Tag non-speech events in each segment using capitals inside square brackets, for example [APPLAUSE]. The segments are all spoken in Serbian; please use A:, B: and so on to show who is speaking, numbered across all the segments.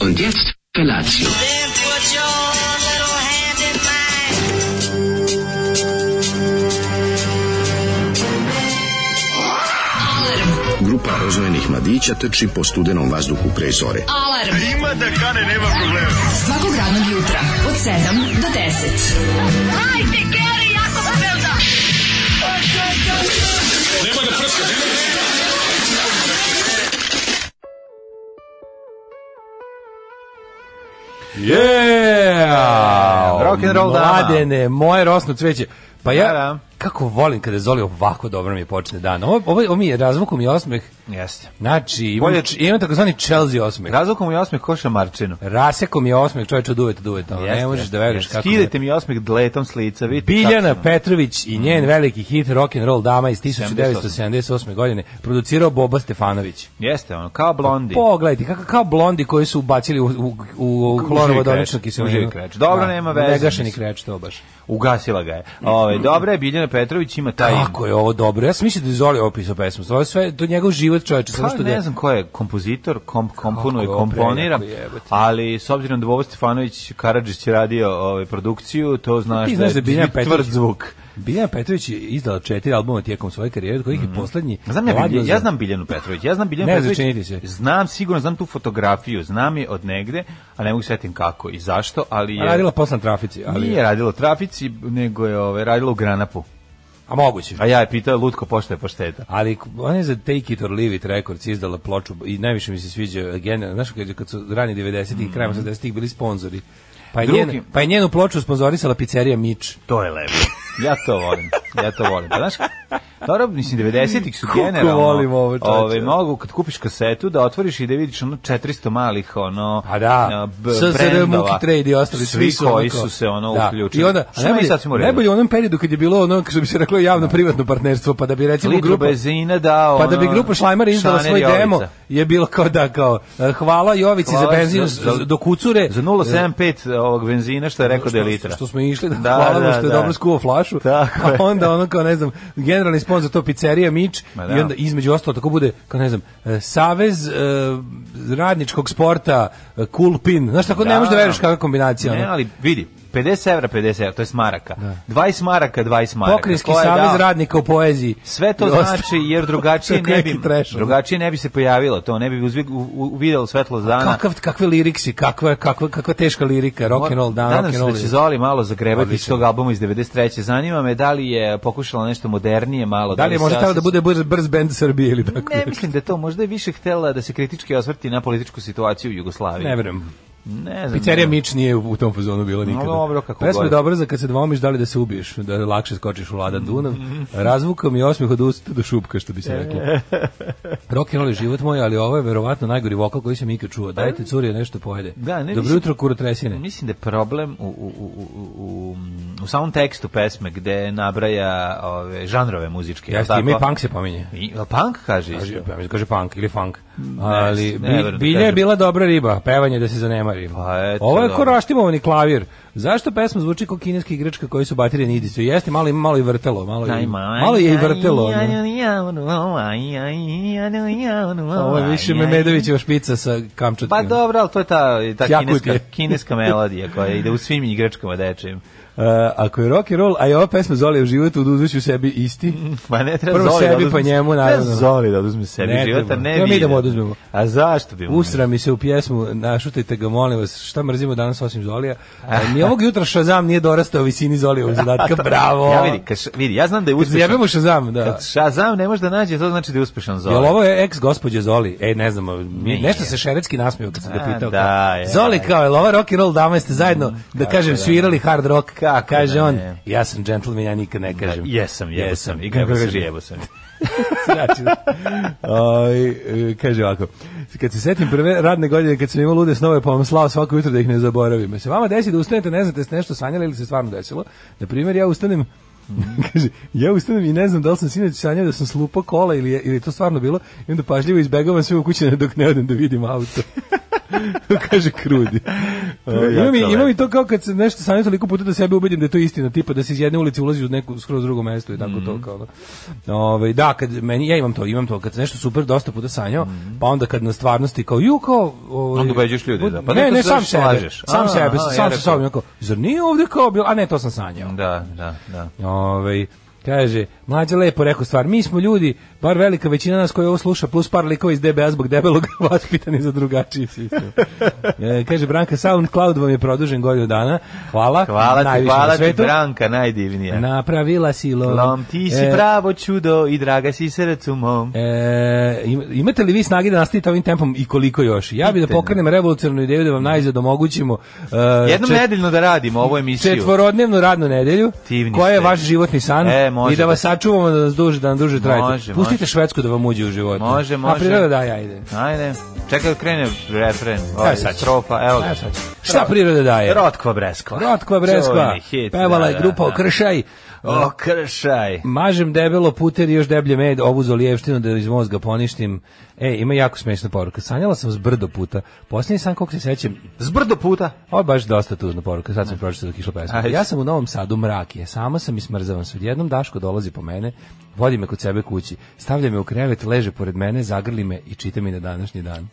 A: Und jetzt Felatio.
B: Then put your little hand in mine.
C: Grupa rozvojenih mladića trči po studenom vazduhu pre zore.
D: Alarm. Ima da kane, nema problema. Svakog radnog jutra, od 7 do 10.
E: Yeah!
F: E, Rock and roll dama.
E: Mladene, moje rosno cveće. Pa ja,
F: Da, da.
E: kako volim kada Zoli ovako dobro mi počne dan. Ovo, ovo, ovo mi je razvukom i osmeh.
F: Jeste.
E: Znači, imam,
F: Bolje-
E: imam takozvani Chelsea osmeh.
F: Razlukom i osmeh koša Marčinu.
E: Rasekom je osmeh, čovječ od uveta do uveta. ono, ne možeš da veruješ kako je.
F: Skidajte mi osmeh dletom s lica, vidite
E: Biljana
F: kako sam.
E: Petrović i
F: Mhm.
E: njen veliki hit Rock and Roll dama iz
F: 78.
E: 1978. godine producirao Boba Stefanović.
F: Jeste, ono, kao
E: Pa
F: blondi.
E: Pogledajte kako kao blondi koji su ubacili u u u, u
F: Uživi
E: hlorovodoničnu
F: kreč,
E: kiselinu.
F: uživi kreč. Dobro, nema veze.
E: Negašeni kreč to baš.
F: Ugasila ga je. Ove, dobra je, Biljana Petrović ima taj...
E: Kako je ovo dobro? Ja sam mislio da je Zoli opisao pesmu. Ovo je sve do njegov život čoveče.
F: Pa
E: Samo što da
F: ne
E: je-
F: znam ko je kompozitor, komp, komponuje,
E: Kako je ovo
F: komponira,
E: prejako, jebote.
F: ali s obzirom da Bobo Stefanović Karadžić je radio ove, produkciju, to znaš,
E: Ti znaš da je Biljana
F: tvrd
E: Petrović-
F: zvuk.
E: Biljana Petrović je izdala četiri albuma tijekom svoje karijere, od kojih je poslednji...
F: Mhm. Znam ja,
E: radio
F: Biljanu,
E: za-
F: ja znam Biljanu Petrović, ja znam Biljanu
E: Ne, začiniti
F: Petrović,
E: se.
F: znam sigurno, znam tu fotografiju, znam je od negde, a ne mogu se setim kako i zašto, ali je...
E: Pa Radila poslan trafici, ali...
F: Nije radila u trafici, nego je ove, radila u Granapu.
E: A moguće.
F: A ja je pitao lutko pošto je pošteta.
E: Ali ona je za Take It or Leave It Records izdala ploču i najviše mi se sviđa generalno, znaš kad, kad su rani 90-ih, krajem 80-ih bili sponzori. Pa je,
F: Mhm. Drugi-
E: njen, pa je njenu ploču sponzorisala pizzerija Mič.
F: To je lepo. Ja to volim. Ja to volim. Pa, znaš, dobro, mislim, 90-ih su
E: Koliko
F: generalno...
E: volim ovo, čoveče.
F: Ovaj, mogu, kad kupiš kasetu, da otvoriš i da vidiš ono 400 malih, ono...
E: A Pa da,
F: b-
E: SSR,
F: brendova.
E: Muki Trade i ostali.
F: Svi koji
E: onako-
F: su se, ono,
E: Da.
F: uključili.
E: I onda,
F: Šta
E: a
F: mi
E: najbolje,
F: sad smo u redu?
E: najbolje u onom periodu kad je bilo ono, što bi se reklo, javno-privatno partnerstvo, pa da bi recimo
F: Litru
E: grupa...
F: benzina dao,
E: Pa da bi
F: ono,
E: grupa Šlajmara izdala
F: Šaner
E: svoj
F: Jovica.
E: demo, je bilo kao da, kao, eh, hvala Jovici
F: Hvala
E: za benzin
F: za- za-
E: do kucure. E,
F: Za 0,75 ovog benzina što je rekao da je
E: što-
F: litra.
E: Što smo išli, da,
F: Da,
E: hvala mu
F: da,
E: što je
F: da.
E: dobro skuvao flašu.
F: Tako je.
E: a onda ono kao, ne znam, generalni sponsor to pizzerija Mič
F: Ma da.
E: i onda između ostalo tako bude, kao ne znam, e, Savez e, radničkog sporta e, Kulpin. Znaš, tako ne
F: Da.
E: možeš da veriš kakva kombinacija.
F: Ne,
E: ono.
F: ali vidi, 50 evra, 50 evra, to je smaraka. 20 maraka, 20 maraka.
E: Pokrinjski
F: Ko je
E: savez
F: dao?
E: radnika u poeziji.
F: Sve to
E: I ostalo.
F: znači jer drugačije
E: Kako
F: ne
E: [LAUGHS] neki
F: bi
E: trash, ono.
F: drugačije ne bi se pojavilo to, ne bi uzvi- u- u- uvidelo svetlo dana.
E: Kakav, kakve liriksi, kakva, kakva, kakva teška lirika, rock and roll, dan,
F: Nadam
E: rock and
F: se da
E: roll.
F: će Zoli malo zagrebati iz
E: Odlično.
F: tog albuma iz 93. Zanima me da li je pokušala nešto modernije malo.
E: Da li je možda
F: se
E: trebalo da
F: osjeća-
E: bude brz, brz band Srbije ili tako?
F: Ne,
E: nešto?
F: mislim da je to možda je više htela da se kritički osvrti na političku situaciju u Jugoslaviji.
E: Ne verujem.
F: ne znam.
E: Pizzerija Mič nije u u tom fazonu bila nikada.
F: dobro, kako
E: Pesma je
F: god.
E: dobra za kad se dvomiš da li da se ubiješ, da lakše skočiš u ladan Dunav.
F: Mhm.
E: Razvukom i osmeh od usta do šupka, što bi se
F: [LAUGHS]
E: reklo. Rock and roll je život moj, ali ovo je verovatno najgori vokal koji sam ikad čuo. Dajte curije nešto pojede.
F: Pa- Da, ne,
E: Dobro
F: mislim-
E: jutro, kurotresine.
F: Mislim da je problem u, u, u, u, u, u samom tekstu pesme gde nabraja ove, žanrove muzičke. jel
E: Jeste,
F: tako?
E: ima i punk se pominje.
F: I- jel punk kaže
E: Kaže,
F: isto. Mm,
E: ja mislim, kaže punk ili funk. Ali
F: ne verujem
E: bi,
F: da
E: bilja je
F: kažem.
E: bila dobra riba, pevanje da se zanemari.
F: Pa eto,
E: Ovo je
F: dobro.
E: koraštimovani klavir. Zašto pesma zvuči kao kineska igračka koji su baterije nidice? Jeste, malo ima malo i vrtelo, malo pa, i, malo je i vrtelo. ne?
F: ono,
E: Ovo je više Memedovićeva špica sa
F: Pa
E: kamčatkim.
F: dobro, ali to je ta, ta
E: Jakut
F: kineska,
E: je.
F: kineska melodija koja ide u svim igračkama dečijim.
E: E, ako je rock and roll, a i ova pesma Zoli u životu, oduzeću sebi isti.
F: [LAUGHS] Pa ne treba
E: Prvo
F: Zoli
E: sebi,
F: da oduzme,
E: pa njemu,
F: treba
E: naravno.
F: Zoli da oduzme sebi
E: Ne
F: život, a
E: treba.
F: ne
E: Treba mi
F: vi
E: da mu oduzmemo.
F: A zašto bi mu?
E: Usra mi se u pjesmu, našutajte ga, molim vas, šta mrzimo danas osim Zolija? E, Ni ovog jutra Shazam nije dorastao visini Zolijevog
F: [LAUGHS]
E: zadatka, bravo!
F: Ja vidi, kaš, vidi, ja znam da je uspešan.
E: Zjebemo Shazam, da.
F: Kad Pa, Shazam ne može da nađe, to znači da je uspešan Zoli.
E: Jel ovo je ex gospođe Zoli? Ej, ne znam, mi-
F: Nije.
E: nešto se šeretski nasmio kad sam ga
F: A,
E: pitao.
F: da,
E: kao,
F: je. Mm,
E: Zoli kao, jel ovo rock and roll dama jeste zajedno, da kažem, svirali hard rock?
F: Kako
E: Kaže
F: da
E: on,
F: ne.
E: ja sam gentleman, ja nikad ne kažem.
F: Jesam, jebo sam. I
E: Kako
F: kako kaže
E: kaže?
F: jebo sam.
E: [LAUGHS] Znači, ovaj, e, kaže ovako, kad se setim prve radne godine, kad sam imao lude snove, pa vam slao svako jutro da ih ne zaboravim. Jel Se vama desi da ustanete, ne znate ste nešto sanjali ili se stvarno desilo. Na primjer, ja ustanem, [LAUGHS] kaže, ja ustanem i ne znam da li sam sinoć sanjao da sam slupao kola ili je, ili je to stvarno bilo i onda pažljivo izbegavam sve u kući dok ne odem da vidim auto. [LAUGHS] kaže krudi. Ovaj,
F: je
E: Ima mi,
F: jako
E: ima mi
F: lepo.
E: to kao kad se nešto sanjam toliko puta da sebe ubedim da je to istina, tipa da se iz jedne ulice ulazi u neku skroz drugo mesto i tako to
F: Mhm.
E: kao. ono. Ovaj da, kad meni ja imam to, imam to kad se nešto super dosta puta sanjao, pa onda kad na stvarnosti kao ju kao ovaj,
F: Mhm. Onda ubeđuješ ljude, da. Pa
E: ne,
F: ne,
E: ne,
F: to se
E: sam
F: zato što
E: sebe,
F: lažeš.
E: sam
F: A, a,
E: sebe,
F: ja
E: sam se
F: rekao.
E: sobom kao, zar nije ovde kao bilo, a ne, to sam sanjao.
F: Da, da, da.
E: Ovaj kaže, mlađe lepo rekao stvar, mi smo ljudi, bar velika većina nas koji ovo sluša, plus par likova iz DBA zbog debelog [LAUGHS] vaspitani za drugačiji sistem. E, kaže, Branka, SoundCloud vam je produžen godinu dana, hvala.
F: Hvala ti,
E: najviše na
F: hvala ti,
E: svetu.
F: Branka, najdivnija.
E: Napravila si lom.
F: Lom, ti si
E: E,
F: pravo čudo i draga si srcu mom.
E: E, im- imate li vi snage da nastavite ovim tempom i koliko još? Ja bih da
F: Pitanje.
E: pokrenem revolucionarnu ideju da vam najzad omogućimo e,
F: Jednom
E: čet-
F: nedeljno da radimo ovu emisiju.
E: četvorodnevnu radnu nedelju
F: Divni
E: koja je
F: ste.
E: vaš životni san
F: E, može
E: i da vas
F: da-
E: sačuvamo da nas duže da nam duže trajite.
F: Može,
E: Pustite
F: može.
E: švedsku da vam uđe u život.
F: Može,
E: A
F: može.
E: priroda da ajde.
F: Ajde, čekaj da krene refren. Ovaj,
E: E, sad će.
F: strofa, evo ga.
E: Evo sad. Šta priroda daje?
F: Rotkva Breskva.
E: Rotkva breskva.
F: Čuveni hit,
E: Pevala
F: da,
E: je
F: da,
E: grupa
F: da.
E: Okršaj.
F: O, kršaj.
E: Mažem debelo puter i još deblje med, ovu zolijevštinu da iz mozga poništim. E, ima jako smešna poruka. Sanjala sam s brdo puta. Posljednji san, koliko se sećam,
F: Zbrdo puta.
E: Ovo je baš dosta tužna poruka, sad sam pročitao dok je išla pesma.
F: Ajde.
E: Ja sam u Novom Sadu mrak je, sama sam i smrzavam se. Odjednom Daško dolazi po mene, vodi me kod sebe kući, stavlja me u krevet, leže pored mene, zagrli me i čita mi na današnji
F: [LAUGHS]
E: dan.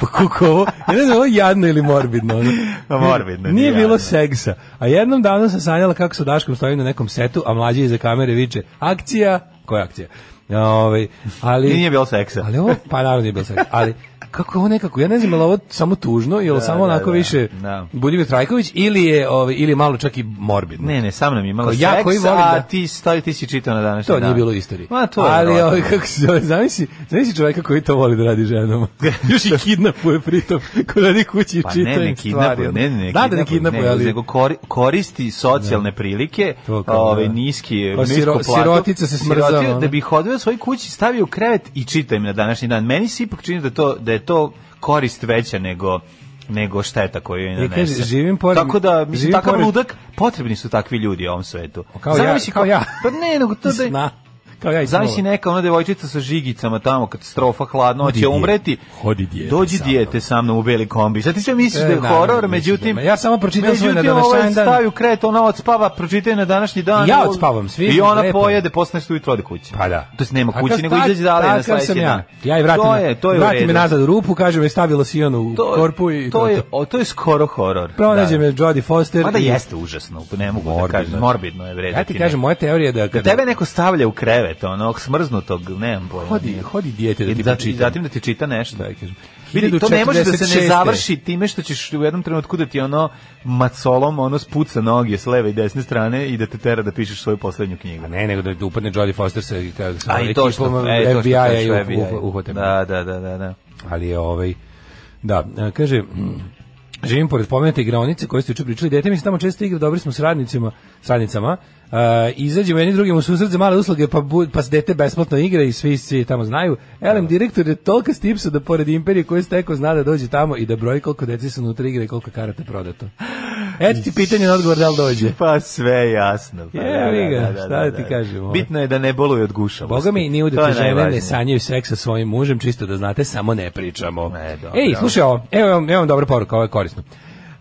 E: pa kako ovo? Ja ne znam, ovo je jadno ili morbidno. ono.
F: Pa morbidno,
E: Nije
F: nije
E: bilo
F: jadno.
E: seksa. A jednom davno sam sanjala kako sa Daškom stojim na nekom setu, a mlađi iza kamere viče, akcija, koja akcija? Ovaj, ali,
F: I nije bilo seksa.
E: ali ovo, pa naravno nije bilo sve. Ali kako je ovo nekako, ja ne znam, je li ovo samo tužno, je li samo
F: da,
E: onako
F: da.
E: više
F: Da.
E: Budimir Trajković ili je, ovaj, ili je malo čak i morbidno?
F: Ne, ne, sa mnom imala
E: Kao
F: seks,
E: ja koji volim
F: a
E: da-
F: ti, stavi, ti si čitao na današnji
E: To
F: dan.
E: nije bilo u istoriji.
F: Ma, to je
E: Ali
F: verovatno.
E: ovaj, kako se zove, zamisli, zamisli čoveka koji to voli da radi
F: [LAUGHS]
E: ženama. Još i kidnapuje pritom, ko radi kući i
F: Pa
E: čita
F: ne, ne
E: im stvari.
F: kidnapuje,
E: ono.
F: ne, ne, ne,
E: Da, da ne kidnapuje, ali...
F: Nego kori- koristi socijalne prilike,
E: To kao,
F: ove,
E: da.
F: niski,
E: Pa
F: nisku
E: siro-
F: platu.
E: sirotica se smrzava,
F: Sirotio,
E: ono.
F: Da bi ih odveo svoj kući, stavio u krevet i čita im na današnji dan. Meni se ipak čini da, to, da je to korist veća nego nego šteta koju je
E: E,
F: nanese.
E: kaže, živim pored-
F: Tako da, mislim,
E: živim
F: takav
E: pored-
F: ludak, potrebni su takvi ljudi u ovom svetu.
E: Kao ja,
F: Zamisli
E: kao ja.
F: Pa ne, nego to da...
E: Sna. Kao ja i
F: Zamisli
E: snova.
F: neka ona devojčica sa žigicama tamo, katastrofa, hladno,
E: Hodi
F: hoće
E: dijete.
F: umreti.
E: Hodi dijete
F: Dođi
E: sa
F: dijete sa mnom u beli kombi. Sad ti sve misliš
E: E,
F: da je
E: naravno,
F: horor,
E: misliš
F: međutim...
E: da je- Ja samo pročitam svoj
F: međutim,
E: na
F: ovaj
E: današnji dan.
F: stavi u kret, ona odspava, pročitaj na današnji dan.
E: I ja
F: ovo-
E: odspavam, svi
F: I
E: smo
F: ona
E: lepo.
F: pojede, posle nešto ujutro ode kući.
E: Pa da.
F: To jest nema
E: Takav-
F: kući, nego
E: tak-
F: izađe dalje na
E: takav
F: sledeći
E: pa sam
F: dan.
E: ja. Ja i vratim,
F: To
E: na-
F: je, to je u
E: vratim
F: redu.
E: me nazad u rupu, kaže me stavilo si onu u
F: To-
E: korpu i to,
F: to je,
E: to.
F: o, to je skoro horor.
E: Pronađe me
F: Da.
E: Jodie Foster.
F: Mada
E: i-
F: jeste užasno, ne mogu da
E: Morbidno
F: kažem,
E: je.
F: morbidno je vredati.
E: Ja ti kažem, moja teorija je da kada...
F: Tebe neko stavlja u krevet, onog smrznutog, nemam pojma.
E: Hodi, hodi dijete da ti
F: I da, i
E: pročita.
F: zatim da ti čita nešto.
E: Da, kažem.
F: Vidi, to ne može da se ne
E: 1046.
F: završi time što ćeš u jednom trenutku da ti ono macolom ono spuca noge s leve i desne strane i da te tera da pišeš svoju poslednju knjigu.
E: A ne, nego da upadne Jodie Foster sa, ka- sa
F: A i to što,
E: ekipom
F: e, to što
E: FBI-a
F: kažeš,
E: i
F: FBI.
E: uh- uh- uhvate. me.
F: Da, da, da, da, da.
E: Ali je ovaj... Da, e, kaže... mm, Živim pored pomenute igraonice koje ste juče pričali. Dete mi se tamo često igra, dobri smo s radnicima, s radnicama. Uh, izađemo jedni drugim u susret za male usluge, pa, bu, pa se dete besplatno igra i svi svi tamo znaju. Elem, direktor je tolika stipsa da pored imperije koje steko zna da dođe tamo i da broji koliko deci su unutra igra i koliko karata prodato. Eto ti pitanje na odgovor da li dođe.
F: Pa sve je jasno. Pa,
E: Jebi ga, šta da ti kažem, ovo?
F: Bitno je da ne boluje od gušavosti.
E: Boga mi ni
F: To
E: udete
F: je
E: žene
F: najvažnije.
E: ne sanjaju seks sa svojim mužem, čisto da znate, samo ne pričamo.
F: E, dobro.
E: Ej, slušaj ovo, evo vam, evo vam dobra poruka, ovo je korisno.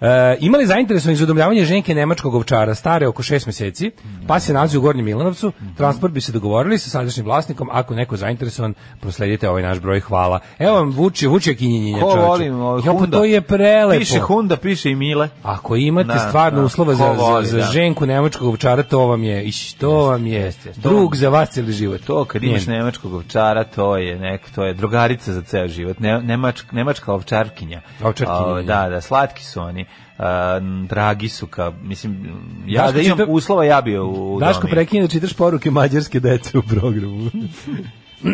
E: E, imali zainteresovanje za udomljavanje ženke nemačkog ovčara, stare oko šest meseci, pa se nalazi u Gornjem Milanovcu, transport bi se dogovorili sa sadašnjim vlasnikom, ako neko je zainteresovan, prosledite ovaj naš broj, hvala. Evo vam Vuči, Vuči je kinjenjenja
F: Ko
E: čoveče.
F: volim, ovo,
E: Jo, pa
F: Hunda.
E: to je prelepo.
F: Piše Hunda, piše i Mile.
E: Ako imate
F: Da,
E: stvarno
F: da.
E: uslova za,
F: Ko voli,
E: za, za
F: da.
E: ženku nemačkog ovčara, to vam je, iš, to vam je
F: jest, to
E: drug
F: vam-
E: za vas cijeli život.
F: To kad imaš
E: Njen.
F: nemačkog ovčara, to je nek, to je drugarica za ceo život. Ne, nemačk, nemačka ovčarkinja.
E: Ovčarkinja,
F: A,
E: je.
F: da, da, slatki su oni. A, m, dragi su ka, mislim, ja
E: Daško
F: da imam
E: čita-
F: uslova, ja bi u, u
E: Daško
F: domi.
E: prekine da čitaš poruke mađarske dece u programu. [LAUGHS]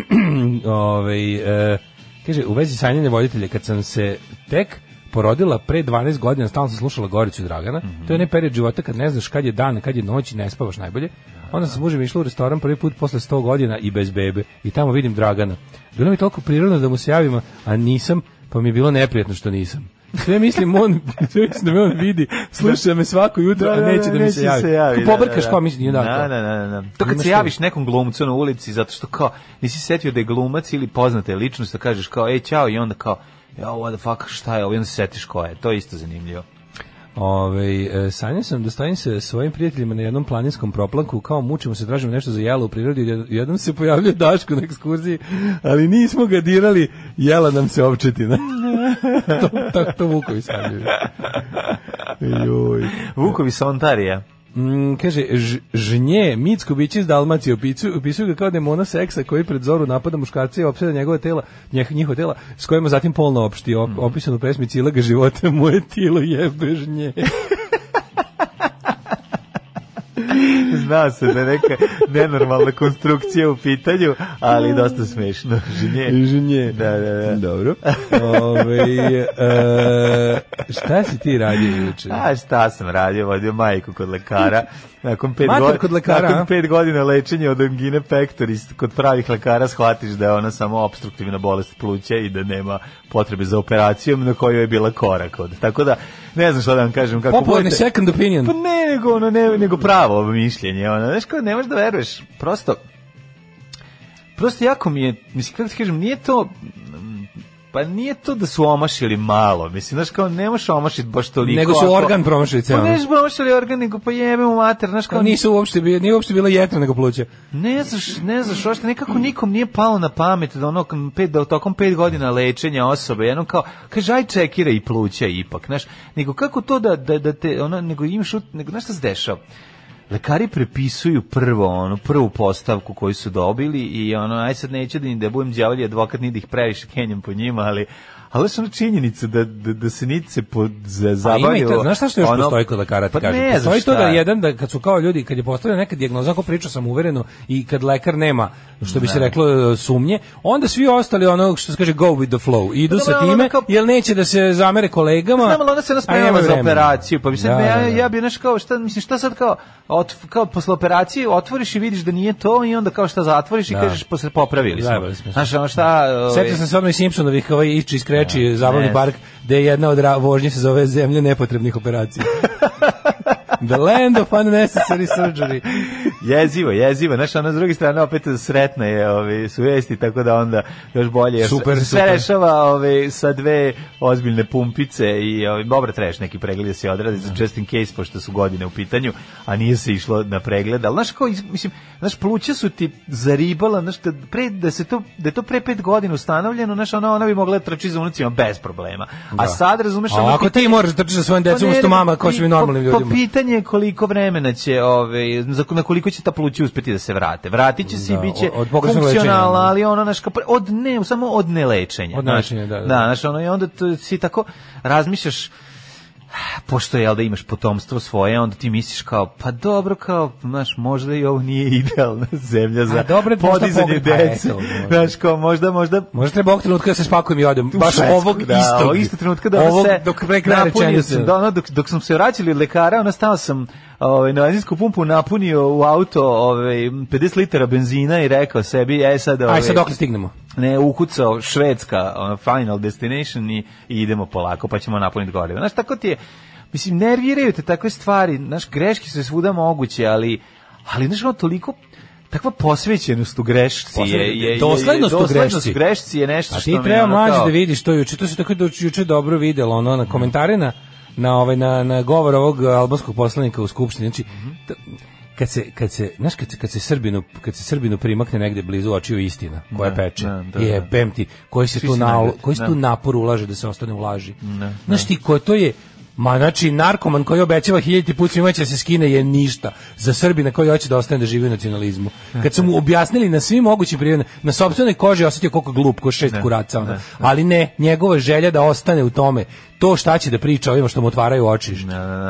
E: Ove, e, kaže, u vezi sanjanja voditelja, kad sam se tek porodila pre 12 godina, stalno sam slušala Goricu Dragana. To je onaj period života kad ne znaš kad je dan, kad je noć i ne spavaš najbolje. Onda sam s mužem išla u restoran prvi put posle 100 godina i bez bebe. I tamo vidim Dragana. Bilo mi je toliko prirodno da mu se javim, a nisam, pa mi je bilo neprijatno što nisam. Sve mislim, on, [LAUGHS] sve mislim da me on vidi, sluša me svako jutro, a neće da mi se javi. Ko pobrkaš kao mislim, nije
F: da,
E: da.
F: da, da, da, da. To kad
E: Imaš
F: se
E: to.
F: javiš nekom glumcu na ulici, zato što kao, nisi setio da je glumac ili poznata je ličnost, da kažeš kao, ej, čao, i onda kao, ja, what the fuck, šta je ovo, i onda se setiš ko je, to je isto zanimljivo.
E: Ove, e, sanjao sam da stojim sa svojim prijateljima na jednom planinskom proplanku, kao mučimo se, tražimo nešto za jelo u prirodi, jed- jednom se pojavlja Daško na ekskurziji, ali nismo ga dirali, jela nam se opčetina. [LAUGHS] to, to, to Vukovi sanjaju. Joj.
F: Vukovi sa Ontarija.
E: Mm, kaže, ž, žnje, Micko Bić iz Dalmacije opisu, opisuju ga kao demona seksa koji pred zoru napada muškarca i opseda njegove tela, njeh, njihova tela, s kojima zatim polno opšti, op, opisan u pesmi Cila ga života, moje tilo jebe žnje.
F: Zna se da je neka nenormalna konstrukcija u pitanju, ali dosta smešno. Ženje.
E: žnje.
F: Da, da, da.
E: [LAUGHS] Dobro. Ove, e, Ovaj, šta si ti radio juče?
F: A šta sam radio, vodio majku kod lekara. Nakon pet,
E: Mater
F: godina,
E: kod lekara, a?
F: nakon pet godina lečenja od angine pectoris, kod pravih lekara shvatiš da je ona samo obstruktivna bolest pluća i da nema potrebe za operacijom na kojoj je bila korak od. Tako da, ne znam šta da vam kažem. Kako
E: Popularni
F: budete-
E: second opinion.
F: Pa ne, nego, ono, ne, nego pravo mišljenje. Ono. Znaš kao, ne možeš da veruješ. Prosto, prosto jako mi je, mislim, kako ti kažem, nije to... mm, Pa nije to da su omašili malo, mislim, znaš kao, ne možeš omašiti baš toliko.
E: Nego su
F: ako-
E: organ promašili
F: Pa
E: ceo.
F: ne znaš omašili organ, nego pa jebemo mater, znaš kao,
E: Nisu uopšte, bi- nije uopšte bila jetra nego pluća.
F: ne znaš, ne znaš, ošte nekako nikom nije palo na pamet da ono m, pet da tokom pet godina lečenja osobe jednom kao kaže aj čekira i pluća ipak, znaš, nego kako to da da da te ono nego imaš ut- nego znaš šta se dešava? Lekari prepisuju prvo onu prvu postavku koju su dobili i ono aj sad neću da im da budem đavolji advokat ni da ih previše kenjam po njima, ali ali sam činjenica da, da, da se niti se pod, za, zabavio.
E: A ima i to, znaš šta što još
F: ono-
E: postoji kod lekara, ti
F: pa
E: kažem?
F: ne znam
E: postoji to da
F: šta.
E: jedan, da kad su kao ljudi, kad je postavljena neka dijagnoza, ako pričao sam uvereno i kad lekar nema, što bi se reklo, e, sumnje, onda svi ostali ono, što se kaže, go with the flow, idu
F: Pa
E: sa
F: dobro, ali
E: time,
F: onda kao- Pa
E: jer neće da se zamere kolegama.
F: Znam, ali ona se
E: a nema
F: naspremala za
E: vremena.
F: operaciju, pa bi sad,
E: Da,
F: ne, ja,
E: da, da.
F: ja bi, znaš, kao, šta, mislim, šta sad kao, ot, kao posle operacije otvoriš i vidiš da nije to i onda kao šta zatvoriš i
E: Da.
F: kažeš, posle popravili smo.
E: Zajebali smo se.
F: Znaš, ono šta... ovaj,
E: Sjetio sam se odmah i Simpsonovih, ovaj ići i skreči, zabavni
F: ne.
E: park, gde je jedna od ra- vožnji se zove zemlje nepotrebnih
F: [LAUGHS]
E: operacija. The land of unnecessary surgery.
F: [LAUGHS] Jezivo, jezivo. Znaš, ona s druge strane opet sretna je ovi, su vesti, tako da onda još bolje. jer
E: Super,
F: se,
E: super.
F: Sve rešava ovi, sa dve ozbiljne pumpice i ovi, dobro trebaš neki pregled da se odradi za just in case, pošto su godine u pitanju, a nije se išlo na pregled. Ali znaš, kao, iz- mislim, znaš, pluća su ti zaribala, znaš, da, pre, da, se to, da je to pre pet godina ustanovljeno, znaš, ona, ona bi mogla da trči za unucima bez problema. A sad, razumeš,
E: A
F: ono,
E: ako ti moraš da trčiš sa svojim
F: pa
E: decom,
F: ne,
E: umesto
F: nego
E: mama, kao
F: i pa
E: će mi normalnim
F: po- po
E: ljudima.
F: pitanje je koliko vremena će, ove, za, na koliko će ta pluća uspeti da se vrate. Vratit će se
E: Da,
F: i bit će
E: od- od pogrešnog
F: funkcionalna,
E: lečenja.
F: ali ono, naš, od ne, samo od nelečenja.
E: Od
F: znaš.
E: nelečenja, da, da.
F: Da, znaš, ono, i onda to, si tako razmišljaš, pošto jel da imaš potomstvo svoje, onda ti misliš kao, pa dobro, kao, znaš, možda i ovo nije [LAUGHS] idealna zemlja za
E: A dobro je da možda
F: podizanje
E: pogre- pa
F: dece.
E: eto, možda.
F: Znaš, kao, možda, možda,
E: Možda treba ovog trenutka da se spakujem i odem.
F: u
E: Baš
F: Švedsku,
E: ovog
F: da,
E: istog.
F: Ovog istog trenutka da
E: Ovog
F: se
E: dok pre kraja
F: napunio
E: rečenice.
F: sam, da, ono, dok, dok sam se vraćali od lekara, ona stao sam ovaj, na benzinsku pumpu, napunio u auto ovaj, 50 litara benzina i rekao sebi, e sad, ovaj,
E: Aj sad dokle stignemo.
F: ne ukucao Švedska ono, Final Destination i, i idemo polako, pa ćemo napuniti gorivo. Znaš, tako ti je, mislim, nerviraju te takve stvari, znaš, greške su svuda moguće, ali, ali znaš, ono, toliko takva posvećenost u grešci je, je, je, je
E: Doslednost u grešci.
F: u grešci je nešto
E: A
F: što mi
E: ti
F: je
E: treba
F: ono
E: mlađe
F: kao-
E: da vidiš to juče. To se tako do, juče dobro videlo. Ono, na komentare na, na, ovaj, na, na govor ovog albanskog poslanika u Skupštini. Znači, t- kad se kad se znaš kad se kad se Srbinu kad se Srbinu primakne negde blizu očiju istina koja
F: Da,
E: peče
F: da, da,
E: je
F: da.
E: bem ti koji se
F: Svi
E: tu
F: se
E: na
F: nagrade,
E: koji se
F: da.
E: tu napor ulaže da se ostane u laži znaš ti ko to je Ma znači narkoman koji obećava hiljati put svima će da se skine je ništa za Srbina koji hoće da ostane da živi u nacionalizmu.
F: E,
E: Kad su mu objasnili na svim mogućim primjerima, na sopstvenoj koži je osetio koliko je glup, ko šest kuraca. ono. Ali ne, njegova je želja da ostane u tome, to šta će da priča ovima što mu otvaraju oči,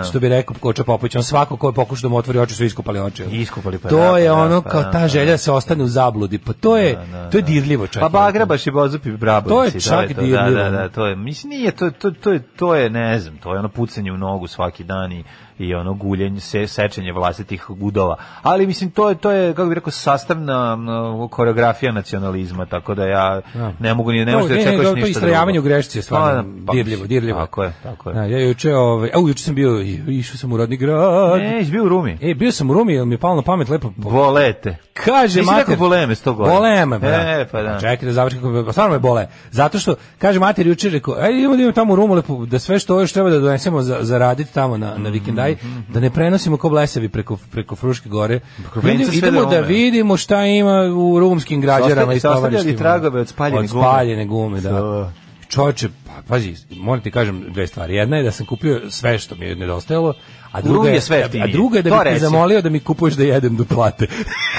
E: što bi rekao Koča Popović, on svako ko je pokušao da mu otvori oči su iskopali oči. ono.
F: Iskopali, pa
E: to
F: da,
E: je
F: pa da,
E: ono
F: pa
E: kao
F: da,
E: ta
F: pa
E: želja da se ostane u zabludi, pa to je, to je dirljivo čak.
F: Pa bagrebaš i bozupi brabovci.
E: To je čak
F: to, da,
E: dirljivo.
F: da, da, to je, mislim, nije, to, to, to, je, to je, ne znam, to je ono pucanje u nogu svaki dan i, i ono guljenje, se, sečenje vlastitih gudova. Ali, mislim, to je, to je kako bih rekao, sastavna m, koreografija nacionalizma, tako da ja ne mogu ni, ne
E: To,
F: možeš da
E: ne, ne,
F: očekuješ
E: to-
F: ništa
E: to
F: drugo.
E: istrajavanje u grešci je stvarno
F: Pa, pa,
E: dirljivo, dirljivo.
F: Tako je, tako je.
E: Da, ja juče, ovaj, au, juče sam bio, i- išao sam u rodni grad.
F: Ne, jesi bio u Rumi.
E: E, bio sam u Rumi, jer mi je palo na pamet lepo. po-
F: Volete.
E: Kaže
F: Nisi
E: mater.
F: rekao boleme sto godina.
E: Boleme, bra.
F: E, pa da.
E: Čekaj da završim kako pa stvarno me bole. Zato što kaže mater juče rekao, ej idemo da idemo tamo u Rumu da sve što još treba da donesemo za zaraditi tamo na na vikendaj,
F: Mhm,
E: da ne prenosimo ko blesevi preko preko Fruške gore.
F: Preko
E: Da idemo-
F: Vence sve do
E: idemo da
F: Rume.
E: vidimo šta ima u rumskim građarama
F: Ste
E: i
F: ostavljali
E: stovarištima.
F: tragove od spaljene
E: Od
F: gume.
E: spaljene gume, da.
F: Da.
E: Čoče, pa, pazi, moram ti kažem dve stvari. Jedna je da sam kupio sve što mi je nedostajalo, a druga
F: Rum
E: je,
F: je sve
E: a
F: jeftinije.
E: druga je da
F: To
E: bih te
F: reci.
E: zamolio da mi kupuješ da jedem do [LAUGHS] plate.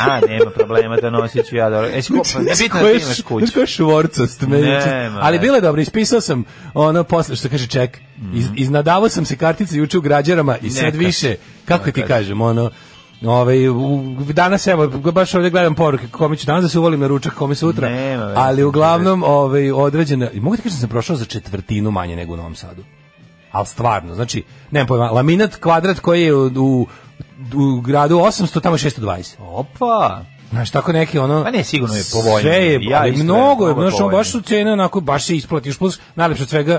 F: A, nema problema da nosit ću ja dobro. E, skupo,
E: Znači,
F: ne bitno da ti imaš kuću.
E: Ko je švorcast, me
F: Nema,
E: juče. Ali
F: je.
E: bilo je dobro, ispisao sam ono posle što kaže ček. Iz, iznadavao sam se kartice juče u građarama i sad
F: Mhm. Neka.
E: više, kako ti kažem, ono, Ovaj u, danas evo baš ovdje gledam poruke kome ću danas da se uvolim na ručak kome sutra
F: Nema veze.
E: ali uglavnom ovaj određena i mogu ti kažem da sam prošao za četvrtinu manje nego u Novom Sadu ali stvarno znači nemam pojma laminat kvadrat koji je u, u, u gradu 800 tamo je 620
F: Opa.
E: Znaš, tako neki ono...
F: Pa ne, sigurno je povoljnije.
E: Sve je,
F: Ja
E: ali
F: isto
E: mnogo
F: verujem,
E: je,
F: mnogo je
E: znaš, ono, baš su
F: povoljnije.
E: cene onako, baš se isplatiš, plus najlepše od svega,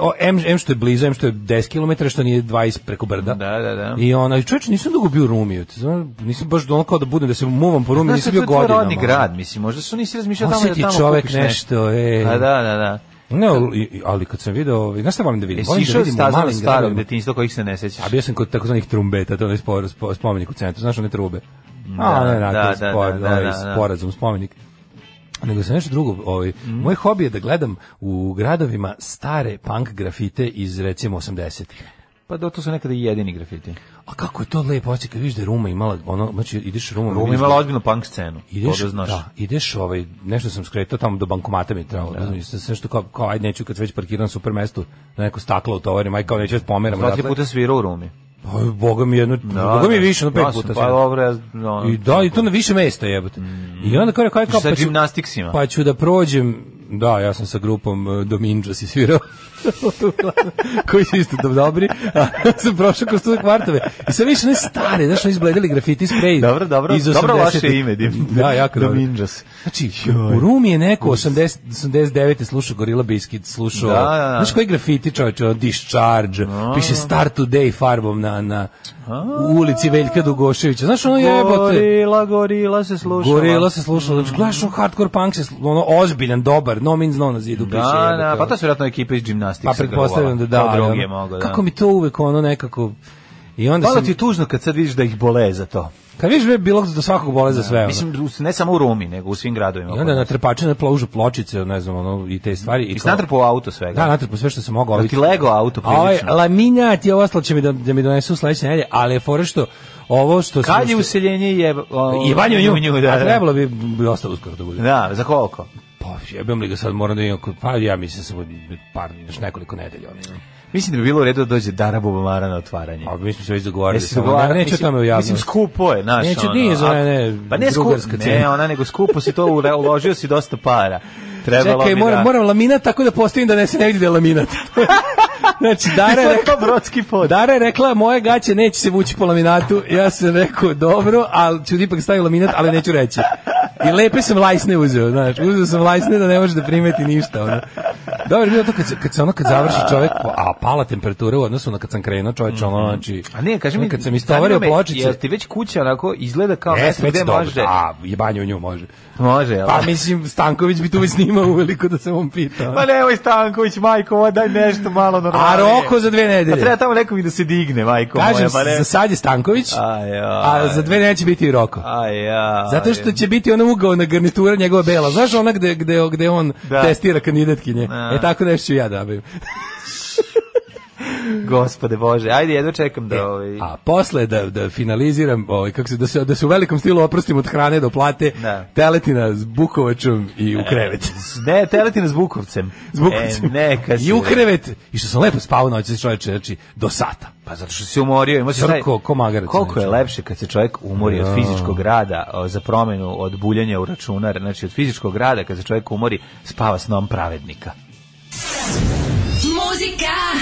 E: o, em, em što je blizu, em što je 10 km, što nije 20 preko brda.
F: Da, da, da.
E: I ona, čovječ, nisam dugo bio u Rumi, ti znaš, nisam baš ono kao da budem, da se muvam po Rumi,
F: Znaš,
E: nisam
F: to
E: bio
F: je tvoj
E: godinama. ono.
F: rodni grad, mislim, možda su nisi razmišljao tamo da
E: Osjeti
F: tamo
E: čovek
F: kupiš
E: nešto, e.
F: A, da, da, da.
E: Ne, ali- i- ali kad sam video, ovaj, znaš šta volim da vidim?
F: Jesi
E: Volim da
F: išao
E: vidim u
F: stazama
E: malim
F: starog
E: gradovima.
F: detinjstva kojih se ne sećaš?
E: A bio sam kod takozvanih trumbeta, to je onaj spor, spo- spomenik u centru, znaš one trube. A, ne, ne,
F: da,
E: to je
F: da,
E: spor,
F: da, da,
E: ovaj,
F: da, da.
E: sporazum, spomenik. Nego sam nešto drugo, ovaj,
F: Mhm.
E: moj hobi je da gledam u gradovima stare punk grafite iz recimo 80-ih.
F: Pa do, to su nekada i jedini grafiti.
E: A kako je to lepo, oci kad vidiš da je Ruma imala, ono, znači ideš Ruma,
F: Rumi imala ozbiljnu punk scenu,
E: Ideš,
F: to da znaš.
E: da, ideš ovaj, nešto sam skretao tamo do bankomata mi je trebalo, da. znači, sve što kao, kao, ajde neću kad već parkiram na super mestu, na neko staklo utovarim, aj kao neću da pomeram.
F: Dva, tri
E: odatle.
F: puta svirao u Rumi.
E: Pa, Boga mi jedno, Boga mi je više, no pet
F: Ja sam,
E: puta.
F: Pa
E: sam.
F: dobro, ja, no,
E: I da, i to na više mesta jebote.
F: Mm.
E: I onda kao kao kao
F: Sa
E: pa ću,
F: gimnastiksima.
E: pa ću da prođem, da, ja sam sa grupom uh, Dominđa si svirao, [LAUGHS] koji su isto do- dobri, a [LAUGHS] sam prošao kroz tu kvartove. I sam više ne stare, znaš, oni izbledeli grafiti sprej.
F: Dobro, dobro,
E: iz
F: dobro
E: 80-ih.
F: vaše ime, Dim.
E: [LAUGHS] Da, jako dobro.
F: Dominđas.
E: Znači, u Rumi je neko 80, 89. slušao Gorilla Biscuit, slušao,
F: Da, da, da.
E: znaš koji grafiti čovječe, ono, Discharge, piše Start Today farbom na, na u ulici Veljka Dugoševića. Znaš, ono jebote.
F: Gorila, gorila se slušala.
E: Gorila se slušala, znači gledaš on hardcore punk se, slu- ono ozbiljan, dobar, no means no na zidu piše.
F: Da,
E: jebote,
F: da, pa
E: ono.
F: to su vjerojatno ekipa iz gimnastiksa.
E: pa pretpostavljam da da.
F: To drugi
E: ono.
F: je mogao, da.
E: Kako mi to uvek ono nekako... I onda
F: Malo
E: sam,
F: ti je tužno kad sad vidiš da ih bole za to.
E: kad vidiš bre, bilo do svakog bole za sve. ono.
F: Mislim, u- ne samo u Rumi, nego u svim gradovima.
E: I onda na trpače na ploužu pločice, ne znam, ono, i te stvari. I
F: I
E: kao-
F: snatrpo u auto svega.
E: Da, natrpo sve što sam mogao.
F: Da ti lego auto
E: A ovaj
F: prilično.
E: laminjat i ovo ostalo će mi da, da mi donesu sledeće nedelje, ali je fora što ovo što... sam-
F: Kad je useljenje je...
E: I Vanju nju,
F: da,
E: a
F: da.
E: trebalo bi, bi ostalo uskoro da bude.
F: Da, za koliko?
E: Pa, jebem li ga sad, moram da imam, kod- pa ja mislim samo par, još nekoliko nedelja. Ono.
F: E. Mislim da bi bilo u redu da dođe Dara Bubamara na otvaranje.
E: A mi smo se već dogovorili,
F: Jesi
E: samo
F: dogovara-
E: ne, neću o
F: mislim-
E: tome u javnosti.
F: Mislim, skupo je, znaš.
E: Neću,
F: ono,
E: nije za
F: a-
E: one, ne,
F: pa ne,
E: drugarska
F: skupo,
E: cena.
F: ne, ona, nego skupo si to ule- uložio si dosta para. Trebalo
E: Čekaj,
F: bi
E: moram,
F: da... [LAUGHS]
E: moram laminat tako da postavim da ne se ne vidi da je laminat. znači, Dara je rekla,
F: rekao brodski pod.
E: Dara je rekla, moje gaće neće se vući po laminatu. Ja sam rekao, dobro, ali ću ipak staviti laminat, ali neću reći. I lepe sam lajsne uzeo, znaš, uzeo sam lajsne da ne može da primeti ništa. Ono. Dobro, je bilo to kad se, kad se ono kad završi čovjek, a pala temperatura u odnosu na kad sam krenuo čovječ, ono, znači,
F: Mhm. A ne, kaži mi,
E: kad sam istovario
F: zanima me,
E: pločice,
F: Jel ti već kuća onako izgleda kao
E: Ne,
F: mesto
E: sve
F: gde
E: dobro.
F: može?
E: A, jebanje u nju može.
F: Može, jel?
E: Pa mislim, Stanković bi tu već snimao uveliko da se on pitao.
F: Pa nemoj Stanković, majko, ovo daj nešto malo normalnije.
E: A Roko za dve
F: Pa
E: nedelje.
F: treba tamo nekom i da se digne, majko
E: Kažem,
F: moja, pa ne.
E: za sad je Stanković,
F: Aj, aj.
E: a za dve neće biti i Roko.
F: Aj, aj.
E: Zato što će biti ona ugaona garnitura njegova bela. Znaš ona gde, gde, gde on
F: Da.
E: testira kandidatkinje?
F: Da.
E: E tako nešto ću ja dobijem.
F: Gospode Bože, ajde, jedno čekam da ovaj...
E: E, A posle da, da finaliziram, ovaj, kako se, da, se, da se u velikom stilu oprostim od hrane do plate,
F: Da.
E: teletina s bukovačom i u krevet.
F: [LAUGHS] Ne, teleti nas Bukovcem.
E: Zbukovcem.
F: E, neka si.
E: I u krevet. I što sam lepo spavao noći, čovječe, znači, do sata.
F: Pa zato što si umorio. Ima se taj-
E: Crko, ko magarac,
F: Koliko je
E: znači.
F: lepše kad se čovjek umori od fizičkog rada, o, za promenu od buljanja u računar, znači od fizičkog rada, kad se čovjek umori, spava snom pravednika.
D: Muzika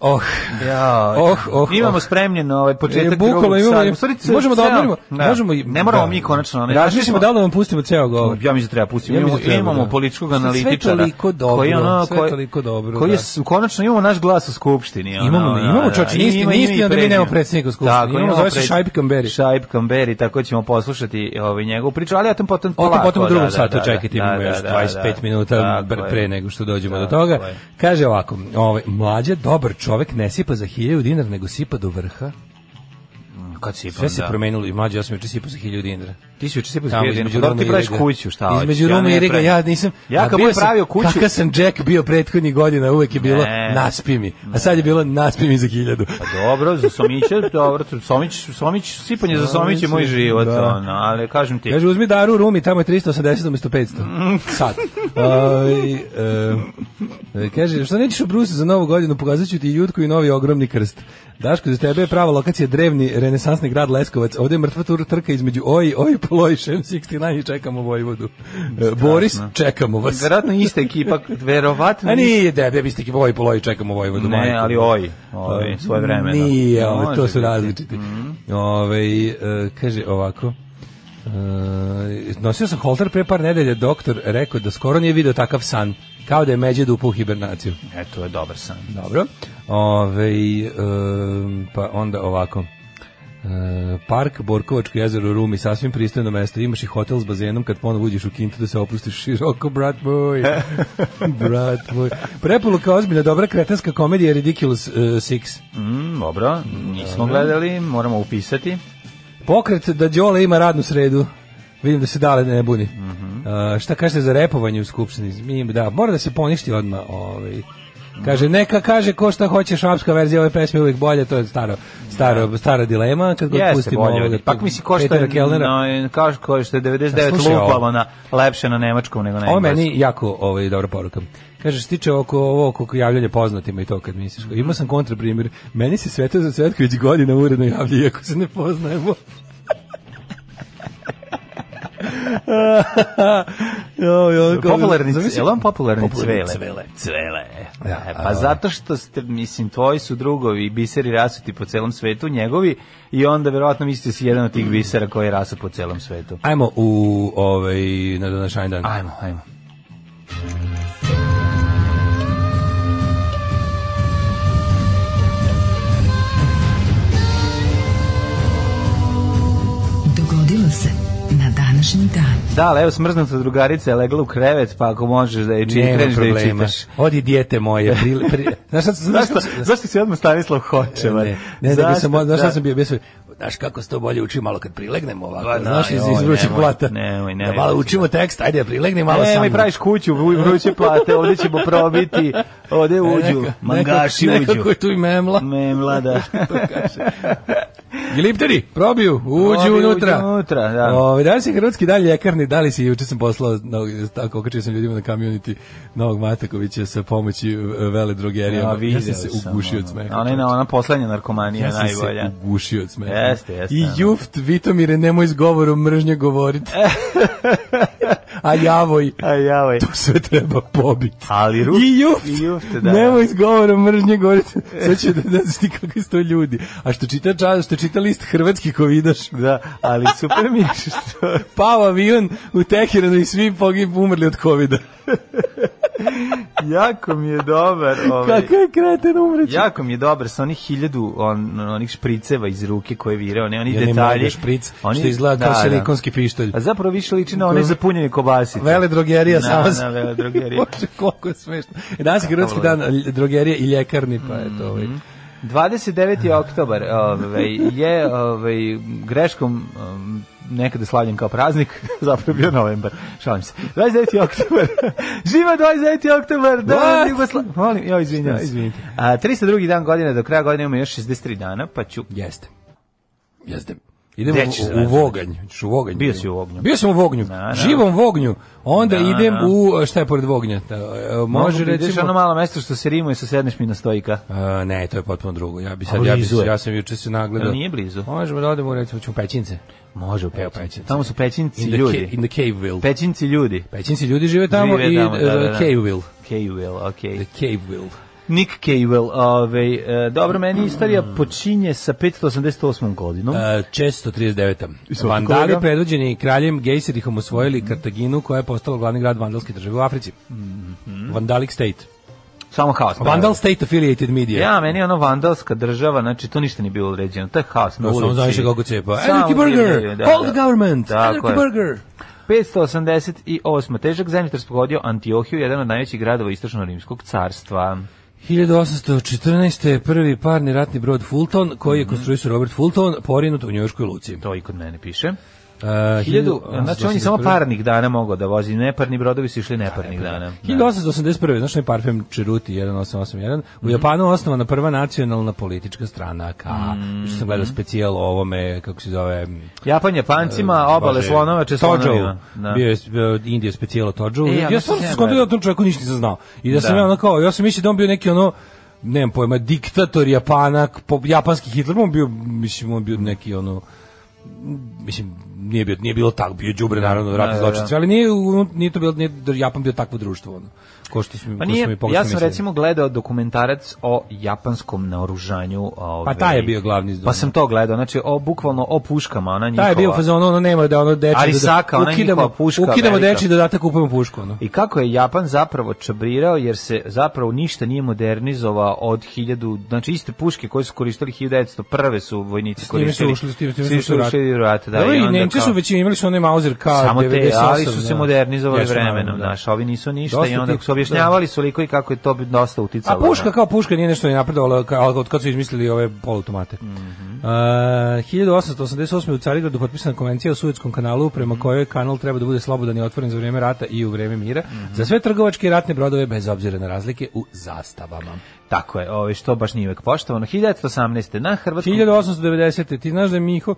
E: Oh.
F: Ja,
E: Oh, oh,
F: imamo
E: oh.
F: spremljeno ovaj početak
E: E, bukvalno
F: drugog
E: imamo-
F: sada. U stvari, ce-
E: možemo da
F: ceo-
E: odmorimo,
F: Da.
E: možemo i-
F: ne moramo
E: da.
F: mi konačno. Ne,
E: Razmišljamo da li da vam pustimo ceo govor.
F: Ja mislim da treba pustiti.
E: Ja mislim
F: imamo
E: da treba,
F: imamo
E: da.
F: političkog
E: Sve
F: analitičara.
E: toliko dobro,
F: koji ono,
E: sve
F: koji-
E: toliko dobro,
F: Koji je
E: da.
F: s- konačno imamo naš glas u skupštini. ono,
E: Imamo mi,
F: da,
E: imamo,
F: da,
E: čoveče,
F: ima-
E: niste-
F: ima
E: niste
F: ime i
E: onda mi nemamo
F: prezime.
E: predsjednika u skupštini.
F: Tako,
E: Imamo, zove se
F: preds-
E: Šaip Kamberi.
F: Šaip Kamberi, tako ćemo poslušati ovaj njegovu priču, ali ja tam potom
E: O, to
F: polako.
E: potom u
F: da,
E: drugom
F: da,
E: satu,
F: da,
E: čekajte,
F: da,
E: imamo
F: da,
E: još
F: da,
E: 25
F: da.
E: minuta
F: Tako
E: br-
F: je.
E: pre nego što dođemo do
F: Tako
E: toga.
F: je.
E: Kaže ovako, ovaj, mlađe, dobar čovek ne sipa za 1000 dinara, nego sipa do vrha.
F: Kad si
E: Sve se promenilo i mlađe, ja sam juče sipao za 1000 dinara.
F: Ti si juče sipao Pa za
E: Tamo
F: 1000
E: između
F: dinara, pa dobro
E: Ruma
F: ti
E: i
F: praviš
E: Iriga.
F: kuću, šta hoćeš,
E: Između
F: ja
E: Ruma
F: ne
E: i Riga,
F: pravim.
E: ja nisam...
F: Ja
E: a
F: kad
E: bio
F: budem
E: sam-
F: pravio kuću-
E: Kakav sam Jack bio prethodnih godina, uvek je bilo
F: Ne.
E: naspi mi. A sad je bilo naspi mi za 1000.
F: Pa dobro, za Somića, dobro, Somić, Somić, sipanje za Somić je moj život,
E: Da.
F: ono, ali kažem ti,
E: Kaže, uzmi daru u Rumi, tamo je 380 umjesto
F: Mm.
E: 500. Sad. Aj, e, kaže, što nećeš u Brusu za novu godinu, pokazat ću ti jutku i novi ogromni krst. Daško, za tebe je prava lokacija drevni renesansni grad Leskovac. Ovdje je mrtva tur trka između Oj, Oj, Poloj, Šem 69 i čekamo Vojvodu. E, Boris, čekamo vas.
F: verovatno ista ekipa, verovatno
E: A nije debe, vi ste ki Oj, Poloj, čekamo Vojvodu.
F: Ne,
E: majko. Pa,
F: ali oj, oj, svoje vreme.
E: Nije, ove, to su različiti. Ove, e, kaže ovako, e, nosio sam holter pre par nedelja, doktor rekao da skoro nije video takav san, kao da je međed upao u hibernaciju.
F: E, to je dobar san.
E: Dobro. Ove, e, pa onda ovako, E, park Borkovačko jezero u Rumi sasvim pristojno mesto, imaš i hotel s bazenom kad ponovo uđeš u kintu da se opustiš široko brat moj brat moj preporuka ozbiljna dobra kretenska komedija Ridiculous e, 6
F: Mm, dobro, nismo gledali, moramo upisati.
E: Pokret da Đole ima radnu sredu. Vidim da se dale ne buni.
F: Mhm.
E: A, šta kažete za repovanje u skupštini? Mi, da, mora da se poništi odmah. Ovaj. Kaže, neka kaže ko šta hoće, šapska verzija ove pesme je uvijek bolje, to je staro, staro, stara dilema. Kad god
F: Jeste,
E: pustimo
F: bolje.
E: ovoga
F: od- Pak misli ko što
E: Petera
F: je,
E: Kellnera.
F: no, kao što- ko što je 99
E: Slušaj ovo.
F: lupalo na, ono, lepše na nemačkom nego na
E: Ovo je
F: engleskom.
E: meni jako ovaj, dobra poruka. Kaže, što se tiče oko, ovo, oko javljanja poznatima i to kad misliš.
F: Mhm.
E: Imao sam kontraprimjer. Meni se Sveta za Cvetković godina uredno javlja, iako se ne poznajemo. [LAUGHS] Joj, joj, kao-
F: Popularni,
E: Zamisli-
F: je li on popularni,
E: Popularni
F: cvele?
E: cvele.
F: Cvele.
E: Da,
F: E,
E: a-
F: pa zato što ste, mislim, tvoji su drugovi biseri rasuti po celom svetu, njegovi, i onda verovatno mislite si jedan od tih bisera koji je rasu po celom svetu.
E: Ajmo u ovaj, na današnji dan.
F: Ajmo, ajmo.
D: Dogodilo se na današnji dan.
F: Da, ali evo smrznuta drugarica je legla u krevet, pa ako možeš da je čitaš,
E: Nema
F: kreneš da je
E: problema.
F: čitaš.
E: Odi dijete moje. Pri,
F: [LAUGHS]
E: pri, znaš šta, znaš
F: Zašto,
E: šta,
F: zašto si odmah Stanislav Hočevar?
E: Ne, ne, ne,
F: Zašto?
E: sam, znaš šta
F: Da.
E: sam bio, bio sam, znaš kako se to bolje uči malo kad prilegnemo ovako,
F: Pa da,
E: znaš, iz, iz
F: joj,
E: vrućeg
F: nemoj,
E: plata.
F: nemoj, nemoj,
E: da malo
F: nemoj.
E: učimo tekst, ajde, prilegni malo
F: Ne,
E: sam.
F: E, mi praviš kuću, vruj- vruće plate, ovdje ćemo probiti, ovdje uđu, mangaši
E: E, nekako,
F: uđu.
E: Nekako je tu i
F: [LAUGHS]
E: memla. [LAUGHS]
F: Me mlada.
E: Gilipteri, probiju, uđu
F: Probiju, uđu
E: unutra.
F: unutra, da.
E: Ove, danas je Hrvatski dan ljekarni, da li si, juče sam poslao, no, tako okačio sam ljudima na community Novog Matakovića sa pomoći e, vele drogerijama. Ja,
F: video
E: sam se ugušio od smeha.
F: ono. Ona je na- ona poslednja narkomanija
E: Ja sam
F: najbolja.
E: se ugušio od smeha.
F: Jeste, jeste,
E: I
F: ono.
E: juft, Vitomire, nemoj s govorom mržnje
F: [LAUGHS]
E: govoriti. A javoj,
F: A javoj.
E: to sve treba pobiti.
F: Ali rup,
E: I juft,
F: i juft, da.
E: nemoj s govorom mržnje govoriti. Sve će da ne znaš ti kakvi su to ljudi. A što čita, ča- što čita list hrvatski ko vidaš,
F: Da, ali super mi je što...
E: pao avion u Teheranu i svi pogib umrli od covida.
F: jako mi je
E: [LAUGHS]
F: dobar ovaj.
E: Kako je kreten umreći?
F: Jako mi je dobar sa onih hiljadu on, onih špriceva iz ruke koje virao, ne oni
E: Ja ne mogu
F: detalji.
E: da špric, što izgleda kao silikonski pištolj.
F: A zapravo više liči na one zapunjene kobasice.
E: Vele drogerija
F: Na,
E: sama.
F: na,
E: se-
F: vele drogerija.
E: [LAUGHS] Bože, koliko je smešno. I danas je hrvatski dan lj- drogerije i ljekarni, pa eto ovaj.
F: Mhm. 29. oktobar ovaj, je ovaj, greškom um, nekada slavljen kao praznik, [LAUGHS] zapravo je bio novembar, šalim se. 29. oktobar, [LAUGHS] živa 29. oktobar, dan
E: What?
F: Jugoslavije. Molim, ja izvinjam se.
E: Šta, izvinite.
F: A, 302. dan godine, do kraja godine imamo još 63 dana, pa ću...
E: Jeste. Jeste. Idemo
F: Gde ćeš
E: u, u
F: danas?
E: Voganj. Ćeš u Voganj.
F: Bio si u Vognju.
E: Bio sam u Vognju.
F: Da, da.
E: Živom Vognju. Onda
F: Da,
E: idem
F: da.
E: u šta je pored Vognja? Ta, e, Može
F: Mogu da ideš ono
E: recimo
F: malo mesto što se rimuje sa sedneš mi na stojka.
E: E, ne, to je potpuno drugo. Ja bi sad
F: Ali
E: ja, bi,
F: blizu je.
E: ja sam juče se nagledao.
F: Jel nije blizu?
E: Možemo da odemo recimo ćemo u Pećince.
F: Može u
E: Evo
F: Pećinci.
E: Pećince.
F: Tamo su Pećinci
E: In the, ca-
F: ljudi.
E: in the Caveville.
F: Pećinci ljudi.
E: Pećinci ljudi žive tamo
F: Žive
E: i
F: tamo, da, da,
E: e,
F: da.
E: Caveville.
F: K-Will, okej.
E: The Caveville.
F: Nick Cable, ovaj, e, dobro, meni istorija
E: Mm.
F: počinje sa 588. godinom.
E: Uh, 639.
F: svaki
E: Vandali
F: kolega?
E: predvođeni kraljem Gejserihom osvojili Kartaginu koja je postala glavni grad vandalske države u Africi. Vandalic State.
F: Samo haos.
E: Vandal State Affiliated Media.
F: Ja, meni je ono vandalska država, znači to ništa nije bilo uređeno. To je haos na
E: To samo
F: ulici.
E: znaš kako cepa.
F: Samo
E: Anarchy Burger!
F: divljaju, da,
E: Hold
F: da.
E: the government!
F: Tako
E: Anarchy
F: je.
E: Burger!
F: 588. Težak zemljotres pogodio Antiohiju, jedan od najvećih gradova Istočno-Rimskog carstva.
E: 1814. je prvi parni ratni brod Fulton, koji je konstruisao Robert Fulton, porinut u Njujorskoj luci.
F: To i kod mene piše.
E: Uh,
F: Hiljadu, znači on je samo
E: 1881.
F: parnih dana mogao da vozi. Neparni brodovi su išli neparnih dana. Da.
E: 1881. Znaš onaj parfem Čeruti 1881. U Japanu osnovana prva nacionalna politička strana ka, što sam gledao specijal o ovome, kako se zove...
F: Japan Japancima, obale
E: Bože,
F: slonovače slonovima.
E: Todžou.
F: ono, Da.
E: Bio je bio Indija specijal o Todžou.
F: E, ja
E: ja,
F: mislim
E: sam
F: da
E: se
F: ja
E: skontao da o
F: gledam.
E: tom čovjeku ništa nisam znao. I da, sam
F: Da.
E: ja ono kao, ja sam mislio da on bio neki ono nemam pojma, diktator Japana, po- japanski Hitler, on bio, mislim, on bio neki ono, mislim nije bio nije bilo tako bio đubre naravno ratni
F: da,
E: zločinci ali nije u- nije to bilo nije Japan bio takvo društvo ono ko što smo
F: Pa
E: ko smo
F: nije,
E: i pogrešno
F: ja sam
E: mislili.
F: recimo gledao dokumentarac o japanskom naoružanju. Ove,
E: Pa taj je bio glavni
F: Pa sam to gledao, znači o, bukvalno o puškama, ona njihova.
E: taj je bio fazon ono nema da ono deči
F: Arisaka, ona
E: ukidamo
F: njihova puška
E: ukidamo
F: velika.
E: deči dodatak kupujemo pušku ono
F: I kako je Japan zapravo čabrirao, jer se zapravo ništa nije modernizovao od 1000, znači iste puške koje su koristili 1901. su vojnici
E: S time su
F: koristili.
E: ušli, s time, s time
F: Svi
E: su ušli u rat.
F: u rat. Da,
E: Dobro,
F: i
E: i
F: onda
E: Nemci su
F: kao-
E: već imali su one Mauser K98.
F: Samo te, ali su se
E: da.
F: modernizovali
E: Jesu, naravno,
F: vremenom,
E: da.
F: znaš, ovi nisu ništa
E: Dosta
F: i onda
E: tih-
F: su objašnjavali su liko i kako je to bi dosta
E: A
F: uticalo.
E: puška
F: na-
E: kao puška nije nešto ni napredovala kao od kad su izmislili ove poluautomate.
F: Mhm.
E: Uh, 1888. u Carigradu potpisana konvencija o Suetskom kanalu
F: Mhm.
E: prema kojoj kanal treba da bude slobodan i otvoren za vrijeme rata i u vrijeme mira
F: Mhm.
E: za sve trgovačke i ratne brodove bez obzira na razlike u zastavama.
F: Tako je, ovaj, što baš nije uvek poštovano. 1918. na Hrvatskom...
E: 1890. Ti znaš da je Miho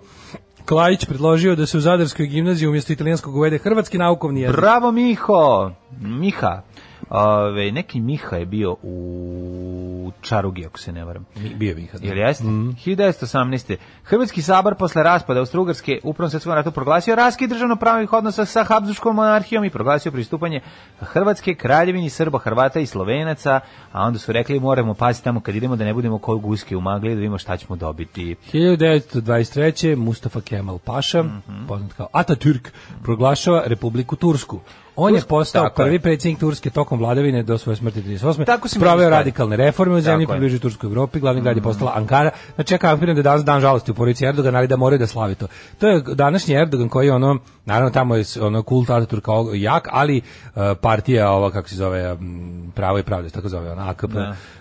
E: Klajić predložio da se u Zadarskoj gimnaziji umjesto italijanskog uvede hrvatski naukovni jezik.
F: Bravo Miho! Miha. Ove, neki Miha je bio u Čarugi, ako se ne varam.
E: Mi- Bio je Miha. da.
F: Jel jeste? 1918. Hrvatski sabor posle raspada Austrougarske u Prvom svjetskom ratu proglasio raskid državno-pravnih odnosa sa Habsburgskom monarhijom i proglasio pristupanje Hrvatske kraljevini Srba, Hrvata i Slovenaca, a onda su rekli moramo paziti tamo kad idemo da ne budemo kog guske u magli da vidimo šta ćemo dobiti.
E: 1923. Mustafa Kemal Paša,
F: Mhm.
E: poznat kao Atatürk, proglašava Republiku Tursku. On je
F: Tursku,
E: postao
F: tako je.
E: prvi predsjednik Turske tokom vladavine do svoje smrti 38.
F: Tako si mi
E: Proveo
F: izgledao.
E: radikalne reforme u zemlji,
F: Tako je.
E: približio Turskoj Evropi, glavni grad je postala Ankara. Znači, ja kapiram da je danas dan žalosti u porodici Erdogan, ali da moraju da slavi to. To je današnji Erdogan koji je ono, naravno tamo je s- ono kult Ataturka og- jak, ali e, partija ova, kako se zove, m, pravo i pravda, se tako zove, ona AKP,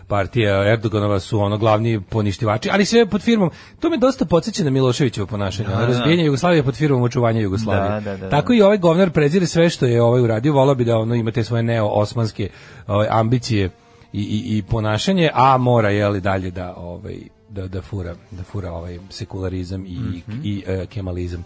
E: partija Erdoganova su ono glavni poništivači, ali sve pod firmom. To me dosta podsjeća na Miloševićevo ponašanje. ono razbijanje Jugoslavije pod firmom očuvanja Jugoslavije.
F: Da, da, da, da.
E: Tako i ovaj govnar prezire sve što je ovaj uradio, volao bi da ono ima te svoje neo-osmanske ovaj, ambicije i, i, i ponašanje, a mora je li dalje da ovaj da da fura da fura ovaj sekularizam i i e, kemalizam.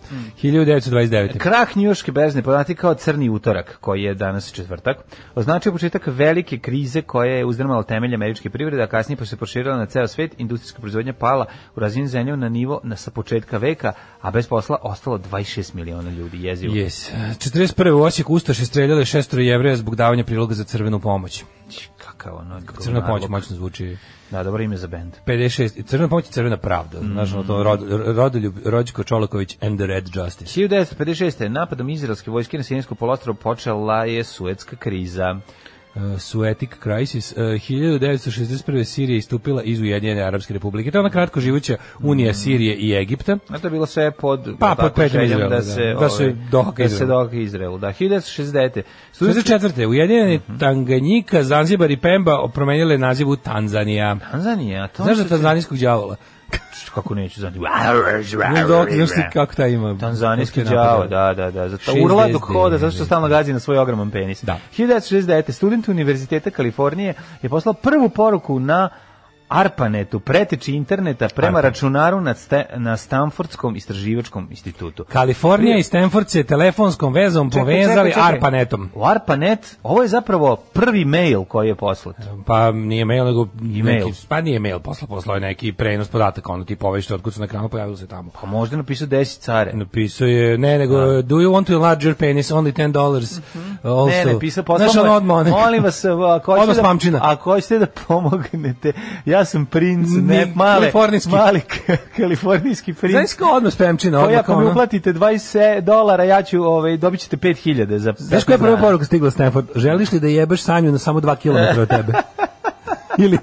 E: 1929.
F: Krah njuške bezne poznati kao crni utorak, koji je danas četvrtak, označio početak velike krize koja je uzdrmala temelje američke privrede, a kasnije pa se proširila na ceo svet, industrijska proizvodnja pala u razvijenim zemljama na nivo na sa početka veka, a bez posla ostalo 26 miliona ljudi jezivo.
E: Yes. 41. u Osijeku Ustaše streljale šestoro jevreja zbog davanja priloga za crvenu pomoć.
F: Kakav ono...
E: Crvena pomoć
F: nalog.
E: moćno zvuči.
F: Da, dobro ime za bend.
E: 56. i Crvena pomoć i crvena pravda. Znaš, ono to rod, Rodoljub, Rođko Čolaković and the Red Justice.
F: 1956. napadom izraelske vojske na Sijensko polostrovo počela je Suetska kriza.
E: Uh, Suetic Crisis. Uh, 1961. Sirija istupila iz Ujedinjene Arabske republike. To je ona kratko živuća
F: Mm.
E: Unija Sirije i Egipta.
F: A to je bilo sve pod
E: Pa,
F: jel
E: pod
F: tako, željom
E: petljom Izraela, da.
F: da se
E: Da se
F: ovaj,
E: dohaka
F: da se
E: Izraela.
F: dohaka Izraelu. Da 1960. Studentski
E: 64. Ujedinjeni
F: Mhm.
E: Tanganjika, Zanzibar i Pemba promenile naziv u Tanzanija.
F: Tanzanija, to
E: Znaš
F: se-
E: za tanzanijskog đavola?
F: kako neću znati.
E: Znaš dok- znaš ti kako taj ima?
F: Tanzanijski
E: Kako je napravio?
F: đavo, da, da, da. Zato urla dok
E: 69.
F: hoda, zato što stalno gazi na svoj ogroman penis.
E: Da.
F: 1969. student Univerziteta Kalifornije je poslao prvu poruku na ARPANETu, preteči interneta prema
E: ARPANET.
F: računaru na, ste, na Stanfordskom istraživačkom institutu.
E: Kalifornija i Stanford se telefonskom vezom
F: Čekaj, čekaj,
E: povezali
F: čekaj.
E: ARPANETom.
F: U ARPANET, ovo je zapravo prvi mail koji je poslat.
E: Pa nije mail, nego
F: E-mail.
E: neki, pa nije mail, posla poslao je neki prenos podataka, ono tipa ovešte otkud su na ekranu pojavilo se tamo.
F: Pa možda je napisao 10 care.
E: Napisao je, ne, nego, do you want to enlarge your penis, only 10 dollars. Uh, also.
F: Mhm. Ne, ne, pisao
E: Znaš,
F: poslao.
E: ono
F: mu je,
E: odmah onaj-
F: Molim vas, ako
E: Odmah s
F: hoćete, da,
E: mamčina.
F: ako hoćete da pomognete, ja sam princ, ne,
E: Ni-
F: male,
E: kalifornijski.
F: mali k- kalifornijski princ.
E: [LAUGHS] Znaš kao odmah spremčina,
F: Koji
E: odmah
F: ako pa mi
E: ono.
F: uplatite 20 dolara, ja ću, ovaj, dobit ćete 5000 za
E: Znaš koja je
F: 15
E: prva
F: dana.
E: poruka stigla Stanford? Želiš li da jebeš Sanju na samo 2 km od
F: [LAUGHS]
E: tebe? Ili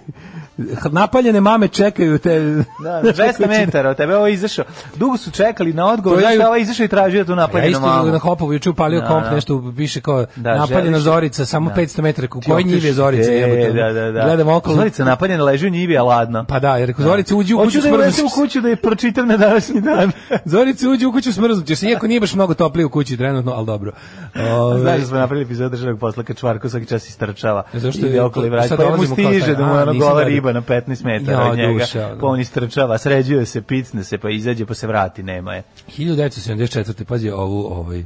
E: napaljene mame čekaju te.
F: [LAUGHS] Da, 200 metara od tebe, ovo je izašao. Dugo su čekali na odgovor,
E: To ja
F: znaš
E: ju-
F: šta, ovo je izašao i tražio tu
E: Ja
F: napaljenu
E: isto
F: mamu.
E: na hopovu juče upalio
F: Da,
E: komp
F: da.
E: nešto piše kao
F: Da,
E: napaljena
F: želiš-
E: Zorica samo 500 metara u
F: Ti
E: kojoj
F: otiš-
E: njivi je Zorica
F: E,
E: jebote.
F: Da,
E: ono.
F: da, da.
E: Gledam okolo.
F: Zorica napaljena leži u njivi, a ladna.
E: Pa da, jer ako Zorica uđe u
F: Hoću
E: kuću
F: da je unesem u
E: smrznuti.
F: kuću da je pročitam na današnji dan.
E: [LAUGHS] Zorica uđe u kuću smrznuti, se iako nije baš mnogo toplije u kući trenutno, ali dobro. Ove,
F: Znaš da smo napravili epizod državnog posla kad čvarko svaki čas istrčava.
E: Zašto
F: Ide
E: je-
F: okolo i vraća.
E: sad
F: Pa mu
E: dolazimo kao
F: stiže
E: taj-
F: da mu
E: a,
F: ono
E: nisam
F: gola
E: gledao.
F: riba na 15 metara
E: Ja,
F: od njega.
E: duša, ono.
F: Pa on istrčava, sređuje se, picne se, pa izađe, pa se vrati, nema je.
E: 1974. pazi ovu, ovaj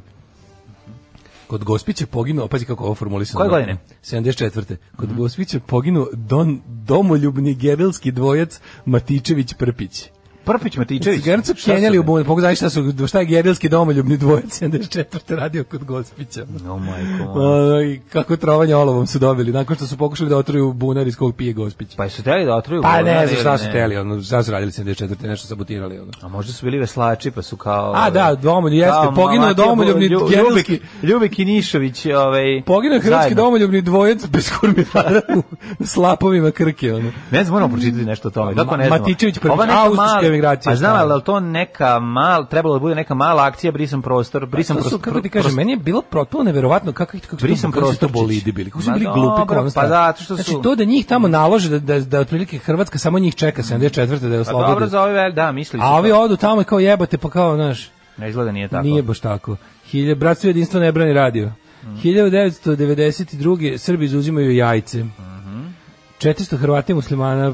E: Kod Gospića poginuo, pazi kako ovo formulisano.
F: Koje godine?
E: 74. Kod Gospića poginuo Don domoljubni gerilski dvojac Matičević Prpić.
F: Prpić Matičević.
E: Cigarnicu
F: Šta su
E: kenjali u
F: oni?
E: bunu, pogledaj šta su, šta je gerilski domoljubni dvojac 74. radio kod Gospića.
F: O majko moja.
E: Oj, kako trovanje olovom su dobili, nakon što su pokušali da otruju bunar iz kog pije Gospić.
F: Pa su teli da otruju?
E: Pa
F: govnar
E: ne znam šta
F: ili
E: su
F: ne?
E: teli, ono, šta su radili 74. nešto sabotirali. Ono.
F: A možda su bili veslači, pa su kao...
E: A, da, domoljub- jeste,
F: kao
E: poginuo je
F: Matija
E: domoljubni
F: Lju-
E: gerilski-
F: Ljubek- Ljubek i Nišović, ovaj...
E: Poginuo je hrvatski
F: zajedno.
E: domoljubni dvojac bez kurmitara u slapovima Krke. Ono.
F: Ne znam, moramo pročitati nešto o tome. Kako ne
E: Ma-
F: znamo?
E: Matičević prvi,
F: Ova neka
E: austrijska
F: mala-
E: emigracija,
F: Pa znam,
E: šta je?
F: ali je li to neka mal, trebalo da bude neka mala akcija, brisan prostor, brisan
E: To
F: prostor.
E: su, kako ti kažem, meni je bilo potpuno neverovatno kako, kako, su to,
F: Brisan
E: kako su to
F: prostorčić.
E: bolidi bili, kako su
F: Ma
E: bili
F: dobro,
E: glupi
F: pa
E: konstantno.
F: zato što su-
E: Znači, to da njih tamo nalože, da, da, da otprilike Hrvatska samo njih čeka 74. da je
F: Pa dobro,
E: oslobode.
F: za ove, da, misli se.
E: A ovi odu tamo i kao jebate, pa kao, znaš,
F: Ne izgleda nije tako.
E: Nije baš tako. Hilje, bratstvo i jedinstvo ne brani radio.
F: Mhm.
E: 1992. Srbi izuzimaju jajce.
F: Mhm.
E: 400 Hrvata i muslimana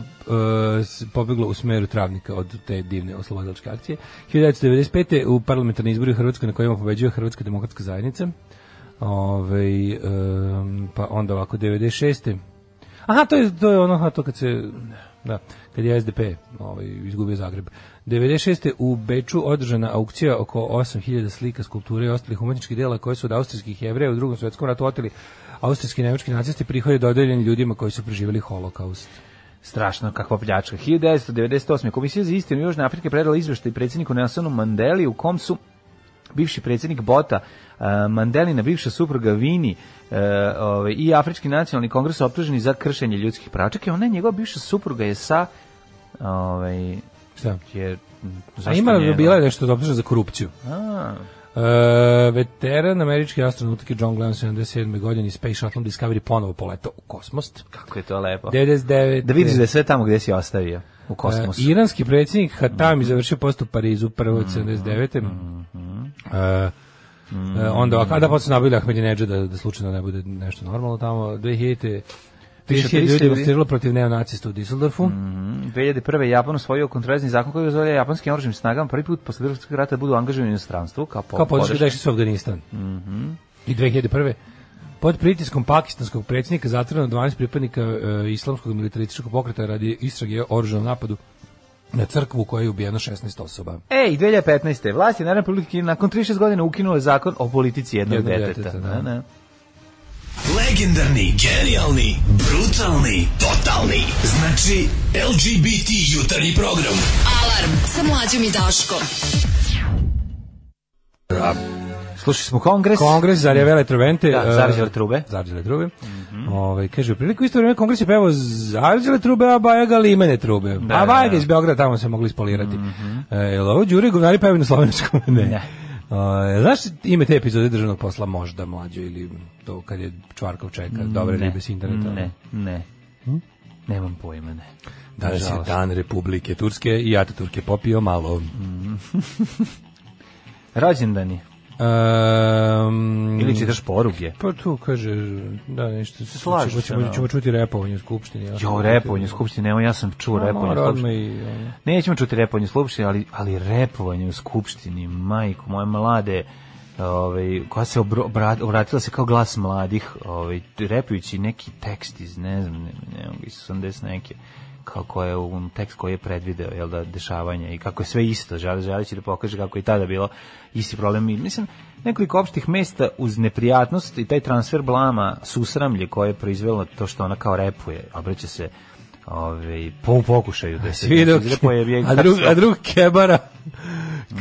E: e, s- pobeglo u smeru travnika od te divne oslobodilačke akcije. 1995. u parlamentarni izbori u Hrvatskoj na kojima pobeđuje Hrvatska demokratska zajednica. Ove, pa onda ovako 96. Aha, to je, to je ono, aha, to kad se, da, kad je SDP ovaj, izgubio Zagreb. 96. u Beču održana aukcija oko 8000 slika, skulpture i ostalih umetničkih dela koje su od austrijskih jevreja u drugom svetskom ratu oteli austrijski i nemački nacisti prihode dodeljeni ljudima koji su preživjeli holokaust.
F: Strašno, kakva pljačka. 1998. Komisija za istinu Južne Afrike predala izveštaj predsjedniku Nelsonu Mandeli u kom su bivši predsjednik Bota, eh, Mandelina, bivša supruga Vini eh, ovaj, i Afrički nacionalni kongres optuženi za kršenje ljudskih prava. Čekaj, ona je njegova bivša supruga je sa... Ovaj,
E: Šta?
F: je, m,
E: A
F: zašto
E: ima,
F: njena?
E: bila je nešto optužena za korupciju.
F: A,
E: E, veteran američke astronautike John Glenn 77. godine i Space Shuttle Discovery ponovo poletao u kosmos.
F: kako je to lepo.
E: 99.
F: Da vidiš da je sve tamo gdje si ostavio, u kosmosu.
E: E, iranski predsjednik Hatami završio post u Parizu prvo
F: Mm-hmm.
E: od 79. E, e, onda ovako, a da posle nabili Ahmedinejad da, da slučajno ne bude nešto normalno tamo. 2000.
F: Više
E: 30
F: 30
E: ljudi
F: ljudi.
E: demonstriralo protiv neonacista u Düsseldorfu.
F: Mm, 2001. Japan usvojio kontravezni zakon koji dozvoljava japanskim oružanim snagama prvi put posle drugog svjetskog rata da budu angažovani u inostranstvu kao, po, Mm-hmm.
E: Kao podrška da
F: podrška.
E: išli su u Afganistan. I 2001. Pod pritiskom pakistanskog predsjednika zatvoreno 12 pripadnika e, islamskog militarističkog pokreta radi istrage o oružanom napadu na crkvu u kojoj je ubijeno 16 osoba.
F: E, i 2015. Vlast je Narodne Republike Kine nakon 36 godina ukinula zakon o politici jednog,
E: Jednog
F: deteta.
E: deteta, da.
F: da. da.
A: Legendarni, genijalni, brutalni, totalni. Znači, LGBT jutarnji program.
D: Alarm sa mlađom i Daškom.
F: Slušali smo kongres. Mm.
E: Kongres zarjavele trubente.
F: Da,
E: e,
F: zarđale trube. Mhm.
E: Zarđale trube. Ovaj, kaže, u priliku isto vreme Kongres je pevao zarđale trube, a Bajaga limene trube. a Bajaga iz Beograda tamo se mogli ispolirati. E, jel ovo Đure i govnari pevaju na slovenskom? [LAUGHS] Ne.
F: Mhm. Ne.
E: E, znaš ime te epizode državnog posla možda mlađo ili to kad je Čvarkov čeka dobre ribe s interneta?
F: Mm,
E: ono. Hm?
F: Ne, ne. Nemam pojma, ne.
E: Danas je
F: Nažalost. Mm.
E: dan Republike Turske i Ataturk je popio malo.
F: Rođendan je.
E: Ehm,
F: Ili čitaš poruge.
E: Pa tu kaže, da, nešto.
F: Slažeš
E: ćemo,
F: se,
E: ćemo,
F: da.
E: ćemo čuti repovanje u skupštini. ja.
F: Jo, repovanje u skupštini, nema, ja sam čuo repovanje u
E: Hm. Mora odmah
F: skupštini.
E: i, ono.
F: Nećemo čuti repovanje u skupštini, ali, ali repovanje u skupštini, majko, moje mlade, ovaj, koja se obro- obra- obratila se kao glas mladih, ovaj, repujući neki tekst iz, ne znam, ne, ne znam, iz 80 neke, kao ko je um, tekst koji je predvideo jel da dešavanje i kako je sve isto žele- želeći da pokaže kako je i tada bilo isti problem i mislim nekoliko opštih mesta uz neprijatnost i taj transfer blama susramlje koje je proizvelo to što ona kao repuje, obraća se ovaj po u pokušaju da se
E: Svi dok,
F: izrepo jer Znači, je
E: a, drug, a drug Kebara,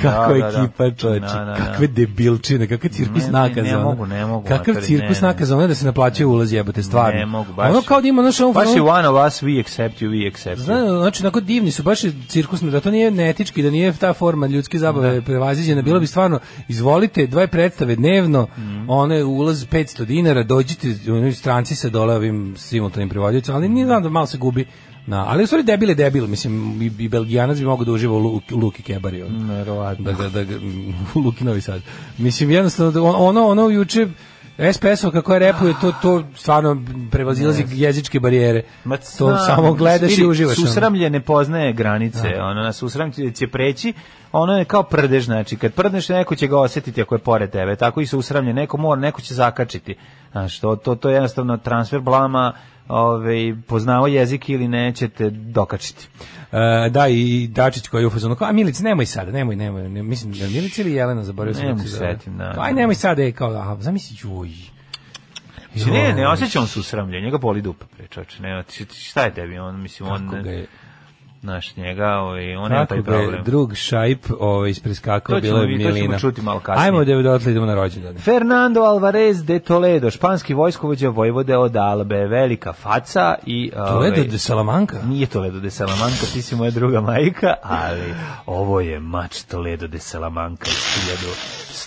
E: kako
F: Da, da, da.
E: ekipa čoveče,
F: Da, da, da.
E: kakve debilčine, kakav cirkus
F: Ne, ne,
E: nakazan.
F: ne mogu, ne mogu,
E: Kakav
F: materi,
E: cirkus
F: ne, ne.
E: nakazan, ono da se naplaćaju ulaz jebote, stvarno.
F: Ne mogu, baš
E: Ono
F: je-
E: kao da ima, znaš, ono,
F: Baš je
E: ono-
F: one of us, we accept you, we accept you.
E: Zna, znači, onako divni su, baš je cirkusno, da to nije neetički, da nije ta forma ljudske zabave da. prevaziđena, bilo bi stvarno, izvolite, dvaj predstave dnevno,
F: Mhm.
E: mm. one ulaz 500 dinara, dođite, oni stranci se dole ovim simultanim prevodljicom, ali nije znam da malo se gubi Na, ali u stvari debil je debil, mislim, i, i Belgijanac bi mogao da uživa u Lu- Luki Kebari.
F: Mhm.
E: On
F: Verovatno.
E: da ga, da ga, u Luki Novi Sad. Mislim, jednostavno, da on- ono, ono juče, SPS-ov kako je repuje, to, to stvarno prevazilazi jezičke barijere.
F: Ma
E: to
F: znam,
E: samo gledaš i
F: vidi,
E: uživaš. ono.
F: Susramlje ne poznaje granice, da. ono, na susramlje će preći, ono je kao prdež, znači, kad prdneš neko će ga osetiti ako je pored tebe, tako i susramlje, neko mora, neko će zakačiti, znači, to, to, to je jednostavno transfer blama, ovaj, poznao jezik ili nećete dokačiti.
E: E, da, i Dačić koji je u fazonu, kao, a Milica, nemoj sada, nemoj, nemoj, ne, mislim, je li Milica ili Jelena, zaboravio sam.
F: Ne
E: kako
F: mogu
E: se zove.
F: setim, da.
E: Kao, Aj, nemoj sada, je kao, aha, zamisli, joj.
F: Znači, ne, ne osjeća on susramlje, njega boli dupa, prečoče, ne, ti- ti- šta je tebi, on, mislim, on,
E: Kako ga je,
F: naš, njega, ovaj, on je
E: kako
F: taj
E: ga je
F: problem.
E: drug šajp ovaj, ispreskakao,
F: To ćemo
E: bila je
F: vi- to ćemo
E: Milina.
F: čuti malo kasnije.
E: Ajmo da odatle idemo na rođendane.
F: Fernando Alvarez de Toledo, španski vojskovođa Vojvode od Albe, velika faca i...
E: Toledo
F: ovaj,
E: de Salamanca?
F: Nije Toledo de Salamanca, ti si moja druga majka, ali ovo je mač Toledo de Salamanca iz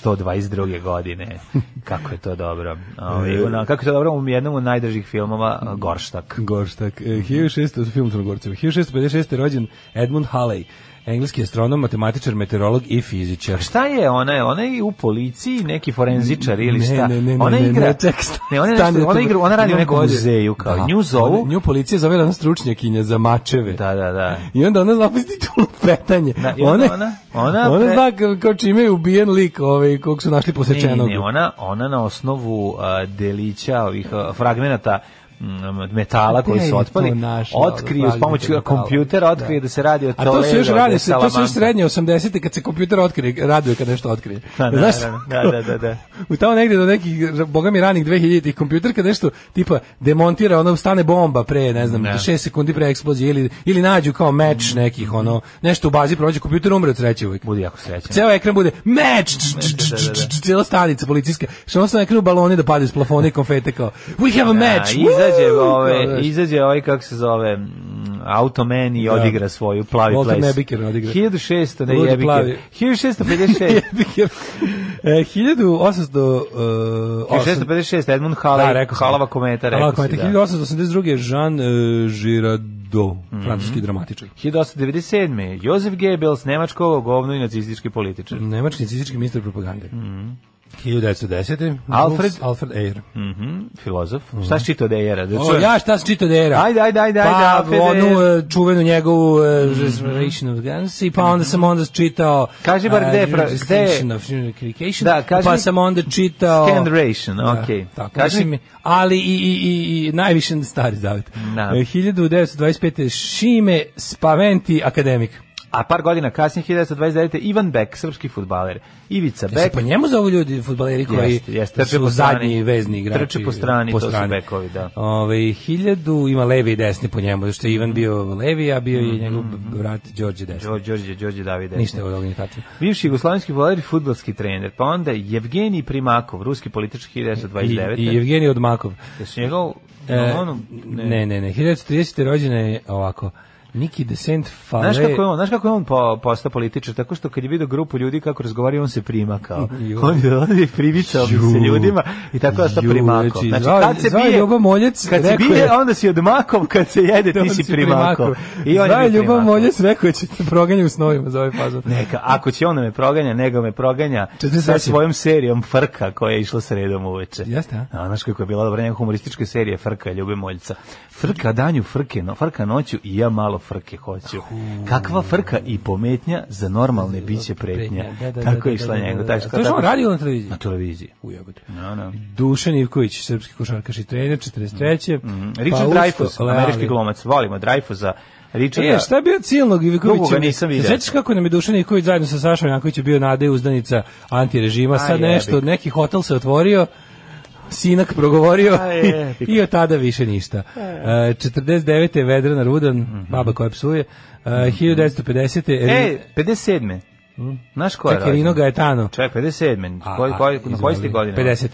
F: 1122. godine. Kako je to dobro.
E: E.
F: Ovaj, ona, kako je to dobro u jednom od najdržih filmova, Gorštak.
E: Gorštak. E, 1600, film Crnogorcev. 1656. je rođen Edmund Halley, engleski astronom, matematičar, meteorolog i fizičar.
F: Šta je ona? Ona je u policiji, neki forenzičar ili
E: Ne,
F: šta?
E: ne, ne, ne,
F: ona
E: ne,
F: igra.
E: ne, ček, sta-
F: ne, ona, je
E: stani,
F: nešto, ona
E: to-
F: igra, ona radi u
E: imam
F: nekom
E: bolje.
F: muzeju kao.
E: Da.
F: Nju zovu.
E: Ona- Nju policija zove jedan stručnjakinja za mačeve.
F: Da, da, da.
E: I onda ona zapusti tu lupetanje.
F: Da, i onda
E: ona,
F: ona- ona
E: ona
F: pre-
E: zna ka- kao čime je ubijen lik ovaj, kog su našli posečenog.
F: Ne, ne, ona, ona na osnovu a, delića ovih a, fragmenata mm, metala koji
E: Gde je
F: su
E: to
F: otpali,
E: našla,
F: otkrije
E: ono,
F: s pomoću
E: fragmente metala?
F: kompjutera, otkrije da. se radi o
E: A to
F: Toledo
E: su još
F: de
E: radi, se, to su još
F: Salamanca.
E: srednje 80. kad se kompjuter otkrije, raduje kad nešto otkrije.
F: Da, da,
E: Znaš,
F: da, da, da, da.
E: u tamo negde do nekih, boga mi ranih 2000-ih kompjuter kad nešto tipa demontira, ono stane bomba pre, ne znam,
F: Da.
E: 6 sekundi pre eksplozije ili, ili nađu kao meč nekih, ono, nešto u bazi prođe, kompjuter umre od sreće uvijek.
F: Budi jako srećan.
E: Ceo ekran bude meč,
F: da, da, da.
E: cijela stanica policijska. Što ono su na ekranu baloni da padaju s plafona i konfete kao, we have a match,
F: Da, izađe,
E: woo! Kao,
F: ove,
E: znaš.
F: izađe ovaj, kako se zove, mm, Automan i odigra svoju plavi
E: Walter
F: ples.
E: Nebiker odigra.
F: 1600, ne
E: Ludi
F: jebiker.
E: plavi. [LAUGHS]
F: 1656.
E: E, 1800... e,
F: 1656, Edmund
E: Da,
F: Halava,
E: rekao sam.
F: Halava kometa,
E: Halava
F: rekao si,
E: kometa.
F: da.
E: 1882. je Jean e, Girardeau,
F: Mhm.
E: francuski dramatičar.
F: 1897. Josef Goebbels, nemačko govno i nacistički političar.
E: Nemački nacistički ministar propagande. Mm 1910.
F: Mhm. Alfred-
E: Jules Alfred Eyre.
F: Mhm, filozof. Šta si čitao da je era? Da
E: Mm. O,
F: čujem.
E: ja šta sam čitao da era?
F: Ajde, ajde, ajde, ajde,
E: Pa,
F: Alfred Mhm.
E: onu
F: Eyre.
E: e, čuvenu njegovu uh, Restoration of Guns, i pa onda sam onda čitao...
F: Kaži bar
E: e,
F: gde je pra-
E: Restoration
F: gde je-
E: of Communication,
F: Da, kaži
E: pa
F: mi-
E: sam onda čitao...
F: Scanderation, okej.
E: Da, tako,
F: Kaži
E: mislim,
F: mi-
E: ali i, i, i, i najviše stari zavet.
F: Da.
E: E, 1925. Šime Spaventi, akademik.
F: A par godina kasnije, 1929. Ivan Bek, srpski futbaler. Ivica
E: Jel se
F: Bek.
E: po njemu zovu ljudi futbaleri koji
F: Jeste, jeste, trče
E: su
F: po strani.
E: zadnji vezni igrači.
F: Trče po strani, to su bekovi, da.
E: Ove, hiljadu ima levi i desni po njemu, zato što je Ivan bio levi, a bio je njegov brat Đorđe desni.
F: Đor- Mhm. Đorđe, Đorđe Davide.
E: Ništa od organizacije.
F: Bivši jugoslovenski futbaler i futbalski trener. Pa onda Evgenij Primakov, ruski politički 1929.
E: I, I Evgenij Odmakov.
F: Jesu njegov...
E: E,
F: ono,
E: ne, ne, ne. 1930. rođena je ovako. Niki de Saint Fale.
F: Znaš kako je on, znaš kako je on po, postao političar, tako što kad je vidio grupu ljudi kako razgovaraju, on se prima kao.
E: Ju.
F: on je ovdje primicao bi se
E: Ju.
F: ljudima i tako je ostao
E: Ju,
F: primako.
E: znači,
F: Znači,
E: zvao-
F: kad se
E: zvao je
F: bije,
E: Ljubo Moljec,
F: kad se
E: rekao
F: bije,
E: je-
F: onda si odmakov, kad se jede, ti
E: On [LAUGHS]
F: si
E: si
F: primako. I on
E: Zvao
F: je
E: je
F: bio
E: Ljubav
F: primako.
E: Moljec, rekao je će te proganja u snovima za ovaj fazon.
F: Neka, ako će on da me proganja, nego me proganja sa
E: 43.
F: svojom serijom Frka koja je išla sredom uveče.
E: Jeste, a?
F: A, znaš kako je bila dobra njega humoristička serija Frka, Ljube Moljca. Frka danju, frke, no, frka noću i ja malo frke hoću. Kakva frka i pometnja za normalne biće pretnja.
E: Pretnja, da, da, da,
F: Tako je
E: da,
F: išla
E: da, da,
F: njega.
E: da.
F: tako-
E: To je što on radio na televiziji?
F: Na televiziji.
E: U jebote.
F: No, no.
E: Dušan Ivković, srpski košarkaš i trener, 43. Mm
F: Hm, Richard Dreyfuss, američki
E: glumac.
F: glumac. Volimo Dreyfusa. Richarda.
E: E, šta je bio Cilnog Ivkovića?
F: Dugo ga nisam vidio.
E: Sećaš kako nam je Dušan Ivković zajedno sa Sašom Jankovićem bio nade uzdanica antirežima, sad
F: jebik.
E: nešto, neki hotel se otvorio, sinak progovorio
F: A jebik.
E: [LAUGHS] i od tada više ništa. E, 49. je Vedrana Rudan, baba koja psuje, e, 1950.
F: E, 57. Znaš ko je
E: Hm? Čekaj, Rino
F: rođen?
E: Gaetano.
F: Ček, 57.
E: A,
F: Koji,
E: a,
F: koji, na koji ste
E: izvoli.
F: godine?
E: 50.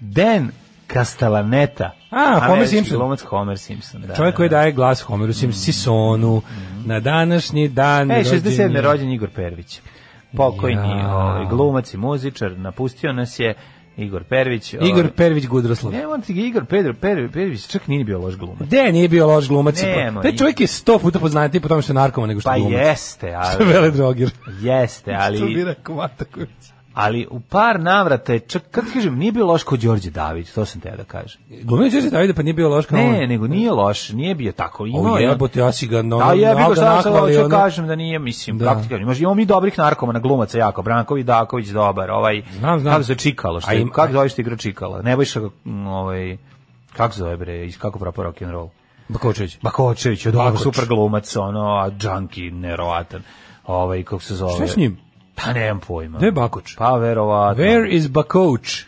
F: Dan Castellaneta.
E: A, Homer
F: Američki
E: Simpson.
F: Glumac Homer Simpson, da.
E: Čovjek
F: da,
E: koji
F: da. Mm.
E: daje glas Homeru Simpsonu na današnji dan.
F: E, 67.
E: rođen
F: je
E: je-
F: rođen Igor Pervić. Pokojni
E: Ja.
F: ovaj, glumac i muzičar, napustio nas je Igor Pervić. ovaj,
E: Igor Pervić Gudroslav.
F: Ne, on ti ga Igor Pedro Per- Pervić čak nije bio loš glumac.
E: De, nije bio loš glumac.
F: Nemoj.
E: Taj čovjek je sto puta poznatiji po tome što je narkoman nego što
F: Pa
E: je [LAUGHS] glumac.
F: jeste,
E: Što je
F: ali
E: vele drogir.
F: jeste,
E: Što bi
F: ali
E: rekao Mataković.
F: ali u par navrata je čak kad ti kažem nije bio loš kod Đorđe Davić, to sam te da kažem.
E: Glumio je Đorđe Davide pa nije bio loš kao on.
F: Ne, nego nije loš, nije bio tako. Imao
E: O
F: je-
E: jebote, ja si ga ono- no,
F: A ja bih šta
E: ga
F: sam
E: nahvalio,
F: hoću
E: ono.
F: kažem da nije, mislim,
E: Da.
F: kako ti kažem, možda imamo mi dobrih narkomana glumaca jako, Branković Daković dobar, ovaj,
E: Znam, znam.
F: kako se Čikalo, što
E: A
F: je,
E: im-
F: kako zoveš ti igra Čikala, Nebojša, mm, ovaj, kako se zove bre, iz kako prapa rock and roll,
E: Bakočević.
F: Bakočević, je dobar,
E: Bakoč.
F: super glumac, ono, a džanki, nerovatan, ovaj, kako se zove.
E: Šta je s njim?
F: Pa nemam pojma.
E: Gde je Bakoč?
F: Pa verovatno.
E: Where is Bakoč?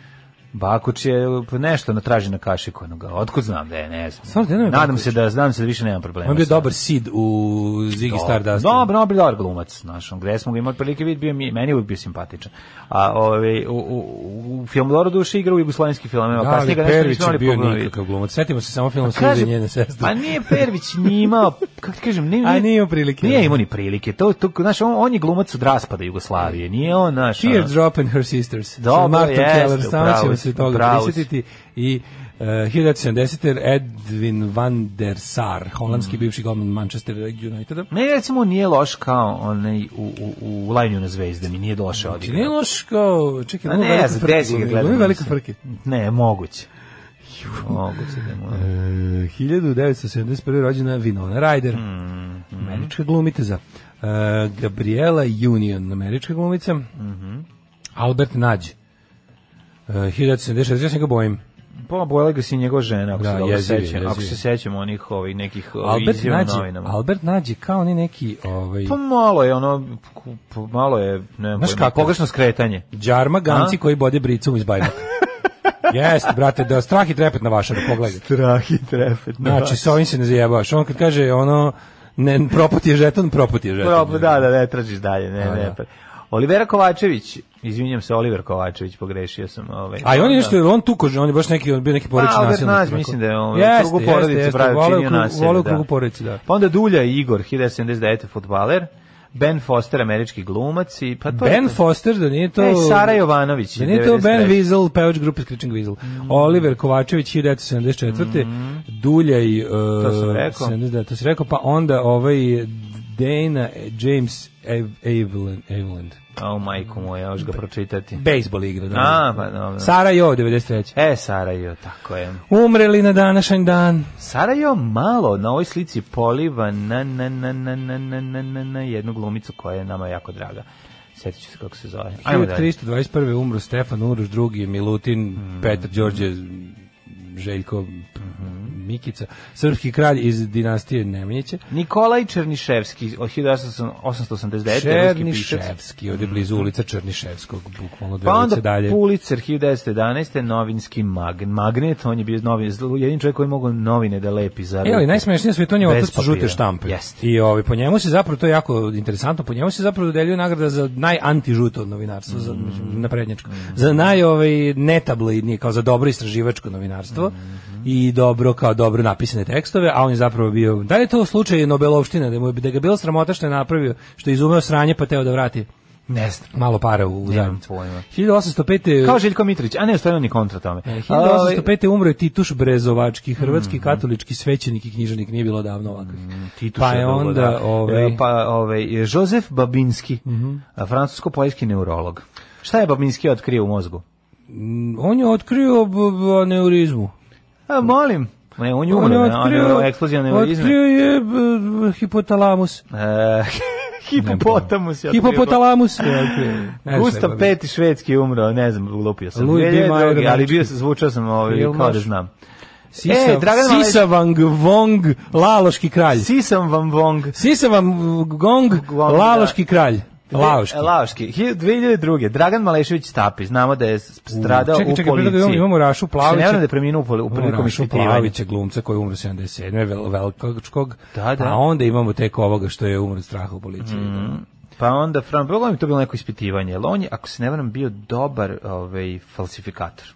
F: Bakoč je nešto na traži na kašiku onoga. Otkud znam da je, ne znam.
E: Stvarno, gde nam je
F: Nadam
E: Bakoč?
F: se da znam se da više nemam problema.
E: On je bio
F: sa-
E: dobar Sid u Ziggy Stardust.
F: Dobro, on je bio dobar glumac, znaš, on gde smo ga imali prilike vidjeti, bio mi, meni je uvijek bio simpatičan. A ovaj, u, u, u Filmodoru duše igrao u jugoslovenskim filmima,
E: Da,
F: pa
E: ali
F: ga nešto
E: Pervić
F: nismo
E: je
F: imali
E: bio
F: pogledati.
E: nikakav glumac. Setimo se samo
F: Pa
E: filma Suze
F: kaže-
E: i njene sestre.
F: Pa nije Pervić nije imao, kako ti kažem, nije,
E: A nije imao prilike.
F: Nije imao ni prilike. To, to, znaš, on, on je glumac od raspada Jugoslavije, nije on, znaš, ono-
E: Teardrop and Her Sisters. sa
F: Dobro,
E: Martom
F: jeste,
E: Keller, samo
F: upravo
E: ćemo
F: si,
E: se toga
F: upravo si.
E: prisjetiti. I uh, 1970. Edwin van der Sar, holandski
F: Mm.
E: bivši golman Manchester Uniteda.
F: Ne, recimo, nije loš kao onaj u, u, u Lajnju na zvezde, mi nije došao
E: Ti
F: odigrao.
E: Znači, nije loš kao... Čekaj,
F: A
E: glumi
F: ne,
E: velike
F: za
E: frke.
F: desi ga
E: glumi,
F: gledam.
E: glumi velike
F: mislim.
E: frke.
F: Ne, moguće. Moguće da je moguće.
E: E, 1971. rođena Winona Ryder,
F: Mm,
E: američka glumica. E, Gabriela Union, američka glumica.
F: Mhm.
E: Albert Eh, Nađ. E, 1976. Ja se ga bojim.
F: Pa bojala ga si njegova žena, ako
E: Da,
F: se dobro
E: jeziv je,
F: sećam. Ako
E: jeziv je.
F: se sećam onih ovih nekih Albert
E: Albert
F: izjava
E: Nađi,
F: u novinama.
E: Albert Nađi kao ni neki ovaj
F: Pa malo je ono, ku- pa malo je, ne
E: Znaš
F: znam,
E: kako?
F: pogrešno skretanje.
E: đarma ganci
F: A?
E: koji bode bricom iz
F: [LAUGHS]
E: bajbaka. Jeste, brate, da strah i trepet na vaša, da pogledaj.
F: Strah i trepet.
E: [LAUGHS] Znači, sa ovim se ne zajebavaš. On kad kaže ono, ne, propot je žeton, propot je žeton.
F: Propo, da, da, ne tražiš dalje, ne,
E: Da,
F: ne.
E: da.
F: pa- Olivera Kovačević, izvinjam se, Oliver Kovačević, pogrešio sam. Ovaj,
E: A i on
F: Da.
E: je nešto, on tuko, on je baš neki, on bio neki
F: Pa,
E: porodični
F: Albert
E: nasilnik.
F: Nađ,
E: onako.
F: mislim da je on u krugu
E: Jeste,
F: porodice
E: jeste, jeste,
F: pravi,
E: vole u
F: činio
E: krugu-
F: nasilje,
E: vole u
F: da.
E: krugu porodice, da.
F: Pa onda Dulja Igor, 1979. futbaler, Ben Foster, američki glumac i pa to je
E: Ben
F: to.
E: Foster, da nije to...
F: E, Sara Jovanović.
E: Da nije to Ben
F: 93..
E: Wiesel, pevač grupe Screeching Weasel.
F: Mm.
E: Oliver Kovačević, 1974. Duljaj, uh,
F: To sam rekao.
E: 70, to si rekao, pa onda ovaj Dana James Ev- Aveland. Aveland.
F: O, majku moja, još ga pročitati.
E: Bejsbol igra. Da.
F: A, pa dobro.
E: Sara Jo, 93.
F: E, Sarajevo, tako je.
E: Umreli na današnji dan.
F: Sarajevo malo na ovoj slici poliva na, na, na, na, na, na, na, na, na jednu glumicu koja je nama jako draga. Sjetit ću se kako se zove. Ajmo dalje.
E: 1321. umro Stefan Uroš, drugi Milutin,
F: Mm.
E: Petar Đorđe,
F: Mm-hmm.
E: Željko Mikica, srpski kralj iz dinastije Nemanjića.
F: Nikolaj Černiševski, od 1889. ruski pisac.
E: Černiševski, ovdje blizu ulica Černiševskog, bukvalno dve
F: Mm-hmm. Pa
E: ulice
F: onda
E: dalje.
F: Pulitzer 1911. novinski mag, magnet, on je bio novi, jedin čovjek koji je mogao novine da lepi za
E: E, ali
F: ruke.
E: najsmešnije sve to on je
F: Bez
E: otac žute
F: papira.
E: štampe.
F: Jeste.
E: I ovaj, po njemu se zapravo, to je jako interesantno, po njemu se zapravo dodeljuje nagrada za najantižuto novinarstvo, za,
F: Mm-hmm.
E: na za naj ovaj, netabloidnije, kao za dobro istraživačko novinarstvo
F: Mm-hmm.
E: i dobro, kao dobro napisane tekstove, a on je zapravo bio, da li je to slučaj Nobelovštine, da, mu, je- da ga je bilo sramota što je napravio, što je izumeo sranje pa teo da vrati
F: Ne znam.
E: malo para u, u
F: Nemam
E: zajednicu.
F: pojma.
E: 1805.
F: Kao Željko Mitrović, a ne, stvarno ni kontra tome.
E: E, 1805. umro je Tituš Brezovački, hrvatski
F: Mm,
E: katolički svećenik i književnik, nije bilo davno ovakvih.
F: Tituša
E: pa je
F: drugo,
E: onda
F: da.
E: ovaj, Mhm.
F: E, pa ovaj Jozef Babinski, a, francusko-poljski neurolog. Šta je Babinski otkrio u mozgu?
E: on je otkrio b- b- aneurizmu.
F: A, E, molim. Ne, on je
E: On je
F: umro, on je umro eksplozija
E: otkrio je b- b- hipotalamus.
F: E, [LAUGHS] Hipopotamus je otkrio. [LAUGHS]
E: Hipopotalamus. je otkrio. Ne, šta
F: Gustav
E: je bilo.
F: V švedski umro, ne znam, lupio sam.
E: Louis B. Mayer,
F: Louis ali
E: nemački.
F: bio sam, zvučao sam ovaj, kao da
E: Filmaš.
F: znam.
E: Sisa,
F: E, Dragan Maleš-
E: Sisa Vang Vong, Laloški kralj.
F: Sisam vam vong.
E: Sisa Vang
F: Vong,
E: Gong,
F: da.
E: Laloški kralj. Laoški.
F: Laoški. Hi- 2002. Dragan Malešević Stapi. Znamo da je s- stradao
E: Čekaj, čekaj,
F: u policiji.
E: pre toga imamo- imamo Rašu Plavića.
F: Se ne vjerujem da je preminuo u poli- u prilikom
E: Rašu
F: ispitivanja.
E: Plavića, glumca koji je umro 77. vel- velikačkog.
F: Da, da.
E: A onda imamo tek ovoga što je umro od straha u policiji.
F: Pa onda Fran Bogom to bilo neko ispitivanje. Jel on je, ako se ne varam, bio dobar ovaj falsifikator.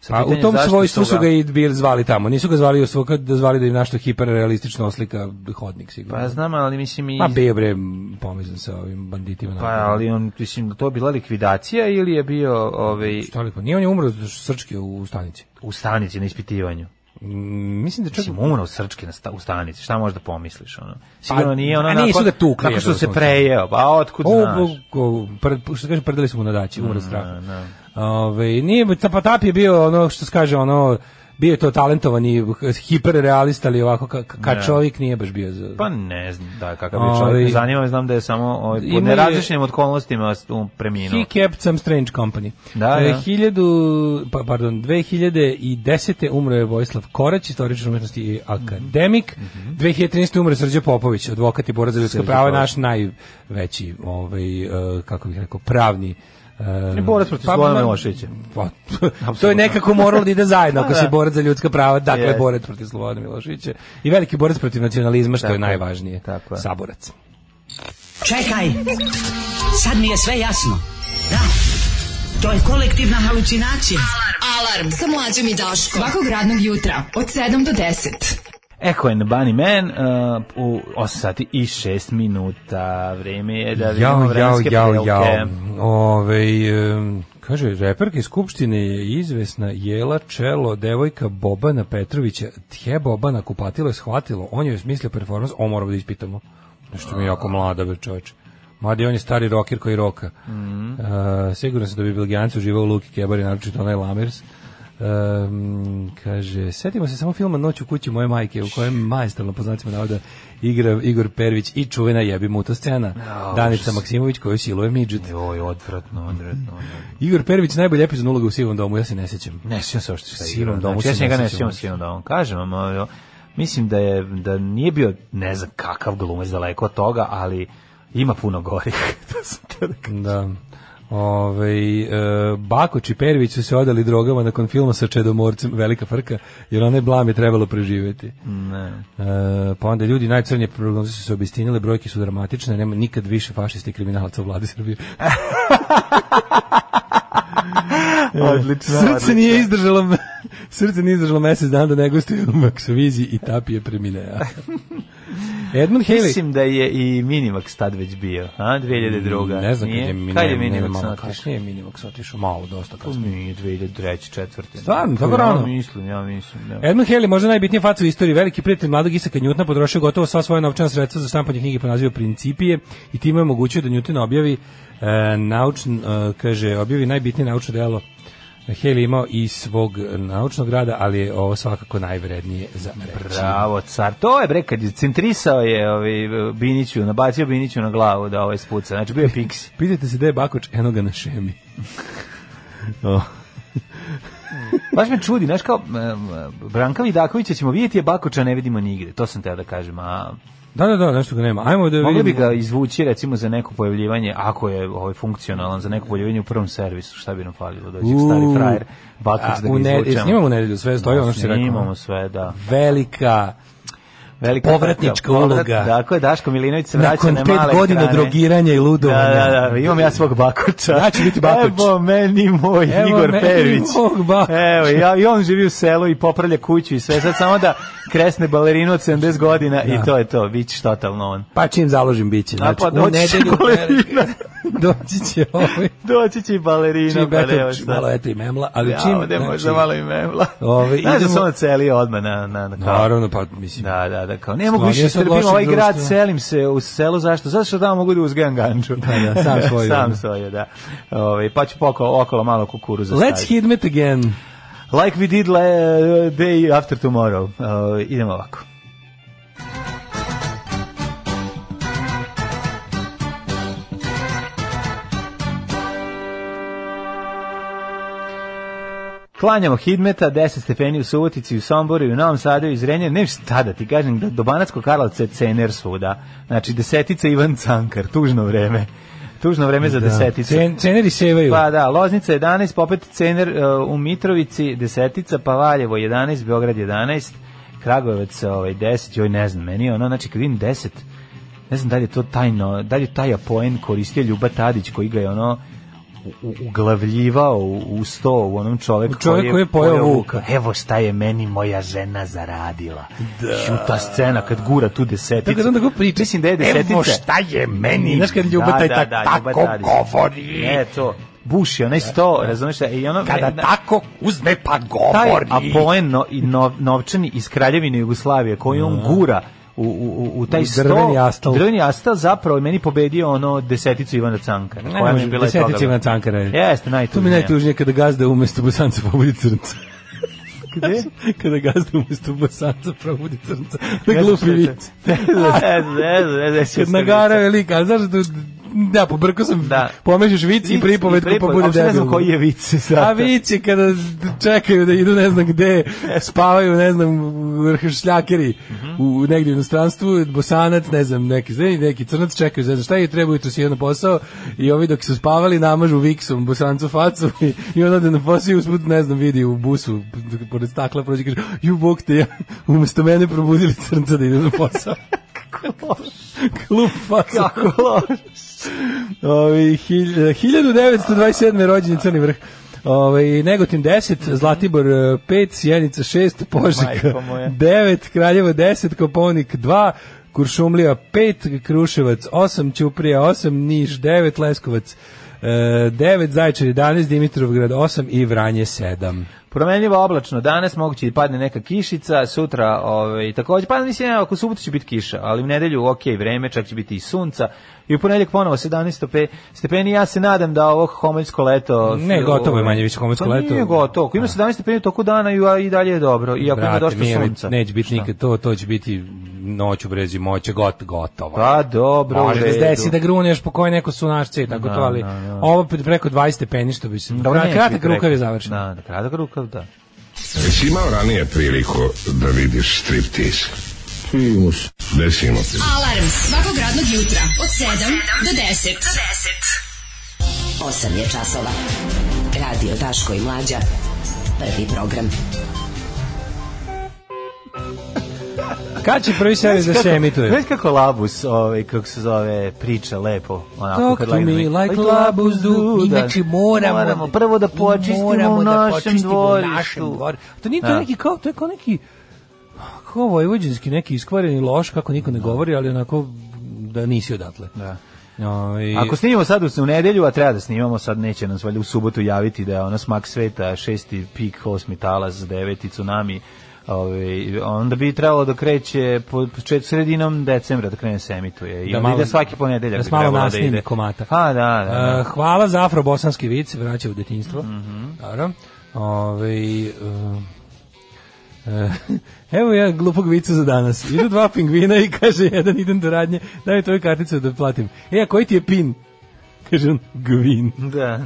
F: Sa
E: Pa u
F: pitanjem
E: tom
F: zašto
E: svojstvu su
F: ga-
E: ga i bili zvali tamo. Nisu ga zvali u svoga, da zvali da im našto hiperrealistično oslika hodnik sigurno.
F: Pa znam, ali mislim i
E: Ma bio bre pomizan sa ovim banditima.
F: pa ali on mislim da to bila likvidacija ili je bio ovaj
E: Šta li, pa nije on je umro od srčke u stanici.
F: u stanici na ispitivanju.
E: Mm, Mislim da čak...
F: Mislim, umro od srčke na sta, u stanici. Šta možeš da pomisliš ono? Sigurno
E: Pa,
F: nije ono
E: a nisu
F: nakon-
E: ga tukli,
F: nakon što
E: jebote,
F: se
E: ono.
F: prejeo. Pa otkud
E: O,
F: znaš? Mm,
E: o, o, pred, što kaže, predali smo mu na daći, umro od straha. Ove, nije, pa Tap je bio ono, što se kaže, ono, bio je to talentovani hiperrealista, ali ovako, ka, ka
F: Ne.
E: čovjek nije baš bio za...
F: Pa ne znam da kakav je
E: Ali-
F: čovjek. Ne Zanima me, znam da je samo ovaj,
E: Ima Ovaj, je-
F: pod nerazličnim okolnostima um, preminuo.
E: He kept some strange company.
F: Da,
E: E,
F: da.
E: hiljadu, pa, pardon, 2010. umro je Vojislav Korać, istoričar umetnosti i akademik.
F: Mhm,
E: 2013. umro je Srđe Popović, advokat i borac za ljudska prava, naš najveći, ovaj, e, kako bih rekao, pravni
F: I
E: Uh,
F: borac protiv Slobodana Miloševića.
E: Pa, [LAUGHS] to je nekako moralo da ide zajedno ako
F: Pa,
E: si
F: [LAUGHS] da.
E: borac za ljudska prava, dakle
F: Jeste.
E: borac protiv Slobodana Miloševića i veliki borac protiv nacionalizma što je
F: Tako je.
E: najvažnije,
F: Tako je.
E: saborac.
D: Čekaj, sad mi je sve jasno. Da, to je kolektivna halucinacija.
G: Alarm sa mlađom i Daškom. Svakog radnog jutra od 7 do 10.
F: Echo and the Bunny Man uh, u 8 sati i 6 minuta. Vreme je da vidimo
E: Jao, jao,
F: vremenske
E: jao, jao.
F: prilike.
E: Ove, kaže, reperke Skupštine je izvesna Jela Čelo, devojka Bobana Petrovića. Tje Bobana kupatilo je shvatilo, on joj je smislio performans, o moramo da ispitamo. Nešto mi je jako mlada, bre čoveče. Mladi, on je stari roker koji roka. E, siguran sam da bi Belgijanci uživao u Luki Kebari, naročito onaj Lamers. Um, kaže, setimo se samo filma Noć u kući moje majke, u kojem majestralno po znacima navoda igra Igor Pervić i čuvena jebi muta scena. Danica Maksimović koju siluje midžet.
F: Joj, odvratno, odvratno. odvratno.
E: Igor Pervić najbolje epizod uloga u Sivom domu, ja se ne sjećam.
F: Ne sjećam se uopšte šta je
E: Sivom
F: igrao.
E: domu
F: znači, ja
E: se
F: se
E: ne
F: njega ne
E: sjećam
F: sjećam
E: uopšte.
F: sivom domu. Kažem vam, ovaj, mislim da je da nije bio ne znam kakav glumac daleko od toga, ali ima puno gorih. [LAUGHS] to sam teo da kažem.
E: Da. Ove, e, Bakoć i Pervić su se odali drogama nakon filma sa Čedomorcem, velika frka, jer one blame trebalo preživjeti.
F: Mm. ne.
E: E, pa onda ljudi najcrnije prognoze su se obistinile, brojke su dramatične, nema nikad više fašista i kriminalaca u vladi
F: [LAUGHS]
E: Srbije.
F: Odlično.
E: Srce nije izdržalo [LAUGHS] srce nije izdržalo mesec dana da ne gostuje u Maksovizi i tapije
F: [LAUGHS]
E: preminea. Edmund Haley.
F: Mislim da je i Minimax tad već bio, a 2002.
E: Ne znam kad
F: Nije?
E: je Minimax.
F: Kad je Minimax
E: malo
F: otišao?
E: kasnije je Minimax otišao, malo dosta kasnije.
F: Nije 2003. četvrte.
E: Stvarno, tako
F: ja
E: rano?
F: mislim, ja mislim. Ja.
E: Edmund Haley, možda najbitnija faca u istoriji, veliki prijatelj mladog Isaka Njutna, potrošio gotovo sva svoja novčana sredstva za štampanje knjige po nazivu Principije i time je omogućio da Newton objavi e, naučn, e, kaže, objavi najbitnije naučno delo Haley je imao i svog naučnog rada, ali je ovo svakako najvrednije za reći.
F: Bravo, car. To je bre kad je centrisao je ovaj Biniću, nabacio Biniću na glavu da ovaj spuca. Znači bio je Pixi.
E: Pitajte se da je Bakoč, eno ga na šemi.
F: [LAUGHS] Baš me čudi, znaš kao em, Branka Vidakovića ćemo vidjeti je Bakoča ne vidimo nigde. To sam teo da kažem, a
E: Da, da, da, nešto ga nema. Ajmo da
F: mogli bi
E: vidimo.
F: ga izvući recimo za neko pojavljivanje ako je ovaj funkcionalan za neko pojavljivanje u prvom servisu, šta bi nam falilo dođe
E: U.
F: stari frajer
E: A,
F: Bakoč da
E: u
F: ga
E: ne,
F: izvučemo.
E: snimamo u nedelju, sve stoji ono što si rekao.
F: Snimamo sve, da.
E: Velika
F: Velika
E: Povratnička
F: frka,
E: uloga.
F: Tako je, Daško Milinović se vraća
E: nakon
F: na male
E: pet godina
F: ekrane.
E: drogiranja i ludovanja.
F: Da, da, da, imam ja svog Bakoča.
E: Ja ću biti Bakoč.
F: Evo meni moj
E: Evo
F: Igor
E: meni
F: Perović.
E: mog Bakoča.
F: Evo, ja, i on živi u selu i popravlja kuću i sve. Sad samo da kresne balerinu od 70 godina i to je to, bit će totalno on.
E: Pa čim založim biće.
F: A,
E: Znači,
F: pa
E: u
F: doći će [LAUGHS]
E: nedelju
F: balerina.
E: [LAUGHS] doći će ovaj.
F: Doći će i balerina.
E: Čim
F: pa
E: eto,
F: nema šta.
E: malo eto i memla, ali
F: Ja,
E: čim... znači,
F: ovde možda malo i memla.
E: Ove,
F: Znaš da
E: idemo-
F: se on celio odmah na, na, na kao.
E: Naravno, pa mislim...
F: Da, da, da, kao, ne mogu
E: Sklonio
F: više
E: se od
F: srbim
E: lošeg
F: ovaj grad,
E: društva.
F: selim se u selo, zašto? Zato što tamo mogu da uzgajam ganđu.
E: Da, da,
F: [LAUGHS]
E: sam svoju,
F: sam
E: da.
F: svoju, da. Ove, pa ću poko, okolo malo kukuruza
E: Let's
F: staviti.
E: hit it again.
F: Like we did la, uh, day after tomorrow. Ove, idemo ovako. Klanjamo Hidmeta, 10 stepeni u Subotici, u Somboru i u Novom Sadu i Zrenjaninu. Ne znam šta da ti kažem, da do Banacko Karlovca je cener svuda. Znači, desetica Ivan Cankar, tužno vreme. Tužno vreme za deseticu.
E: Cen, ceneri sevaju.
F: Pa da, Loznica 11, pa opet Cener uh, u Mitrovici, desetica, pa Valjevo 11, Beograd 11, Kragujevac ovaj, 10, joj ne znam, meni je ono, znači kad vidim 10, ne znam da li je to tajno, da li je taj apoen koristio Ljuba Tadić koji ga je ono u- u- uglavljivao u, u sto u onom čoveku
E: U čoveku koji je pojeo vuka.
F: Evo šta je meni moja žena zaradila. Da. ta scena kad gura tu deseticu.
E: Tako da onda go priča.
F: Mislim da je desetica.
E: Evo šta je meni. Znaš kad Ljuba
F: Da,
E: taj
F: da,
E: tak-
F: da, Ljuba
E: tako
F: Tadić.
E: govori.
F: Ne, to. Buši, onaj sto, razumeš? E, I ono,
E: Kada
F: e, na-
E: tako uzme pa
F: taj
E: govori.
F: apoen no, i nov, novčani iz Kraljevine Jugoslavije koji on gura u, u, u, u taj
E: U
F: sto.
E: drveni astal.
F: Drveni astal zapravo je meni pobedio ono deseticu Ivana Cankara.
E: Ne
F: koja mi je
E: može,
F: bila
E: desetica
F: toga.
E: Ivana Cankara je.
F: Jeste,
E: To mi
F: najtužnije.
E: je najtužnije kada gazda umesto bosanca pobudi crnca.
F: [LAUGHS] Gde?
E: [LAUGHS] kada gazda umesto bosanca probudi crnca. Da glupi vic. Kad nagara velika, ali znaš da Da, pobrko sam,
F: Da.
E: da. pomešaš vic i pripovetku, pa bude debil.
F: Ne znam koji je vic. sad.
E: A vic je kada čekaju da idu ne znam gde, spavaju ne znam u- šljakeri u negdje u inostranstvu, bosanac, ne znam, neki zreni, neki crnac čekaju, ne znam šta i treba jutro si jedan posao i ovi dok su spavali namažu viksom bosancu facu i, i on ode na posao i usput ne znam vidi u busu pored stakla prođe i kaže ju bog te ja, umesto mene probudili crnca da idu na posao. Klub facu.
F: Kako loš.
E: Ovi, hilj- e, 1927. rođen je Crni vrh. Ove, Negotin 10, Zlatibor 5, Sjenica 6, Požega
F: Mhm. Majko
E: [LAUGHS]
F: moja.
E: 9, Kraljevo 10, Koponik 2, Kuršumlija 5, Kruševac 8, Ćuprija 8, Niš 9, Leskovac e, 9, Zaječar 11, Dimitrovgrad 8 i Vranje 7.
F: Promenljivo oblačno. Danas moguće i padne neka kišica, sutra ovaj takođe pa mislim ja, ako subotu će biti kiša, ali u nedelju ok vreme, čak će biti i sunca. I u ponedeljak ponovo 17 stope- stepeni. Ja se nadam da ovo homoljsko leto
E: Ne, gotovo je manje više homoljsko
F: Pa
E: leto.
F: Nije gotovo. Ako ima 17 stepeni u toku dana i, a i dalje je dobro. Iako ima
E: Brate,
F: dosta
E: nije-
F: sunca.
E: Neće biti
F: Šta?
E: nikad to, to će biti noć u brezi moće, got, gotovo.
F: Pa dobro, u
E: Može da se
F: redu.
E: desi da gruneš po kojoj neko sunašce i tako to, ali ovo pre- preko 20 stepeni što bi se...
F: Dobro,
E: Dobro,
F: neće
E: kratak
F: biti
E: rukav
F: preko.
E: je završen.
F: Da, da, kratak rukav, da.
H: Jesi imao ranije priliku da vidiš striptiz? Primus. Desimo se.
G: Alarm svakog radnog jutra od 7 do 10.
I: 8 je časova. Radio Daško i Mlađa. Prvi program.
E: Kad će prvi servis da se emituje?
F: Znaš kako labus, ovaj, kako se zove, priča lepo. Onako,
E: Talk
F: kad
E: to
F: legne-
E: me like labus do, mi znači moramo,
F: prvo da
E: mi
F: počistimo
E: moramo
F: u
E: da
F: našem
E: počistimo u
F: dvorištu.
E: našem dvorištu. To nije to
F: Da.
E: neki kao, to je kao neki kao vojvođanski neki iskvareni loš, kako niko ne govori, ali onako da nisi odatle.
F: Da.
E: Ovaj,
F: Ako snimamo sad u, u nedelju, a treba da snimamo, sad neće nas valjda u subotu javiti da je ono smak sveta, šesti pik, osmi talas, deveti tsunami, Ove, onda bi trebalo da kreće po, počet sredinom decembra da krene se emituje. I
E: Da
F: da
E: malo-
F: ide svaki ponedeljak.
E: da
F: bi
E: se malo
F: trebalo
E: nasnimi
F: ide.
E: komata.
F: Pa da, da. da.
E: E, hvala za afrobosanski vic, vraća u detinjstvo.
F: Mhm.
E: Dobro. Ove, e, e, [LAUGHS] evo ja glupog vica za danas. Idu dva pingvina i kaže jedan idem do radnje, daj mi tvoju karticu da platim. E, a koji ti je pin? Kaže on, gvin.
F: da.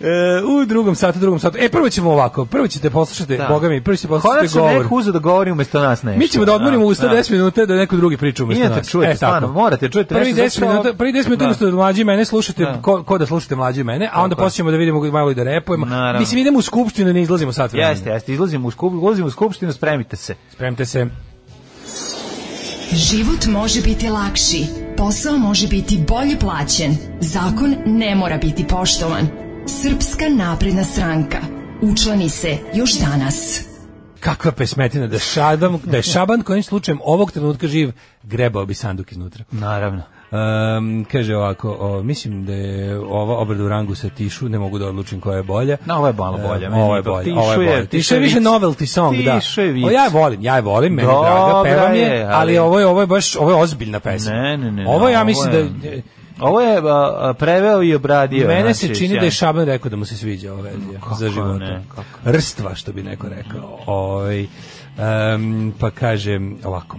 E: E, u drugom satu, drugom satu. E, prvo ćemo ovako, prvo ćete poslušati,
F: Da.
E: boga mi, prvo ćete poslušati
F: Konačno
E: govor.
F: neko uzeo da govori umesto nas nešto.
E: Mi ćemo da odmorimo
F: E, Da,
E: u 110 minuta da neko drugi priča umesto
F: Idete,
E: nas. E,
F: čujete,
E: tako.
F: stvarno, morate, čujete
E: Prvi
F: nešto,
E: 10
F: zato što-
E: minuta, prvi 10 minuta
F: Da.
E: umesto da mlađi mene slušate
F: Da.
E: ko, ko da slušate mlađi mene, a onda
F: Tako je.
E: posle ćemo da vidimo malo i da repujemo.
F: Naravno.
E: Mislim idemo u skupštinu i ne izlazimo sat vremena.
F: Jeste, jeste, izlazimo u, skup, ulazimo u skupštinu, spremite se.
E: Spremite se.
G: Život može biti lakši, posao može biti bolje plaćen, zakon ne mora biti poštovan. Srpska napredna stranka. Učlani se još danas.
E: Kakva pesmetina da šabam, da je Šaban kojim slučajem ovog trenutka živ, grebao bi sanduk iznutra.
F: Naravno.
E: Um, kaže ovako, o, mislim da je ova obrada u rangu sa tišu, ne mogu da odlučim koja je bolja.
F: No, ovo je malo ono bolje,
E: E,
F: meni
E: Ovo je
F: ipak
E: bolje,
F: Tišu
E: ovo je
F: je-
E: bolje.
F: Tišu
E: Tišu
F: je
E: je više
F: vic.
E: novelty song, da.
F: Tišu je vic.
E: O, ja je volim, ja je volim, meni je draga,
F: Dobra
E: pevam
F: je,
E: je,
F: ali-
E: ali ovo je, ovo je baš, ovo je ozbiljna pesma.
F: Ne, ne, ne.
E: Ovo ja
F: ovo
E: mislim
F: je-
E: da...
F: Ovo je a, a, preveo i obradio.
E: Mene
F: znači,
E: se čini
F: sjajno.
E: da je Šaban rekao da mu se sviđa ova verzija za života.
F: ne, kako?
E: Rstva, što bi neko rekao. Ovaj, em, pa kažem ovako.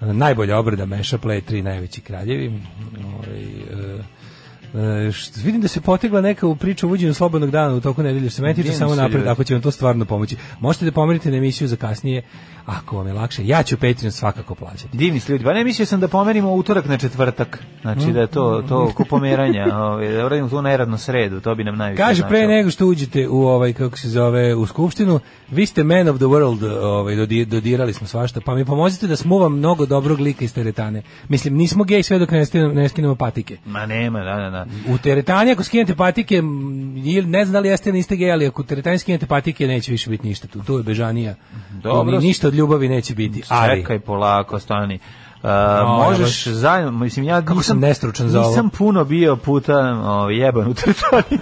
E: Najbolja obrada meša play tri najveći kraljevi. Ovaj, e, E, št- vidim da se potegla neka u priču o uvođenju slobodnog dana u toku nedelje, što se meni tiče
F: Divno
E: samo
F: su
E: napred,
F: ljudi.
E: ako će vam to stvarno pomoći. Možete da pomerite na emisiju za kasnije, ako vam je lakše. Ja ću Patreon svakako plaćati.
F: Divni su ljudi. Ba ne mislio sam da pomerimo utorak na četvrtak. Znači da je to, to oko pomeranja. [LAUGHS] ovaj, da uradimo to na neradnu sredu. To bi nam najviše
E: Kaže, pre
F: značilo.
E: nego što uđete u ovaj, kako se zove, u skupštinu, vi ste man of the world, ovaj, dodi- dodirali smo svašta, pa mi pomozite da smuvam mnogo dobrog lika iz teretane. Mislim, nismo gej sve dok ne skinemo, ne skinemo patike.
F: Ma nema, da, da, da.
E: U teretani ako skinete patike, m, ili ne znam da li jeste ili niste gej, ali ako u teretani skinete patike neće više biti ništa tu. Tu je bežanija.
F: Dobro.
E: Ni- Ništa od ljubavi neće biti. Ali,
F: Čekaj polako, stani. Uh,
E: No,
F: možeš zajedno, mislim ja
E: Kako sam
F: nisam
E: nestručan za ovo.
F: Nisam puno bio puta o, jeban u trčani.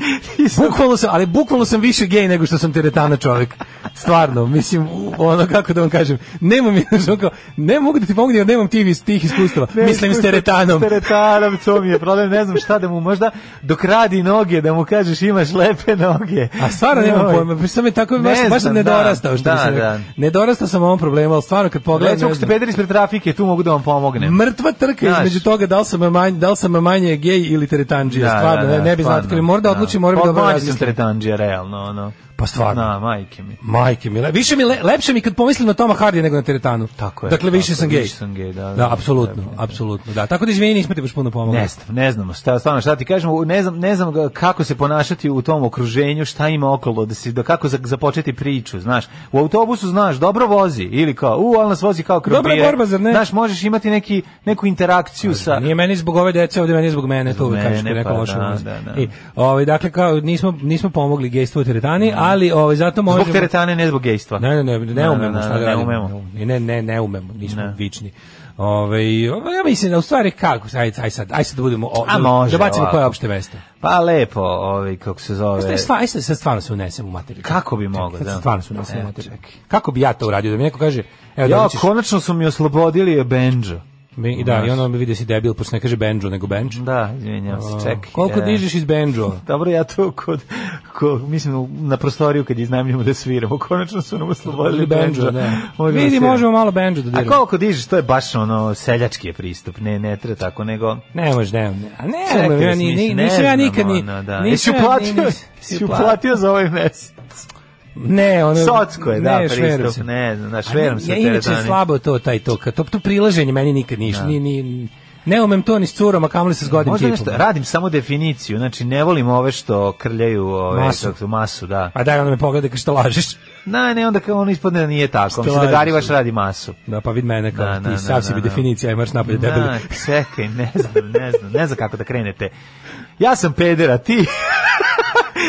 E: bukvalno sam, ali bukvalno sam više gej nego što sam teretana čovjek. Stvarno, mislim, u- ono kako da vam kažem, nemam, [LAUGHS] znaš, kao, ne mogu da ti pomognem jer nemam tih, iz- tih iskustava. [LAUGHS] mislim s
F: S
E: teretanom.
F: teretanom, to mi je problem, ne znam šta da mu možda dok radi noge, da mu kažeš imaš lepe noge.
E: A stvarno nemam
F: Joj.
E: pojma, sam je tako,
F: Ne
E: baš, baš sam
F: znam,
E: nedorastao,
F: da,
E: što bi se
F: da,
E: rekao.
F: da.
E: Nedorastao sam ovom problemu, ali stvarno kad pogledam...
F: Recimo,
E: ne
F: ako ste
E: znam.
F: pederi ispred trafike, tu mogu da vam pomognem.
E: Mrtva trka
F: Znaš.
E: između toga da li sam manje, da li sam manje gej ili teretandžija,
F: Da,
E: stvarno,
F: da, da,
E: ne, ne bi znao,
F: stvarno,
E: ali moram da odlučim, moram da
F: Pa,
E: dobro
F: manji sam
E: razmislim.
F: teretandžija, realno, ono.
E: Pa stvarno.
F: Na, majke mi.
E: Majke mi, više mi le, lepše mi kad pomislim na Toma Hardy nego na teretanu.
F: Tako je,
E: Dakle, više
F: tako
E: sam
F: je,
E: gej.
F: više sam gej, da,
E: Da,
F: da,
E: apsolutno,
F: da, da.
E: apsolutno. Da, tako da izvini, nismo ti baš puno pomogli.
F: Ne znam, ne znamo šta, stvarno šta ti kažemo, ne znam, ne znam ga- kako se ponašati u tom okruženju, šta ima okolo, da si, da kako za, započeti priču, znaš. U autobusu znaš, dobro vozi ili kao, u, ali nas vozi kao krompir.
E: Dobra borba, zar ne?
F: Znaš, možeš imati neki, neku interakciju sa...
E: Nije meni zbog ove dece, ovdje meni je zbog mene, to uvek
F: mene,
E: kažeš kad neko
F: pa
E: loše
F: da,
E: ulazi.
F: da, da.
E: I, ovaj, dakle, kao, nismo, nismo pomogli gejstvu u teretani, ali ovaj, zato možemo...
F: Zbog teretane, ne zbog gejstva.
E: Ne, ne, ne, ne umemo šta da
F: ne
E: radimo.
F: umemo.
E: Ne, ne, ne, ne umemo, nismo
F: Ne.
E: vični. Ove, ja mislim da u stvari kako, aj, aj sad, aj sad da budemo, o,
F: A
E: da-
F: može,
E: da bacimo
F: ovako.
E: koje opšte veste.
F: Pa lepo, ovaj, kako se
E: Pa
F: zove...
E: Šta je stvar, aj sad, sad stvarno se unesem u materiju.
F: Kako bi mogao,
E: Sad
F: da?
E: stvarno se unesem u
F: E,
E: materiju.
F: čekaj.
E: Kako bi ja to uradio, da mi neko kaže, evo da
F: Ja,
E: ćeš,
F: konačno su mi oslobodili je Benjo.
E: mi- da, i onda mi vidi da si debil, pošto ne kaže benđo, nego benč.
F: Da, izvinjam se, čekaj.
E: Koliko
F: e.
E: dižeš iz
F: [LAUGHS]
E: benđo?
F: Dobro, ja to kod, ko, mislim, na prostoriju kad iznajmljamo da sviramo, konačno su nam oslobodili
E: Ili
F: benđa.
E: benđo,
F: [LAUGHS]
E: da. Vidi, možemo malo benđo da
F: A
E: diramo.
F: koliko dižeš, to je baš ono seljački je pristup, ne, ne treba tako, nego...
E: Ne može, ne, ne. A ne,
F: Čekaj,
E: ja ni,
F: mislim,
E: ni,
F: ne
E: nisam ja
F: znam,
E: nikad ni...
F: ono, da. Jesi
E: nisam ja ni-
F: uplatio,
E: nis-
F: jesi uplatio za ovaj mesec?
E: Ne, ono...
F: Socko je, da,
E: ne, šveram
F: pristup,
E: se.
F: ne znam, da,
E: A
F: šveram
E: ne,
F: se
E: ja
F: u
E: inače
F: teretani.
E: slabo to taj to, kad to, to prilaženje meni nikad niš, ni, ni, ne umem to ni s curom, a kamoli sa zgodim
F: Možda
E: tipom.
F: nešto, radim samo definiciju, znači ne volim ove što krljaju ove,
E: Masu.
F: masu. Kako, masu da.
E: A daj onda me pogledaj kao što lažeš.
F: Ne, ne, onda kao ono ispadne da nije tako, mislim da
E: lažeš?
F: Garivaš radi masu.
E: Da, pa vid mene kao
F: Da,
E: ti
F: da,
E: sav
F: da,
E: si
F: da,
E: bi
F: da.
E: definicija, aj marš napolje debeli.
F: Da, čekaj, ne znam, ne znam, ne znam kako da krenete. Ja sam peder, a
E: [LAUGHS]
F: ti?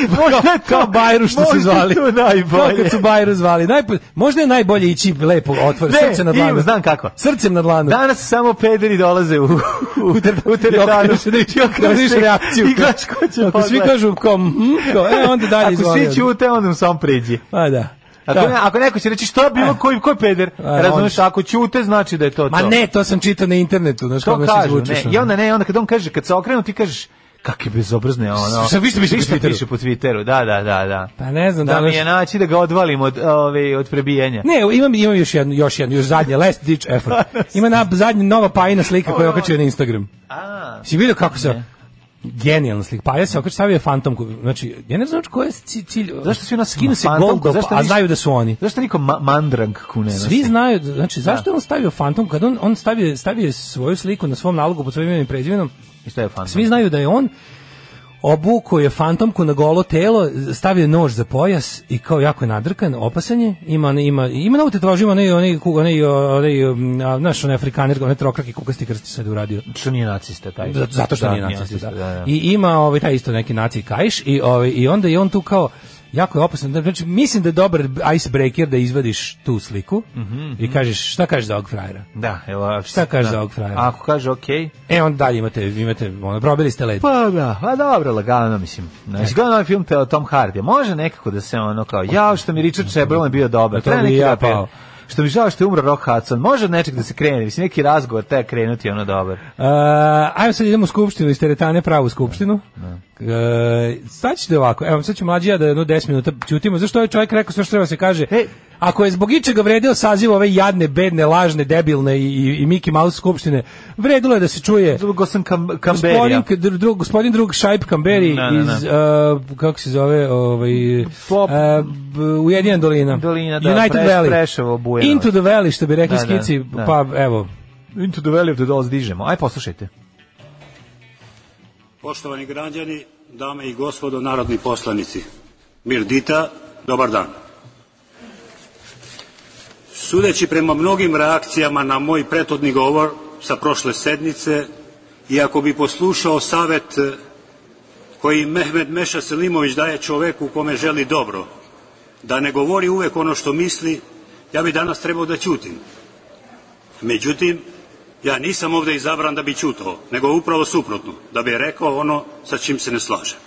F: možda je
E: Kao Bajru što
F: možda
E: su
F: je
E: zvali.
F: to
E: Kao
F: najbolje.
E: kad su Bajru zvali. Najpo, možda je najbolje ići lepo otvor,
F: Ne,
E: srce na
F: imam,
E: dlanu.
F: znam kako.
E: Srcem na dlanu.
F: Danas samo pederi dolaze u, u, ter, u teretanu.
E: okreneš se da vidiš-
F: I okreneš
E: da vidiš
F: se
E: reakciju.
F: I gledaš ko će
E: Ako svi
F: pogledati.
E: kažu kao, mhm, kao, e, onda dalje
F: Ako
E: izvoli.
F: svi ćute, onda mu samo pređi.
E: Pa da.
F: Ako,
E: Da. Eh.
F: ne, ako neko će reći što je bilo, koji, koji peder?
E: A,
F: Razumeš, ako ćute, znači da je to
E: Ma
F: to.
E: ne, to sam čitao na internetu, znaš
F: to
E: kako se
F: kažu,
E: izvučeš. ono.
F: ne. I onda ne, onda kad on kaže, kad se okrenu, ti kažeš, kakve bezobrazne ono.
E: Sad više piše po Twitteru.
F: piše po Twitteru, da, da, da, da.
E: Pa ne znam,
F: da
E: da,
F: mi
E: baš-
F: je naći da ga odvalim od, ove, od prebijanja.
E: Ne, imam, imam još jednu, još jednu, još zadnje, last ditch effort. Ima na, zadnja nova pajina slika koja je
F: Ono-
E: okačio na Instagram.
F: A,
E: Si vidio kako se... Genijalna slika. Pa ja se okačio, stavio je fantomku. Znači, ja ne znam koji je ci- cilj...
F: Zašto svi nas
E: skinu se Goldop, a znaju da su oni.
F: Zašto niko ma mandrang kune nosi?
E: Svi znaju, znači zašto je on stavio fantom kad on on stavio stavio je svoju sliku na svom nalogu pod svojim imenom i prezimenom.
F: I šta je fantom?
E: Svi znaju da je on obuko je fantomku na golo telo, stavio nož za pojas i kao jako je nadrkan, opasan je. Ima on- ima ima novu tetovažu, ima onaj onaj ku- onaj onaj um, a, znaš, onaj afrikaner, onaj trokraki kukasti krsti sad uradio.
F: Što nije nacista taj.
E: Zato- Zato što
F: Da,
E: nije nacista, da.
F: da.
E: I ima ovaj taj isto neki naci kajš i ovaj i onda je on tu kao jako je opasan. Znači mislim da je dobar icebreaker da izvadiš tu sliku i kažeš šta kažeš za ovog frajera.
F: Da, evo,
E: Šta kaže
F: da.
E: za ovog frajera?
F: Ako kaže okej,
E: E onda dalje imate imate ono probili ste led.
F: Pa da, a dobro, lagano, mislim. Znači, gledam ovaj film te o Tom Hardy, može nekako da se ono kao, jao što mi Richard Chamberlain bio dobar,
E: Da, to
F: treba
E: bi
F: neki
E: i ja
F: da pe-
E: pao.
F: Što mi žao što je umro Rock Hudson, može od nečeg da se krene, mislim, neki razgovor treba krenuti, ono dobar.
E: Uh, ajmo sad idemo u skupštinu iz teretane pravu skupštinu. E, sad ćete ovako, evo sad ću mlađi i ja da jedno 10 minuta ćutimo, zašto ovaj čovjek rekao sve što treba se kaže.
F: E,
E: Ako je zbog ičega vredeo saziv ove jadne, bedne, lažne, debilne i, i, i Mickey Mouse skupštine, vredilo je da se čuje
F: Drugo sam kam, Kamberija.
E: gospodin, k- dru- drug, gospodin drug Šajp Kamberi
F: Da, da, da.
E: iz, uh, kako se zove, ovaj,
F: Pop-
E: uh, b- Ujedinjena dolina.
F: Dolina, da,
E: United
F: Preš-
E: Valley.
F: Preševo, Bujanovac.
E: Into the Valley, što bi rekli
F: Da, da,
E: skici,
F: da.
E: pa evo,
F: Into the Valley of the Dolls dižemo. Aj, poslušajte.
J: Poštovani građani, dame i gospodo narodni poslanici, Mirdita, dobar dan. Sudeći prema mnogim reakcijama na moj prethodni govor sa prošle sednice, i ako bi poslušao savet eh, koji Mehmed Meša Selimović daje čoveku kome želi dobro, da ne govori uvek ono što misli, ja bi danas trebao da ćutim. Međutim, ja nisam ovde izabran da bi ćutao, nego upravo suprotno, da bi rekao ono sa čim se ne slažem.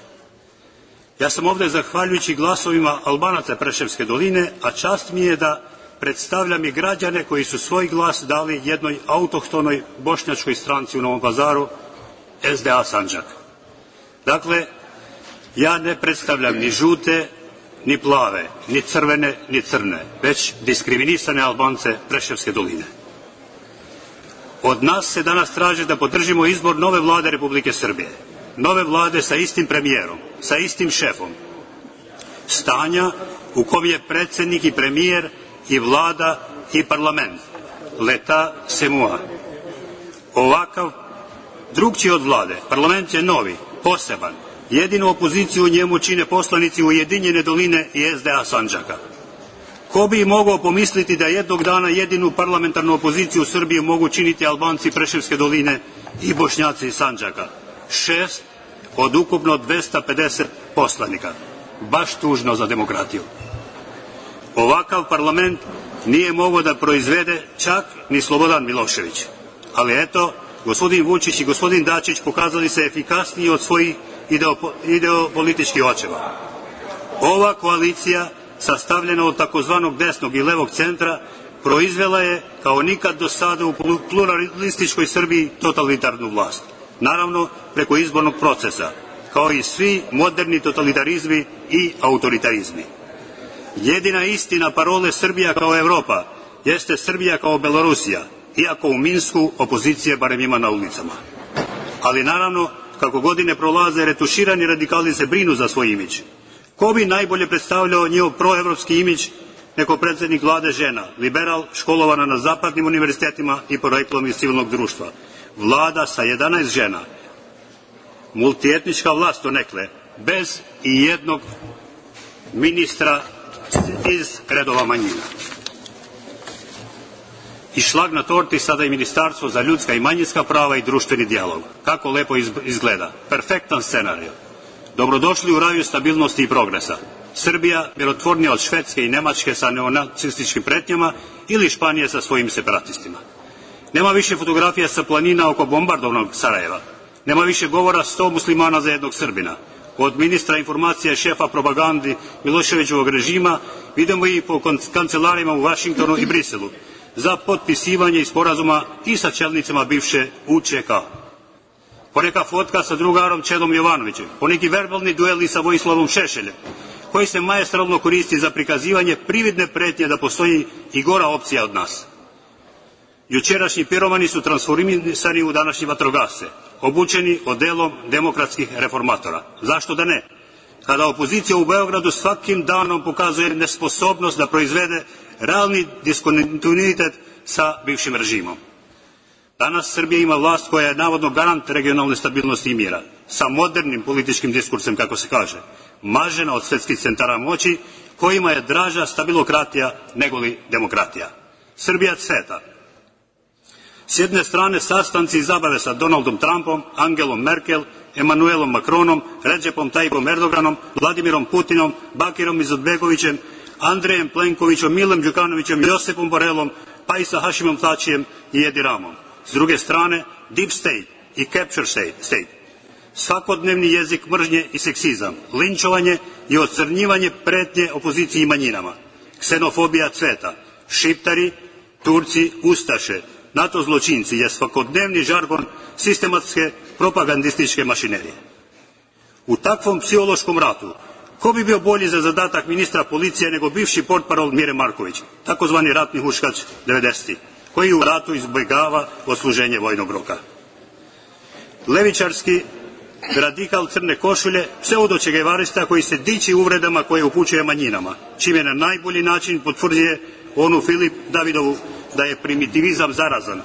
J: Ja sam ovde zahvaljujući glasovima Albanaca Preševske doline, a čast mi je da predstavljam i građane koji su svoj glas dali jednoj autohtonoj bošnjačkoj stranci u Novom Pazaru, SDA Sanđak. Dakle, ja ne predstavljam ni žute, ni plave, ni crvene, ni crne, već diskriminisane Albance Preševske doline. Od nas se danas traži da podržimo izbor nove vlade Republike Srbije. Nove vlade sa istim premijerom, sa istim šefom. Stanja u kom je predsednik i premijer i vlada i parlament. Leta se mua. Ovakav drugčiji od vlade. Parlament je novi, poseban. Jedinu opoziciju u njemu čine poslanici Ujedinjene doline i SDA Sanđaka. Ko bi mogao pomisliti da jednog dana jedinu parlamentarnu opoziciju u Srbiji mogu činiti Albanci Preševske doline i Bošnjaci iz Sanđaka? Šest od ukupno 250 poslanika. Baš tužno za demokratiju. Ovakav parlament nije mogao da proizvede čak ni Slobodan Milošević. Ali eto, gospodin Vučić i gospodin Dačić pokazali se efikasniji od svojih ideo- ideopolitičkih očeva. Ova koalicija, sastavljena od takozvanog desnog i levog centra, proizvela je, kao nikad do sada u plu- pluralističkoj Srbiji, totalitarnu vlast. Naravno, preko izbornog procesa, kao i svi moderni totalitarizmi i autoritarizmi. Jedina istina parole Srbija kao Evropa jeste Srbija kao Belorusija, iako u Minsku opozicije barem ima na ulicama. Ali naravno, kako godine prolaze, retuširani radikali se brinu za svoj imidž. Ko bi najbolje predstavljao njihov proevropski imidž neko predsednik vlade žena, liberal, školovana na zapadnim univerzitetima i poreklom iz civilnog društva. Vlada sa 11 žena, multietnička vlast donekle, bez i jednog ministra iz redova manjina. I šlag na torti sada i Ministarstvo za ljudska i manjinska prava i društveni dijalog. Kako lepo izb- izgleda. Perfektan scenarij. Dobrodošli u raju stabilnosti i progresa. Srbija mirotvornija od Švedske i Nemačke sa neonacističkim pretnjama ili Španije sa svojim separatistima. Nema više fotografija sa planina oko bombardovnog Sarajeva. Nema više govora 100 muslimana za jednog Srbina. Od ministra informacija i šefa propagandi Miloševićevog režima vidimo i po kon- kancelarima u Vašingtonu i Briselu za potpisivanje i sporazuma i sa čelnicima bivše UČK. Poneka fotka sa drugarom Čedom Jovanovićem, poneki verbalni dueli sa Vojislavom Šešeljem, koji se majestralno koristi za prikazivanje prividne pretnje da postoji i gora opcija od nas – Jučerašnji piromani su transformisani u današnje vatrogasce, obučeni odelom demokratskih reformatora. Zašto da ne? Kada opozicija u Beogradu svakim danom pokazuje nesposobnost da proizvede realni diskontinuitet sa bivšim režimom. Danas Srbija ima vlast koja je navodno garant regionalne stabilnosti i mira, sa modernim političkim diskursem, kako se kaže, mažena od svetskih centara moći, kojima je draža stabilokratija negoli demokratija. Srbija cveta, S jedne strane sastanci i zabave sa Donaldom Trumpom, Angelom Merkel, Emanuelom Macronom, Recepom Tayyipom Erdoganom, Vladimirom Putinom, Bakirom Izetbegovićem, Andrejem Plenkovićem, Milem Đukanovićem, Josipom Borelom, pa i sa Hašimom Tačijem i Edi Ramom. S druge strane, Deep State i Capture State, state svakodnevni jezik mržnje i seksizam, linčovanje i ocrnjivanje pretnje opoziciji i manjinama, ksenofobija cveta, šiptari, Turci, Ustaše, NATO zločinci je svakodnevni žargon sistematske propagandističke mašinerije. U takvom psihološkom ratu Ko bi bio bolji za zadatak ministra policije nego bivši portparol Mire Marković, takozvani ratni huškač 90. koji u ratu izbjegava osluženje vojnog roka. Levičarski radikal crne košulje, pseudočegevarista koji se diči uvredama koje upućuje manjinama, čime na najbolji način potvrđuje onu Filip Davidovu da je primitivizam zarazan.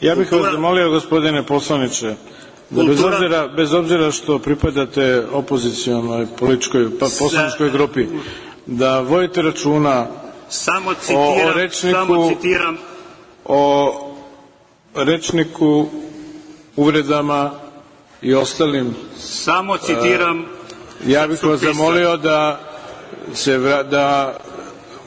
K: Ja bih
J: Kultura-
K: vas zamolio, gospodine poslaniče, da bez
J: Kultura-
K: obzira, bez obzira što pripadate opozicijalnoj političkoj, pa poslaničkoj grupi, da vojite računa
J: Samo citiram,
K: rečniku-
J: samo citiram
K: o rečniku, uvredama i ostalim. eh,
J: Samo citiram,
K: Ja bih vas
J: Supisa.
K: zamolio da se vra- da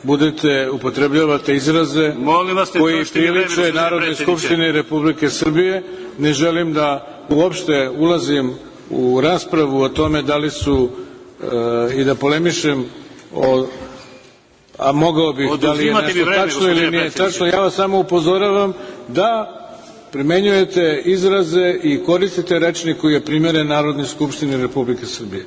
K: budete upotrebljavate izraze
J: Molim vas, ne
K: koji
J: trošite mi vreme,
K: priliče
J: gospodine
K: Narodne
J: predsjedniče.
K: skupštine Republike Srbije. Ne želim da uopšte ulazim u raspravu o tome da li su e, i da polemišem o a mogao bih da li je
J: Oduzimate mi
K: nešto
J: vreme,
K: tačno ili
J: gospodine
K: nije
J: predsjedniče.
K: tačno. Ja vas samo upozoravam da primenjujete izraze i koristite rečnik koji je primjeren Narodnoj skupštini Republike Srbije.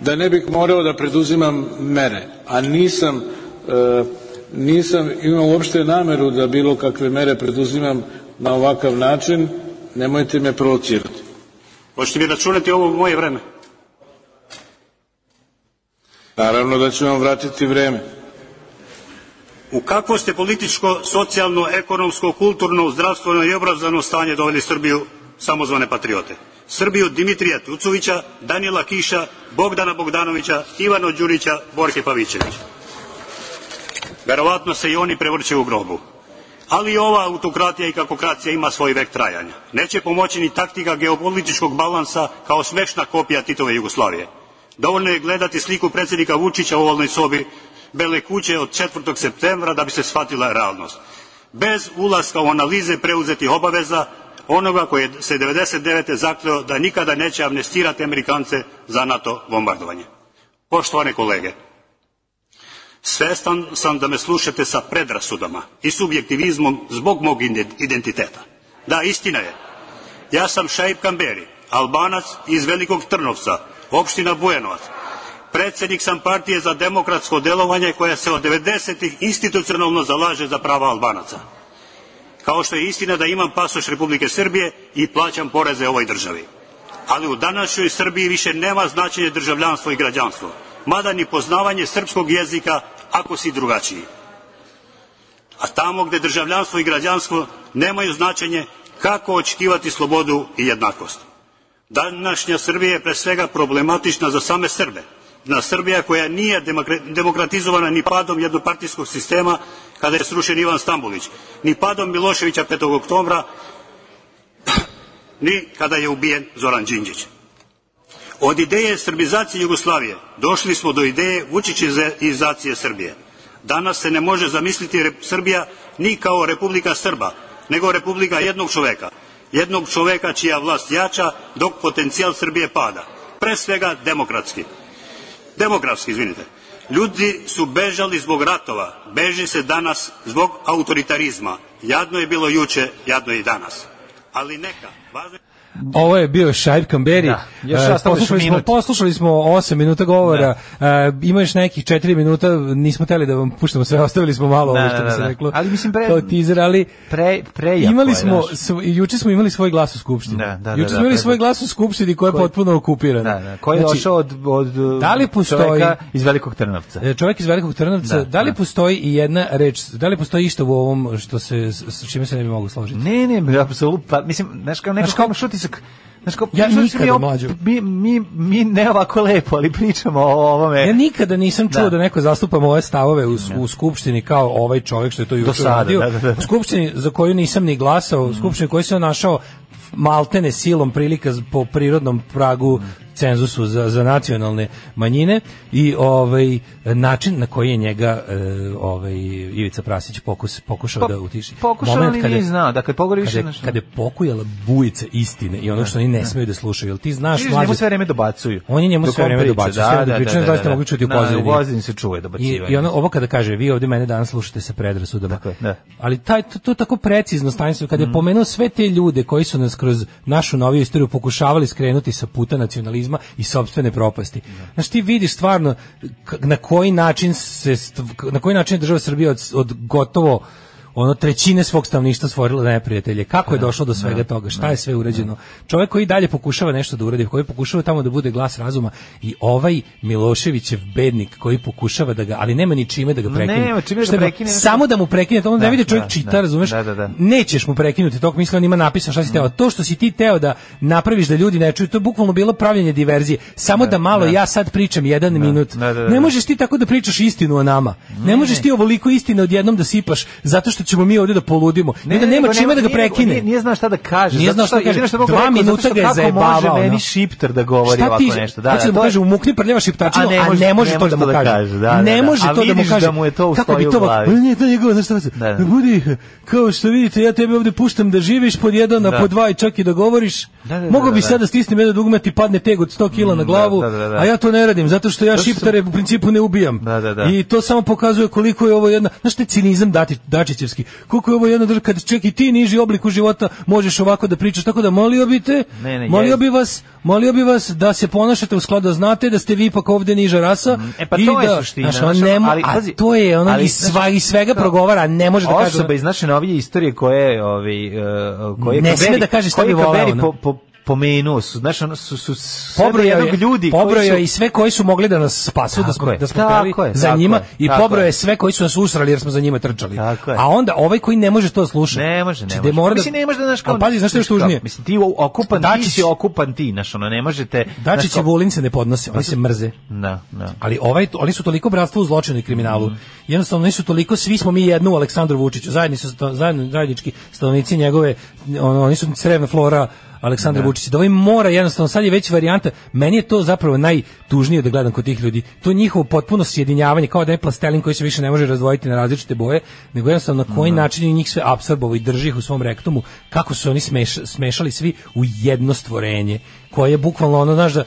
K: Da ne bih morao da preduzimam mere, a nisam e, nisam imao uopšte nameru da bilo kakve mere preduzimam na ovakav način, nemojte me provocirati.
J: hoćete mi računati ovo u moje vreme?
K: Naravno da ću vam vratiti vreme.
J: U kakvo ste političko, socijalno, ekonomsko, kulturno, zdravstveno i obrazovno stanje doveli Srbiju samozvane patriote? Srbiju Dimitrija Tucovića, Danila Kiša, Bogdana Bogdanovića, Ivana Đurića, Borke Pavićevića. Verovatno se i oni prevrće u grobu. Ali ova autokratija i kakokracija ima svoj vek trajanja. Neće pomoći ni taktika geopolitičkog balansa kao smešna kopija Titove Jugoslavije. Dovoljno je gledati sliku predsjednika Vučića u ovalnoj sobi Bele kuće od 4. septembra da bi se shvatila realnost. Bez ulaska u analize preuzetih obaveza onoga koji je se 99. zakleo da nikada neće amnestirati Amerikance za NATO bombardovanje. Poštovane kolege, Svestan sam da me slušate sa predrasudama i subjektivizmom zbog mog ide- identiteta. Da, istina je. Ja sam Šaib Kamberi, albanac iz Velikog Trnovca, opština Bujanovac. Predsednik sam partije za demokratsko delovanje koja se od 90-ih institucionalno zalaže za prava albanaca. Kao što je istina da imam pasoš Republike Srbije i plaćam poreze ovoj državi. Ali u današnjoj Srbiji više nema značenje državljanstvo i građanstvo, mada ni poznavanje srpskog jezika ako si drugačiji. A tamo gde državljanstvo i građanstvo nemaju značenje, kako očekivati slobodu i jednakost? Današnja Srbija je pre svega problematična za same Srbe. Na Srbija koja nije demokra- demokratizovana ni padom jednopartijskog sistema kada je srušen Ivan Stambulić, ni padom Miloševića 5. oktobra, ni kada je ubijen Zoran Đinđić. Od ideje srbizacije Jugoslavije došli smo do ideje vučićizacije Srbije. Danas se ne može zamisliti Rep- Srbija ni kao Republika Srba, nego Republika jednog čoveka. Jednog čoveka čija vlast jača dok potencijal Srbije pada. Pre svega demokratski. Demografski, izvinite. Ljudi su bežali zbog ratova, beži se danas zbog autoritarizma. Jadno je bilo juče, jadno je i danas. Ali neka, važno je...
E: Ovo je bio Šajb Kamberi.
F: Da, još
E: E,
F: ostalo je
E: poslušali, smo,
F: minut.
E: poslušali smo 8 minuta govora. E, ima još nekih 4 minuta, nismo teli da vam puštamo sve, [LAUGHS] ostavili smo malo
F: Da,
E: ovo što
F: da,
E: bi se
F: da, da.
E: reklo.
F: Ali mislim, pre-
E: kao teaser, ali
F: Pre, prejako
E: imali
F: je,
E: smo
F: pa, znaš.
E: sv, juče smo imali svoj glas u skupštini.
F: Da, da, da,
E: juče
F: da,
E: smo imali
F: pre-
E: svoj glas u skupštini koja je
F: Koji-
E: potpuno okupirana.
F: Da, da, koji je
E: Znači,
F: došao od, od uh,
E: Da li postoji-
F: čoveka iz Velikog Trnovca.
E: E, čovjek iz Velikog Trnovca, da,
F: Da,
E: li
F: da.
E: postoji i jedna reč, da li postoji išta u ovom što se s, s čime se ne bi mogu složiti?
F: Ne, ne, ne, apsolutno, pa, mislim, znaš kao neko
E: Znaš kao-
F: kao šutisak, znaš kao,
E: Ja
F: znaš,
E: nikada,
F: mi, op-
E: mlađo.
F: mi, mi, mi ne ovako lepo, ali pričamo o ovome.
E: Ja nikada nisam čuo da,
F: E, Da.
E: neko zastupa moje stavove u, u skupštini kao ovaj čovjek što je to juče
F: sada,
E: radio.
F: da, da, Mm. da.
E: U skupštini za koju nisam ni glasao, u skupštini koju sam našao maltene silom prilika z- po prirodnom
F: Mm.
E: pragu cenzusu za, za nacionalne manjine i ovaj način na koji je njega e, ovaj Ivica Prasić pokus, pokušao
F: Po-
E: da utiši.
F: Pa, pokušao,
E: Moment
F: ali
E: kada-
F: nije znao, dakle, pogori više,
E: kada,
F: znaš,
E: kada je pokujala bujica istine i ono što oni ne smeju da slušaju. Jel ti znaš,
F: Vidiš,
E: mlađe,
F: njemu sve vreme dobacuju.
E: On je njemu
F: Dok
E: sve
F: on
E: vreme
F: priča,
E: dobacuju, sve vreme pričaju, zaista mogu čuti u
F: Da,
E: pozadini.
F: u pozadini se čuje
E: I,
F: dobacivanje.
E: i ono, ovo kada kaže, vi ovde mene danas slušate sa predrasudama.
F: Tako je, da.
E: Ali taj, to, to tako precizno stanjstvo,
F: Mhm.
E: kada je pomenuo sve te ljude koji su nas kroz našu noviju istoriju pokušavali skrenuti sa puta nacionalizma alkoholizma i sopstvene propasti. Znaš, ti vidiš stvarno k- na koji način se stv- na koji način je država Srbija od, od gotovo ono trećine svog stanovništva stvorila neprijatelje. Kako je došlo do svega toga? Šta je sve urađeno? Čovjek koji dalje pokušava nešto da uradi, koji pokušava tamo da bude glas razuma i ovaj Miloševićev bednik koji pokušava da ga, ali nema ni čime da ga prekine.
F: nema čime da
E: Šta ima?
F: prekine. znači-
E: Samo da mu prekine, to on
F: Da,
E: ne vidi čovjek
F: da,
E: čita,
F: da.
E: razumeš?
F: Da, da, da. Mm.
E: Nećeš mu prekinuti tok misli, on ima napisano šta si teo. To što si ti teo da napraviš da ljudi ne čuju, to je bukvalno bilo pravljenje diverzije. Samo da malo ja sad pričam jedan minut.
F: da, da, da.
E: Ne možeš ti tako da pričaš istinu o nama. Ne, možeš ti ovoliko istine odjednom da sipaš zato što ćemo mi ovdje da poludimo. Ne, da nema čime da ga prekine.
F: Nije, nije znao šta da kaže.
E: Nije
F: zato
E: znao
F: što-
E: šta kaže.
F: jedino što mogu
E: Dva
F: rekao, zato
E: minuta
F: što
E: ga je
F: kako
E: zajebavao,
F: Može meni
E: ono.
F: šipter da govori
E: Šta
F: ovako
E: ti,
F: nešto.
E: da, hoće da mu
F: to je-
E: kaže, umukni prljava šiptačinu,
F: A ne
E: a
F: može-
E: ne može
F: ne
E: to da
F: može
E: mu
F: to da
E: kaže.
F: kaže, da, da,
E: Ne
F: da.
E: može
F: A
E: to da mu
F: vidiš
E: kaže.
F: da mu je to
E: Kako
F: ustoji
E: bi
F: u
E: to ovako-
F: glavi.
E: Ne, to je njegovo, znaš šta se-
F: Da, da.
E: Budi, kao što vidite, ja tebe ovdje puštam da živiš pod jedan, a
F: Da.
E: pod dva i čak i da govoriš.
F: Da, da,
E: Mogao
F: da,
E: bi
F: da.
E: sad da stisnem jedno dugme, ti padne teg od 100 kila na
F: da,
E: glavu,
F: da, da, da.
E: a ja to ne radim, zato što ja
F: Zato što-
E: šiptare u principu ne ubijam.
F: Da, da, da.
E: I to samo pokazuje koliko je ovo jedna, znaš te cinizam dati, dačićevski, koliko je ovo jedna država, kad čak i ti niži obliku života možeš ovako da pričaš, tako da molio bi te,
F: Ne, ne,
E: molio
F: jest.
E: bi vas, molio bi vas da se ponašate u skladu, da znate da ste vi ipak ovdje niža rasa.
F: E, pa
E: i
F: to je
E: da,
F: suština,
E: znaš, ono
F: znaš,
E: ne mo-
F: ali,
E: a
F: pazi,
E: to je ono
F: ali,
E: iz, sva-
F: znaš,
E: iz svega
F: to-
E: progovara, ne može da kaže.
F: Osoba iz naše novije istorije koje ovaj uh, koje
E: Ne
F: Kaveri-
E: sme da kaže šta
F: koje
E: bi voleo,
F: Kaveri
E: ne?
F: po, po, pomenuo su, znaš, ono su, su, su sve do
E: pobrojao
F: jednog
E: je,
F: ljudi koji
E: pobrojao
F: su-
E: je i sve koji su mogli da nas spasu, da
F: Tako
E: smo,
F: je,
E: da smo
F: tako
E: peli
F: je,
E: za
F: tako
E: njima
F: je,
E: i
F: tako
E: pobrojao
F: je.
E: je sve koji su nas usrali jer smo za njima trčali.
F: Tako je.
E: A onda ovaj koji ne može to da sluša.
F: Ne može, ne
E: Znači,
F: može.
E: mora da-
F: Mislim, ne može da znaš kao...
E: Ali pazi, znaš što je još
F: kao,
E: tužnije?
F: Mislim, ti okupan, ti
E: Dačić-
F: si okupan ti, znaš, ono, ne možete... znaš,
E: Dačić i
F: kao-
E: Vulin se ne podnose, oni se mrze.
F: Da, da.
E: Ali ovaj, oni su toliko bratstvo u zločinu i kriminalu. Jednostavno nisu toliko, svi smo mi jedno u Aleksandru Vučiću. Zajedni su sta- zajedno, zajednički stanovnici njegove, ono, oni su crevna flora Aleksandra Vučića. Da ovaj mora jednostavno, sad je već varijanta, meni je to zapravo najtužnije da gledam kod tih ljudi. To njihovo potpuno sjedinjavanje, kao da je plastelin koji se više ne može razdvojiti na različite boje, nego jednostavno na koji način je njih sve apsorbovao i drži ih u svom rektumu, kako su oni smeš- smešali svi u jedno stvorenje, koje je bukvalno ono, znaš da,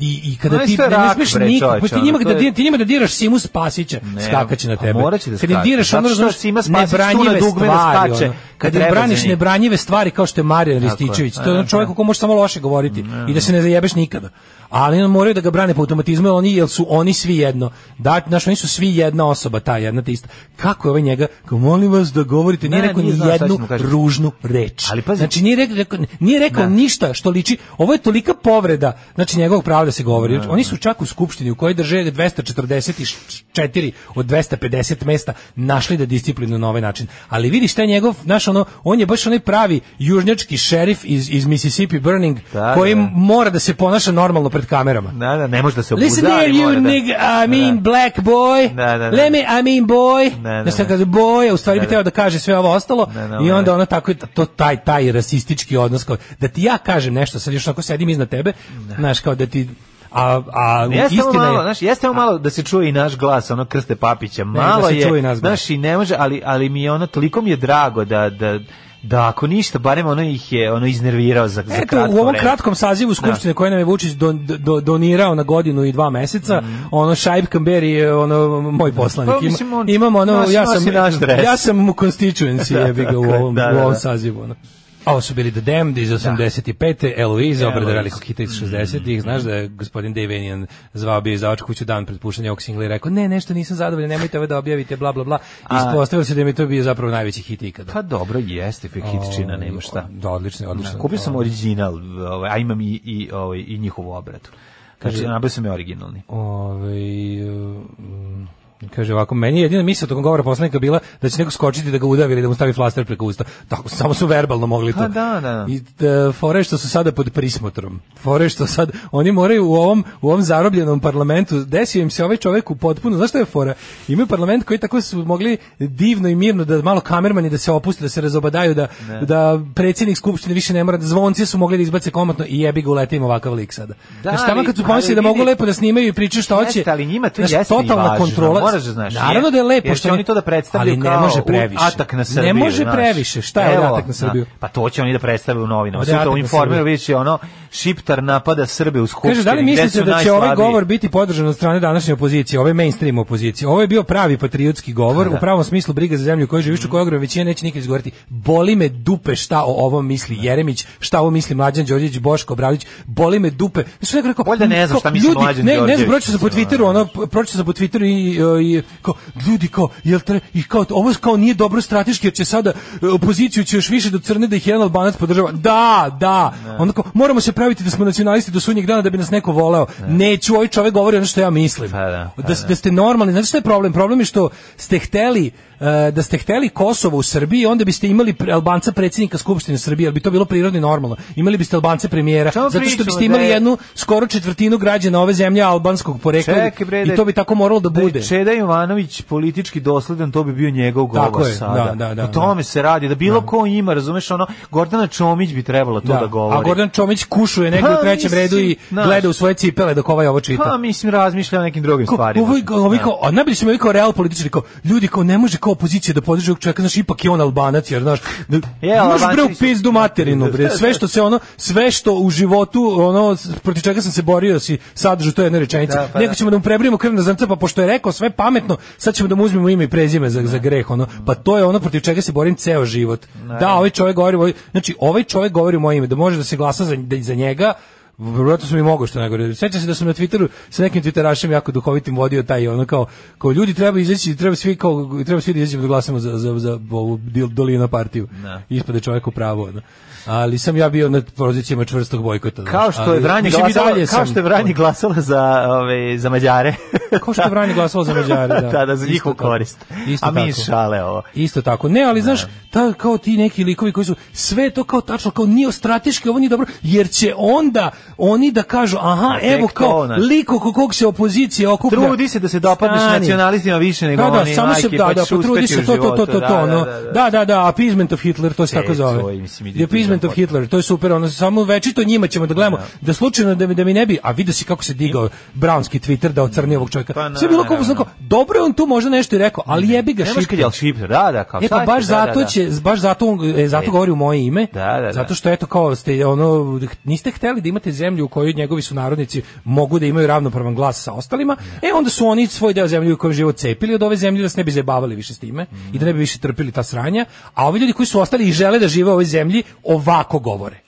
E: i, i kada
F: Ono je
E: ti
F: sve
E: ne, ne
F: rak,
E: smeš
F: bre,
E: nikako,
F: čoveče,
E: pa ti
F: ono,
E: njima
F: to
E: da
F: je-
E: ti njima da diraš Simu Spasića, skakaće na
F: a
E: tebe.
F: moraće da
E: Kad im
F: skače,
E: diraš
F: zato
E: ono
F: što
E: razumeš
F: Sima Spasić tu na
E: nebranjive
F: dugme da
E: stvari,
F: skače
E: ono.
F: kad
E: kad im
F: treba za
E: braniš
F: njih.
E: nebranjive stvari kao što je Marijan
F: Tako je,
E: Rističević, to
F: a,
E: je ono
F: da,
E: čovjek
F: da.
E: o kom može samo loše govoriti i da se ne zajebeš nikada. Ali on moraju da ga brane po automatizmu, jer oni jer su oni svi jedno. Da, znaš, oni su svi jedna osoba, ta jedna te ista. Kako je ovaj njega? Kao molim vas da govorite, nije
F: Ne,
E: rekao
F: nije
E: ni
F: znao šta će
E: jednu
F: mu kažem.
E: ružnu reč.
F: Ali pazi-
E: znači nije rekao, rekao- nije rekao
F: Da.
E: ništa što liči. Ovo je tolika povreda, znači njegovog prava da se govori. Oni su čak u skupštini u kojoj drže 244 od 250 mesta našli da disciplinu na ovaj način. Ali vidiš taj njegov, znaš ono, on je baš onaj pravi južnjački šerif iz, iz Mississippi Burning
F: Da,
E: koji
F: da.
E: mora da se ponaša normalno pred kamerama.
F: Da, da, ne može da se obuzda,
E: Listen here,
F: ali
E: you
F: mora da...
E: nigga, I mean
F: Da.
E: black boy.
F: Da, da, da.
E: Let me, I mean boy.
F: Da, da,
E: Znaš, sad
F: da.
E: kaže boy, a u stvari
F: Da,
E: bi
F: da.
E: teo da kaže sve ovo ostalo.
F: Da, ovaj. da,
E: I
F: da.
E: onda ono tako, to, taj, taj rasistički odnos. Kao, da ti ja kažem nešto, sad još ako sedim iznad tebe, znaš, kao da ti... A, a
F: Jeste ovo
E: istina
F: malo,
E: je...
F: znaš, jeste ovo malo da se čuje i naš glas, ono Krste Papića. Malo
E: da se čuje i
F: je,
E: naš glas.
F: znaš, i ne može, ali, ali mi je ono, toliko mi je drago da, da, da ako ništa, barem ono ih je ono iznervirao za, za
E: Eto,
F: kratko
E: u ovom
F: vreme.
E: kratkom sazivu Skupštine koje nam je Vučić don- do- donirao na godinu i dva meseca, ono Šaib Kamberi je ono, moj poslanik.
F: Mhm. Pa, mislim,
E: Ima,
F: on
E: imam ono,
F: nosi-
E: ja sam,
F: nosi naš dres.
E: ja sam mu constituency jebi ga u
F: tako je, [LAUGHS]
E: ovom,
F: da, da,
E: u ovom
F: da.
E: sazivu. Ono. A ovo su bili The Damned iz 85. Eloise, obrada
F: Eloise.
E: velikog hita iz 60-ih. Znaš da je gospodin Dave Enijan zvao bio izdavač kuću dan pred puštanje ovog singla i rekao, ne, nešto nisam zadovoljan, nemojte ovo da objavite, bla, bla, bla. Ispostavilo se da mi je to bio zapravo najveći hit ikada.
F: Pa dobro, jeste, hitčina, nema šta.
E: Da, odlično, odlično.
F: Kupio sam original, ovaj, a imam i, i, ovaj, i njihovu obradu. Znači, nabio sam je originalni.
E: Ove, ovaj, mm, kaže ovako, meni je jedina misla tokom govora poslanika bila da će neko skočiti da ga udavi ili da mu stavi flaster preko usta. Tako, samo su verbalno mogli to.
F: Pa da, da.
E: I e, fore što su sada pod prismotrom. Fore što sad, oni moraju u ovom, u ovom zarobljenom parlamentu, desio im se ovaj čovjek u potpuno, znaš šta je fora? Imaju parlament koji tako su mogli divno i mirno da malo kamermani da se opuste, da se razobadaju, da, da predsjednik skupštine više ne mora, da zvonci su mogli da izbace komotno i jebi ga uletim ovakav lik sada.
F: Da,
E: Znaš, tamo
F: ali-
E: kad su
F: ali
E: pomislili da mogu
F: vidi-
E: lepo da snimaju i pričaju šta hoće.
F: Jeste, ali njima to
E: Znaš,
F: jeste i
E: totalna
F: važno,
E: kontrola.
F: moraš da znaš,
E: Naravno
F: jer-
E: da je lepo
F: jer
E: što
F: će oni to da predstavljaju
E: ali ne
F: kao
E: može
F: u-
E: previše.
F: atak na Srbiju,
E: Ne može
F: znaš.
E: previše. Šta je
F: Evo,
E: atak na Srbiju?
F: da. Pa to će oni da predstave u novinama.
E: Ovdje je
F: Sutra
E: atak
F: u
E: na
F: informeru
E: Srbiju.
F: vidjet će ono Šiptar napada Srbe u skupštini.
E: Kaže, da li
F: gde
E: mislite
F: su
E: da će ovaj
F: najslabiji?
E: govor biti podržan od strane današnje opozicije, ove mainstream opozicije? Ovo je bio pravi patriotski
F: Pa
E: govor, u pravom smislu briga za zemlju koju
F: Mhm.
E: živiš, u kojoj ogromna većina neće nikad izgovoriti. Boli me dupe šta o ovom misli Jeremić, šta ovo misli Mlađan Đorđević, Boško Obradović, boli me dupe. Znaš, neko je rekao,
F: Valjda ne zna šta misli
E: ljudi,
F: Mlađan
E: ne, Ne
F: Đorđević,
E: znam, pročito sam po
F: mislim,
E: Twitteru, ono, pročito sam po Twitteru i, i, i kao, ljudi kao, jel tre, i kao, ovo kao nije dobro strateški, jer će sada e, opoziciju će još više do crne da ih jedan albanac podržava. Da, da. Onda kao, moramo se praviti da smo nacionalisti do sunnjeg dana da bi nas neko voleo. Neću, ovaj čovek govori ono što ja mislim.
F: Pa da, pa
E: da, s- da ste normalni. Znate šta je problem? Problem je što ste hteli e, da ste hteli Kosovo u Srbiji, onda biste imali pre- Albanca predsjednika Skupštine Srbije, ali bi to bilo prirodno i normalno. Imali biste Albance premijera,
F: Čemu
E: zato što
F: pričamo
E: biste
F: da
E: imali
F: je-
E: jednu skoro četvrtinu građana ove zemlje albanskog porekla
F: Čekaj, bre, da-
E: i to bi tako moralo da
F: Pa Da je
E: bude.
F: Čeda Jovanović politički dosledan, to bi bio njegov govor
E: Tako je,
F: sada.
E: da, da, da,
F: o tome se radi, da bilo ko ima, razumeš, ono, Gordana Čomić bi trebala to da, govori.
E: A Gordon Čomić kušuje negdje
F: Pa,
E: u trećem
F: mislim,
E: redu i
F: znaš.
E: gleda u svoje cipele dok ovaj ovo čita.
F: Pa, mislim, razmišlja o nekim drugim
E: Ko-
F: stvarima.
E: Ovi, ovi
F: Da.
E: kao, a najbolje su mi ovi kao real političari, kao, ljudi kao ne može kao opozicija da podrži ovog čovjeka, znaš, ipak je on albanac, jer znaš,
F: Je,
E: je, možeš
F: Albanci
E: bre u
F: su-
E: pizdu materinu, bre, sve što se ono, sve što u životu, ono, s- protiv čega sam se borio, si sadržu to jedne rečenice.
F: Da, pa da.
E: Neko ćemo da mu prebrijemo krvna zrnca, pa pošto je rekao sve pametno, sad ćemo da mu uzmemo ime i prezime za, za greh, ono, pa to je ono protiv čega se borim ceo život. Da, ovaj čovjek govori, moj- znači, ovaj čovjek govori u moje ime, da može da se glasa za, da, za njega, Vjerojatno sam i mogao što ne govorio. Sjećam se da sam na Twitteru sa nekim Twitterašem jako duhovitim vodio taj ono kao, kao ljudi treba izaći, treba svi kao treba svi da izađemo da glasamo za za za ovu dil- Dolina partiju. Ispade čovjek u pravo. ono. Ali sam ja bio na pozicijama čvrstog bojkota. znaš.
F: Kao što je
E: Ali,
F: Vranje
E: mislim, i
F: glasala,
E: dalje
F: kao
E: sam-
F: što je Vranje glasala za, ove, za Mađare.
E: Kao što je Vranje glasalo za
F: [LAUGHS]
E: Mađare, da.
F: da, da, za
E: Isto
F: njihovu
E: tako.
F: korist.
E: Isto
F: A mi
E: tako.
F: šale ovo.
E: Isto tako. Ne, ali znaš, ta, kao ti neki likovi koji su sve to kao tačno, kao nije strateški, ovo nije dobro, jer će onda oni da kažu, aha,
F: A tek
E: evo
F: to,
E: kao
F: znaš.
E: lik oko kog se opozicija okuplja.
F: Trudi se da se dopadneš
E: Stani.
F: nacionalistima više nego
E: Da, da,
F: oni,
E: samo se
F: majke,
E: da,
F: pa
E: da,
F: ćeš
E: potrudi
F: uspeti
E: se
F: u
E: to, to, to,
F: životu,
E: to,
F: da,
E: to,
F: da,
E: ono.
F: da, da.
E: Da, da, da, appeasement of Hitler, to se
F: E,
E: tako zove.
F: tvoj, mislim,
E: The appeasement
F: idiotizam
E: of Hitler, to je super, ono, samo večito njima ćemo da gledamo, da slučajno da mi, da mi ne bi, a vidio si kako se digao Brownski Twitter da ocrni ovog čovjeka.
F: Pa, na,
E: Sve je bilo
F: na,
E: kao,
F: na,
E: znako,
F: na.
E: dobro je on tu možda nešto i rekao, ali jebi ga
F: Ne možeš kad je
E: šipka.
F: al šipter, da, da, kao
E: E pa
F: sad
E: baš
F: će, da, da,
E: zato
F: da.
E: će, baš zato, on- e, zato govori u moje ime,
F: Da, da, da.
E: zato što eto kao ste ono, niste hteli da imate zemlju u kojoj njegovi sunarodnici mogu da imaju ravnopravan glas sa ostalima, e onda su oni svoj deo zemlje u kojoj živo cepili od ove zemlje da se ne bi zajebavali više s time
F: Mhm.
E: i da ne bi više trpili ta sranja, a ovi ljudi koji su ostali i žele da žive u ovoj zemlji ovako govore.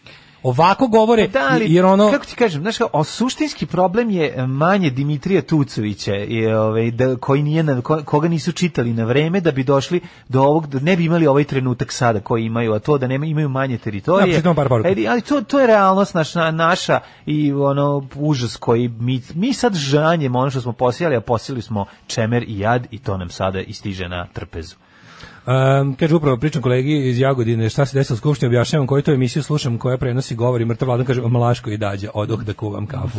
E: Ovako govore,
F: Pa Da, ali,
E: jer ono...
F: kako ti kažem, znaš, kao, o, suštinski problem je e, manje Dimitrija Tucovića, i, ovaj, da, koji nije, na, ko- koga nisu čitali na vreme da bi došli do ovog, da ne bi imali ovaj trenutak sada koji imaju, a to da nema, imaju manje
E: Da,
F: teritorije.
E: pročitam par poruka.
F: E, ali to, to je realnost naša, naša i ono užas koji mi, mi sad žanjemo ono što smo posijali, a posijali smo čemer i jad i to nam sada istiže na trpezu.
E: Um, kaže upravo pričam kolegi iz Jagodine šta se desilo u skupštini, objašnjavam koju to emisiju slušam koja prenosi govori mrtav vladan, kaže Malaško i dađa, odoh da kuvam kafu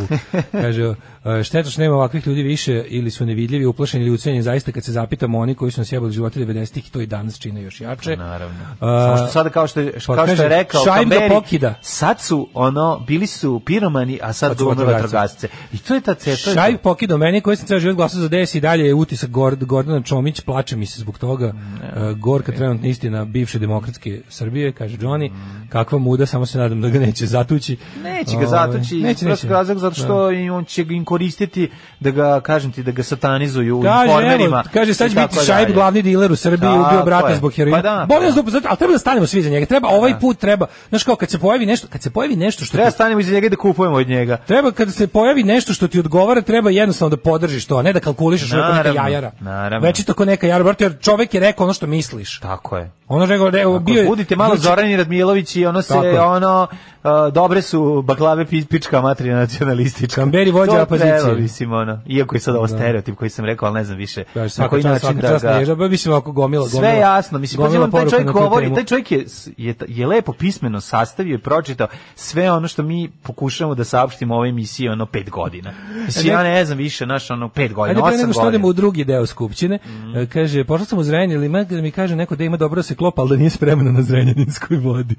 E: kaže, uh, šteta što nema ovakvih ljudi više ili su nevidljivi, uplašeni ili ucenjeni zaista kad se zapitamo oni koji su nas jebali živote 90-ih to i danas čine još jače
F: Naravno. Samo što
E: Uh,
F: sada kao što je, kao
E: pa
F: što je
E: kaže,
F: rekao
E: Šajb ga
F: Kamberi,
E: pokida.
F: sad su ono, bili su piromani, a sad
E: Sad su
F: duvno
E: vatrogasci.
F: vatrogasce. I to je ta ceta.
E: Šajb pokidao meni koji sam ceo život glasao za DS i dalje je utisak Gord, Gordana Čomić, plače mi se zbog
F: Mm,
E: toga. E, gorka trenutna istina bivše demokratske Srbije, kaže Johnny. Kakva muda, samo se nadam da ga neće zatući.
F: Neće ga
E: Ovaj,
F: zatući iz
E: neće,
F: prostog
E: neće.
F: razloga zato što i on će ga im koristiti da ga, kažem ti, da ga satanizuju u
E: Kaže, evo,
F: informerima.
E: kaže, sad
F: i
E: će
F: tako
E: biti Šajb
F: dalje.
E: glavni diler u Srbiji,
F: Tako
E: ubio brata
F: je.
E: zbog heroina.
F: Pa da,
E: Boli nas
F: pa da.
E: dupe, zato- ali treba da stanemo svi za njega. Treba, ovaj put treba, znaš kao, kad se pojavi nešto, kad se pojavi nešto što
F: Treba
E: ti-
F: stanemo iza njega i da kupujemo od njega.
E: Treba kad se pojavi nešto što ti odgovara, treba jednostavno da podržiš to, a ne da kalkulišeš oko neka
F: Naravno,
E: jajara.
F: naravno.
E: Već je to ko neka jajara, brate, jer čovek je rekao ono što misliš.
F: Tako je.
E: Ono što je rekao, evo, bio je...
F: Budite malo
E: juče-
F: Zoran i Radmilović i ono se,
E: Tako je.
F: ono, uh, dobre su baklave pi- pička materija nacionalistička.
E: Kamberi vođa
F: To je
E: opozicije.
F: trebalo, mislim, ono, iako je sad ovo stereotip koji sam rekao, ali ne znam više
E: Kaže,
F: na
E: svaka
F: koji
E: čast,
F: način
E: svaka
F: da
E: čast
F: ga...
E: neža, ba, mislim, ovako gomila, gomila.
F: Sve je jasno, mislim,
E: gomila
F: pa taj
E: poruka
F: čovjek
E: na tu
F: govori,
E: temu.
F: taj čovjek je, je, je lepo pismeno sastavio i pročitao sve ono što mi pokušavamo da saopštimo u ovoj emisiji ono pet godina. Mislim,
E: Ajde.
F: ja ne znam više, naš ono pet godina,
E: Ajde
F: osam
E: pre
F: godina.
E: nego što odemo u drugi deo skupštine,
F: Mm.
E: e, kaže, pošla sam u Zrenjanin, ali ima- mi kaže neko da ima dobro da se klopa, ali da nije spremno na Zrenjaninsku vodi.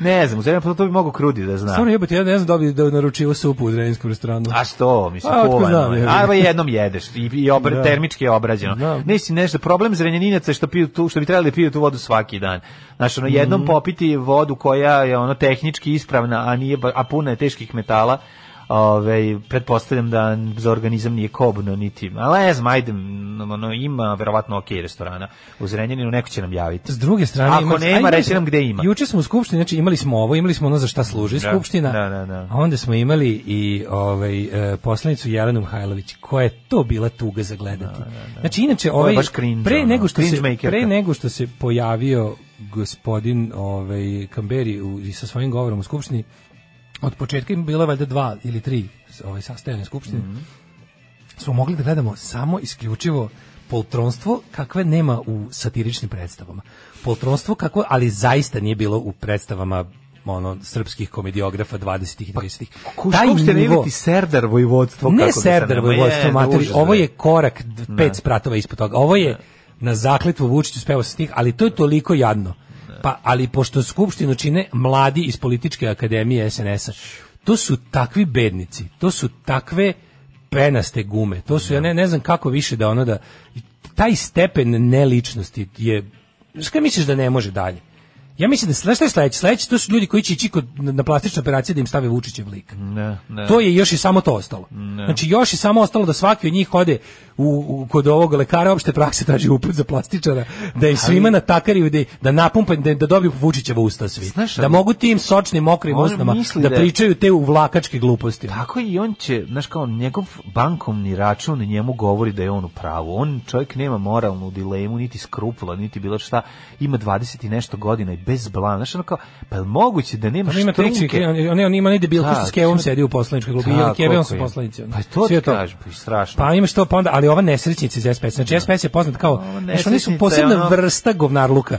F: ne znam, u zemlju, to bi mogo krudi da zna.
E: Stvarno jebote, ja ne znam da bi da naručio supu u dreninskom restoranu.
F: A što, mislim,
E: A, otkud znam,
F: kuvano.
E: je.
F: A, ba jednom jedeš i, i obr,
E: Da.
F: termički je obrađeno.
E: Znam.
F: Nisi nešto, problem zrenjaninaca je što, piju tu, što bi trebali da piju tu vodu svaki dan. Znaš, ono,
E: Mhm.
F: jednom popiti vodu koja je ono tehnički ispravna, a, nije, ba- a puna je teških metala, Ove, pretpostavljam da za organizam nije kobno niti, ali ne znam, ajde, m, ono, ima verovatno ok restorana u Zrenjaninu, neko će nam javiti.
E: S druge strane,
F: Ako
E: ima-
F: nema,
E: ajde,
F: reći nam gde ima.
E: Juče smo u skupštini, znači imali smo ovo, imali smo ono za šta služi
F: Da,
E: skupština.
F: da, da, da.
E: A onda smo imali i ovaj e, poslanicu Jelenu Mihajlović, koja je to bila tuga za gledati. Znači inače
F: Ovo je
E: ovaj
F: baš cringe,
E: pre
F: ono,
E: nego što
F: cringe
E: se
F: makerka.
E: pre nego što se pojavio gospodin ovaj Kamberi u, i sa svojim govorom u skupštini, od početka im bilo valjda dva ili tri ovaj sastajanja skupštine.
F: Mhm.
E: Smo mogli da gledamo samo isključivo poltronstvo kakve nema u satiričnim predstavama. Poltronstvo kako, ali zaista nije bilo u predstavama ono srpskih komediografa 20-ih i 30-ih. Taj
F: Skupština
E: nivo-
F: ili ti Serdar vojvodstvo?
E: ne
F: kako bi sad
E: Serdar
F: nama-
E: vojvodstvo
F: Je,
E: materi,
F: užas,
E: ovo
F: bre.
E: je korak d- pet spratova ispod toga. Ovo je na zakletvu Vučiću spevao sam stih, ali to je toliko jadno. Pa, ali pošto skupštinu čine mladi iz političke akademije SNS-a, to su takvi bednici, to su takve penaste gume, to su, ja ne, ne znam kako više da ono da, taj stepen neličnosti je, znaš kada misliš da ne može dalje? Ja mislim da sledeće, sledeće, sledeće, to su ljudi koji će ići kod, na, na plastične operacije da im stave Vučićev lik.
F: Ne, ne.
E: To je još i samo to ostalo. Znači još je samo ostalo da svaki od njih ode u, u- kod ovog lekara opšte prakse traži uput za plastičara, da im svima natakariju da, da napumpa, da, da dobiju Vučićeva usta svi.
F: Znaš, ali-
E: da mogu tim sočnim, mokrim
F: On
E: usnama
F: misli
E: da,
F: da je- Pa
E: pričaju te uvlakačke gluposti.
F: Tako i on će, znaš kao, njegov bankovni račun njemu govori da je on u pravu. On čovjek nema moralnu dilemu, niti skrupula, niti bilo šta. Ima 20 i nešto godina i bez blama. Znaš, ono kao, pa je li moguće da nemaš
E: On ima
F: trunke?
E: tehnički, on, on, on ima onaj debil ko što
F: Da,
E: s Kevom
F: ima-
E: sedi u poslaničkoj klupi,
F: Da,
E: ili Kevom
F: koliko
E: su
F: je.
E: poslanici. ono.
F: Pa to
E: Sve
F: ti kažem, pa i strašno.
E: Pa imaš to, pa onda, ali ova nesrećnica iz SPS, znači SPS je poznat kao,
F: Ova
E: znači oni su
F: nesrećnica je
E: posebna
F: ono-
E: vrsta govnarluka.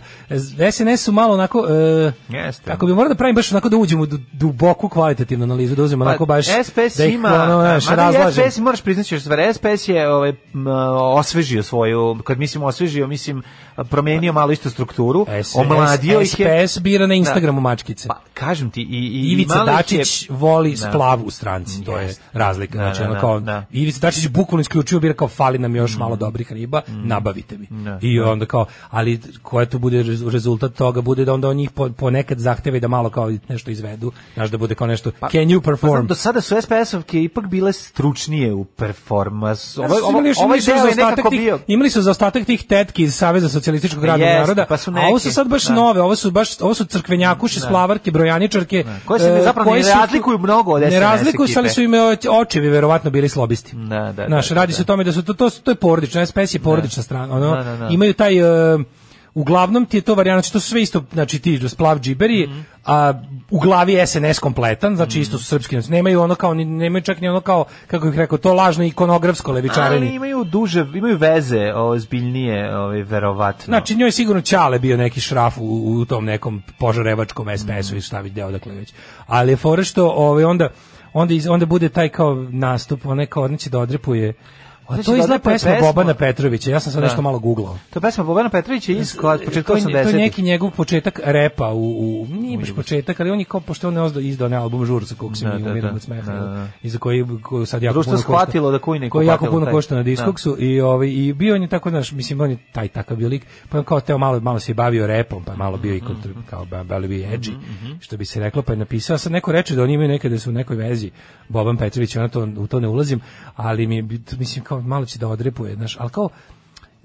E: SNS su malo onako, e,
F: Jeste.
E: ako bi morao da pravim baš onako da uđemo u du- duboku kvalitativnu analizu, da
F: Pa,
E: uzmemo onako baš,
F: SPS
E: da ih
F: ima,
E: ono, znaš,
F: mada i
E: razlažem.
F: SPS, moraš priznati još stvar, SPS je ovaj, m, osvežio svoju, kad mislim osvežio, mislim promenio malo isto strukturu,
E: Pa- E, S-
F: omladio ih je.
E: SPS bira na Instagramu mačkice.
F: Pa, kažem ti, i, i,
E: Ivica
F: imali ih je-
E: Dačić voli
F: Da.
E: splav u stranci, to je
F: Jeste.
E: razlika.
F: Da,
E: Znači,
F: da,
E: ono
F: da,
E: kao,
F: da. Mm.
E: Ivica Dačić bukvalno isključio bira kao fali nam još malo dobrih riba, nabavite mi. I onda kao, ali koja tu bude rez- rezultat toga, bude da onda on njih po- ponekad zahteve da malo kao nešto izvedu, znaš da bude kao nešto, can
F: Pa znam,
E: you perform?
F: do sada su SPS-ovke ipak bile stručnije u performans. Ovo,
E: Znaš, su
F: ovo,
E: imali još-
F: ovaj
E: imali su
F: deo je
E: zaostatak
F: nekako
E: tih-
F: bio...
E: Imali su zaostatak tih tetki iz Saveza socijalističkog radnog
F: Jeste,
E: naroda,
F: pa su
E: a ovo
F: neke,
E: su sad baš
F: da.
E: nove, ovo su baš ovo su crkvenjakuše, splavarke, brojaničarke,
F: Koje se ne-
E: e,
F: zapravo ne
E: koje su-
F: razlikuju mnogo od SNS
E: Ne razlikuju se, ali
F: ekipe.
E: su im o- očevi verovatno bili slobisti.
F: Da, da,
E: Znaš,
F: da, da,
E: radi
F: da.
E: se o tome da su to to, su- to je porodično, SPS je porodična strana, ono,
F: Da, da, da.
E: imaju taj e, Uglavnom ti je to varijanta, znači to su sve isto, znači ti splav džiberi,
F: Mhm.
E: a u glavi je SNS kompletan, znači isto su srpski, znači, nemaju ono kao, ni- nemaju čak ni ono kao, kako bih rekao, to lažno ikonografsko levičarenje.
F: Ali imaju duže, imaju veze ozbiljnije, ovaj, verovatno.
E: Znači, njoj je sigurno Ćale bio neki šraf u, u tom nekom požarevačkom
F: Mm.
E: SPS-u i šta već deo dakle već. Ali je fora što ovaj, onda, onda, iz- onda bude taj kao nastup, ona kao odneće da odrepuje. A
F: Odneće
E: to
F: Znači da
E: je izgleda
F: odrepuje
E: pesma
F: pesmu.
E: Bobana Petrovića, ja sam sad
F: Da.
E: nešto malo googlao.
F: to je pesma Bogana Petrovića iz koja početka
E: To je,
F: 80.
E: to je neki njegov početak repa u, u nije baš početak, ali on je kao pošto on je ozdo- izdao onaj album Žurca kog se
F: Da,
E: mi
F: da,
E: umiram
F: da.
E: od smeha.
F: Da, da.
E: I za koji koju sad jako
F: Društvo
E: puno košta.
F: shvatilo da kuj ne
E: koji jako
F: kupatilo
E: puno
F: taj.
E: košta na diskoksu i ovaj i bio on je tako znaš, mislim on je taj takav bio lik, pa je on kao teo malo malo se je bavio repom, pa je malo bio i
F: Mhm,
E: kontr, kao ba- bali bio edgy, što bi se reklo, pa je napisao sad neko reče da oni imaju nekada su u nekoj vezi Boban Petrović, ona to u to ne ulazim, ali mi je bit- mislim kao malo će da odrepuje, znaš, al kao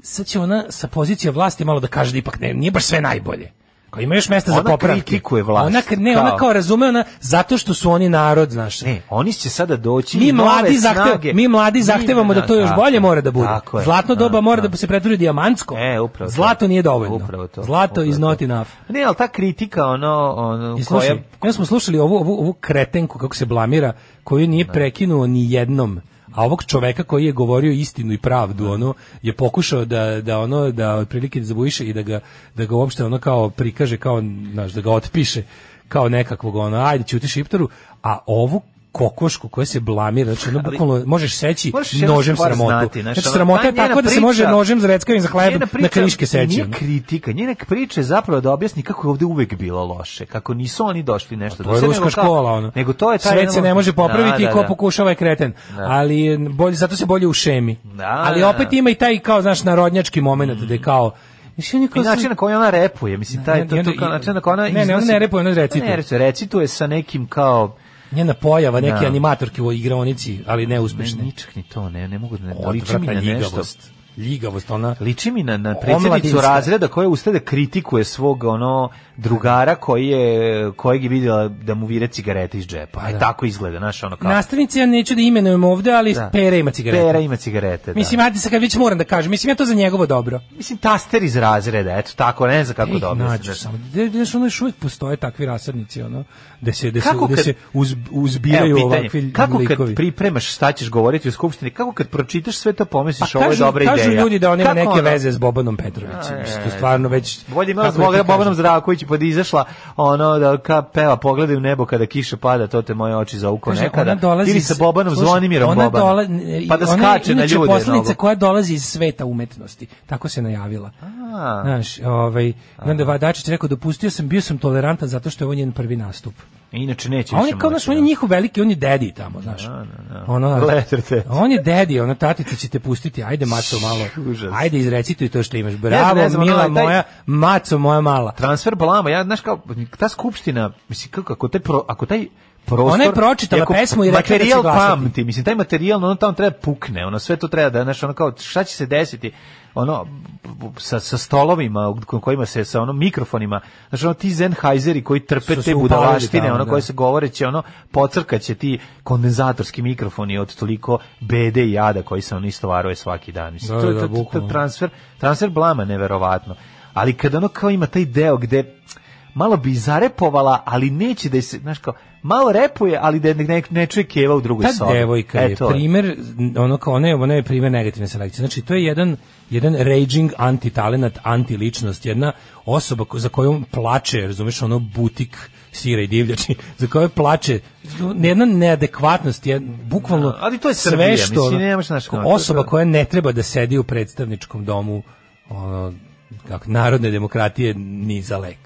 E: sad će ona sa pozicije vlasti malo da kaže da ipak ne, nije baš sve najbolje. Kao ima još mesta za
F: Ona
E: popravke.
F: kritikuje vlast,
E: Ona, k- ne, ona
F: kao.
E: kao razume, ona zato što su oni narod, znaš.
F: Ne, oni će sada doći
E: Mi
F: i nove
E: mladi,
F: snage.
E: zahtev, mi mladi zahtevamo da to još
F: Tako
E: bolje
F: je,
E: mora da bude.
F: tako je.
E: Zlatno
F: Da,
E: doba mora
F: da.
E: da se pretvori u dijamantsko.
F: E, upravo to.
E: Zlato nije dovoljno.
F: Upravo to.
E: Zlato
F: upravo
E: is
F: to.
E: not enough.
F: Ne, ali ta kritika, ono, ono
E: I slušaj,
F: koja...
E: ja smo slušali ovu, ovu, ovu kretenku kako se blamira, koju nije prekinuo ni jednom. A ovog čoveka koji je govorio istinu i pravdu, ono je pokušao da da ono da otprilike zavuiše i da ga da ga uopšte ono kao prikaže kao znaš da ga otpiše kao nekakvog ono ajde ćuti šiptaru, a ovu kokošku koja se blamira, znači ono bukvalno možeš seći
F: Možeš jednu
E: nožem
F: stvar
E: sramotu.
F: znati, znaš,
E: znači,
F: ono,
E: sramota
F: ta
E: je
F: njena
E: tako da se može
F: priča-
E: nožem zreckavim za hleb
F: njena
E: na
F: priča
E: kriške seći.
F: Nije
E: ono.
F: kritika, njena priča je zapravo da objasni kako je ovde uvek bilo loše, kako nisu oni došli nešto.
E: To je
F: do sebe,
E: ruska
F: nego kao-
E: škola, ono.
F: Nego to je taj...
E: Svet se
F: jedan-
E: ne može popraviti
F: Da,
E: i ko
F: da, da.
E: pokušava je kreten. Ali je bolje, zato se bolje u šemi.
F: Da. Mm.
E: Ali opet ima i taj, kao, znaš, narodnjački moment, da je kao, Znači, oni
F: I
E: kao
F: način na koji ona repuje, mislim,
E: I
F: taj to,
E: onda-
F: to kao način na koji ona
E: Ne, ne, ona
F: iznosi-
E: ne repuje, ona recituje.
F: Ne, recituje, recituje sa nekim kao...
E: njena pojava neke
F: Da.
E: animatorke u igraonici, ali neuspešne.
F: Ne, ničak ni to, ne, ne mogu da ne... Liči mi na
E: Odvratna
F: nešto.
E: ljigavost. Ljigavost, ona...
F: Liči mi na, na predsjednicu
E: Omladinska.
F: razreda koja ustaje da kritikuje svog ono drugara koji je, kojeg je vidjela da mu vire cigarete iz džepa.
E: Pa
F: Aj, tako izgleda, znaš, ono kao...
E: Nastavnici, ja neću da imenujem ovde, ali
F: Da.
E: Pera ima cigarete.
F: Pera ima cigarete, da.
E: Mislim, ajde sad kad već moram da kažem, mislim, ja to za njegovo dobro.
F: Mislim, taster iz razreda, eto, tako, ne znam kako
E: Ih,
F: dobro.
E: nađu samo. Gde- gde su ono još uvijek postoje takvi rasadnici, ono, da se, da se,
F: Kako
E: da
F: kad-
E: se uz,
F: Evo,
E: uzbiraju
F: pitanje,
E: ovakvi
F: Kako
E: likovi.
F: kad pripremiš šta ćeš govoriti u skupštini, kako kad pročitaš sve to pomisliš ovo je
E: Pa kažu,
F: dobra
E: kažu
F: ideja.
E: ljudi da on ima
F: Kako
E: neke
F: ono?
E: veze s Bobanom Petrovićem.
F: A,
E: Mislim,
F: e,
E: to stvarno već...
F: Bolje imala
E: kako
F: zbog
E: da ti
F: Bobanom
E: kažem?
F: Zdravković pod izašla ono da ka peva pogledaj u nebo kada kiša pada to te moje oči zauko
E: Kaže,
F: nekada
E: ona dolazi
F: ili
E: iz-
F: sa Bobanom
E: slušaj,
F: Zvonimirom
E: ona
F: Bobanom
E: dola- ne,
F: pa da
E: ona je
F: skače na
E: inače
F: ljude
E: poslanica
F: novo.
E: koja dolazi iz sveta umetnosti. Tako se najavila.
F: A.
E: Znaš, ovaj, i onda Vadačić rekao, dopustio sam, bio sam tolerantan zato što je ovo njen prvi nastup.
F: inače neće
E: A on
F: više
E: je kao,
F: moći,
E: znaš, on je
F: da.
E: njihov veliki, on je dedi tamo, znaš. Ono,
F: Letter teta.
E: on je dedi, ono, tatica će te pustiti, ajde, maco
F: [LAUGHS]
E: malo,
F: Užas.
E: ajde, izrecituj to što imaš.
F: znam,
E: Bravo,
F: ne znam, ono,
E: mila
F: ali taj-
E: moja, maco moja mala.
F: transfer blama ja znaš kao ta skupština mislim kako ako taj pro, ako taj prostor
E: Ona je pročitala
F: ako
E: pesmu i rekla da će
F: materijal
E: glasati.
F: pamti mislim taj materijal ono tamo treba pukne ono sve to treba da znaš ono kao šta će se desiti ono sa, sa stolovima u kojima se sa onom mikrofonima znači ono ti Sennheiseri koji trpe
E: Su se
F: te
E: upalili
F: budalaštine
E: tamo,
F: ono
E: da.
F: koje se govoreće ono pocrkaće ti kondenzatorski mikrofoni od toliko bede i jada koji se ono istovaruje svaki dan mislim
E: Da,
F: to, je-
E: da,
F: to- to- to-
E: bukvalno.
F: transfer, transfer blama neverovatno. Ali kada ono kao ima taj deo gde malo bi zarepovala, ali neće da je se, znaš kao, malo repuje, ali da je ne, ne čuje keva u drugoj
E: Ta
F: sobi.
E: devojka
F: E,
E: je
F: to
E: primer, ono kao ona je, ona je primer negativne selekcije. Znači, to je jedan, jedan raging antitalenat, antiličnost, jedna osoba ko- za kojom plače, razumeš, ono butik sira i [LAUGHS] divljači, za koju plače jedna neadekvatnost, je bukvalno
F: Da, ali to je Srbija,
E: sve što
F: mislim,
E: ono,
F: nemaš naš-
E: ko-
F: to- to-
E: osoba koja ne treba da sedi u predstavničkom domu ono, kako, narodne demokratije ni za lek.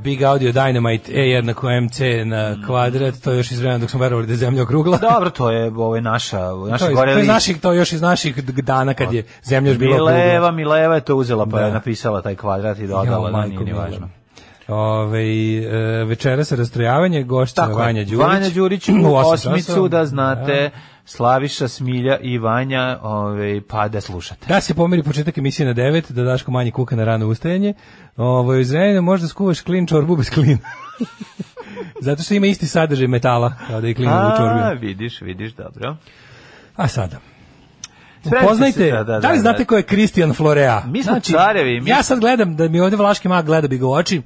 E: Big Audio Dynamite E jednako MC na kvadrat, to je još iz vremena dok smo verovali da je zemlja okrugla.
F: Dobro, to je ovo je naša, ovo je
E: to,
F: naša
E: je, to,
F: gore
E: je iz naših, to je još iz naših d- dana kad je zemlja još bila
F: Mileva,
E: okrugla.
F: Mileva je to uzela pa
E: Da.
F: je napisala taj kvadrat i dodala, da nije ni
E: mila.
F: važno.
E: Ove, e, večera se rastrojavanje, gošća
F: Tako je,
E: Vanja Đurić.
F: Vanja
E: [CLEARS THROAT]
F: Đurić u
E: osam
F: osmicu,
E: časova.
F: da znate, Slaviša, Smilja i Vanja, ovaj, pa da slušate.
E: Da se pomeri početak emisije na 9, da Daško manje kuka na rano ustajanje. Ovo, iz Renjanina možda skuvaš klin čorbu bez klina. [LAUGHS] Zato što ima isti sadržaj metala, kao da je klin u
F: A,
E: čorbi.
F: vidiš, vidiš, dobro.
E: A sada.
F: Spremite
E: Poznajte,
F: se,
E: da, li znate ko je Kristijan Florea?
F: Mi smo carevi, mi-
E: Ja sad gledam, da mi ovde Vlaški mag gleda bi ga u oči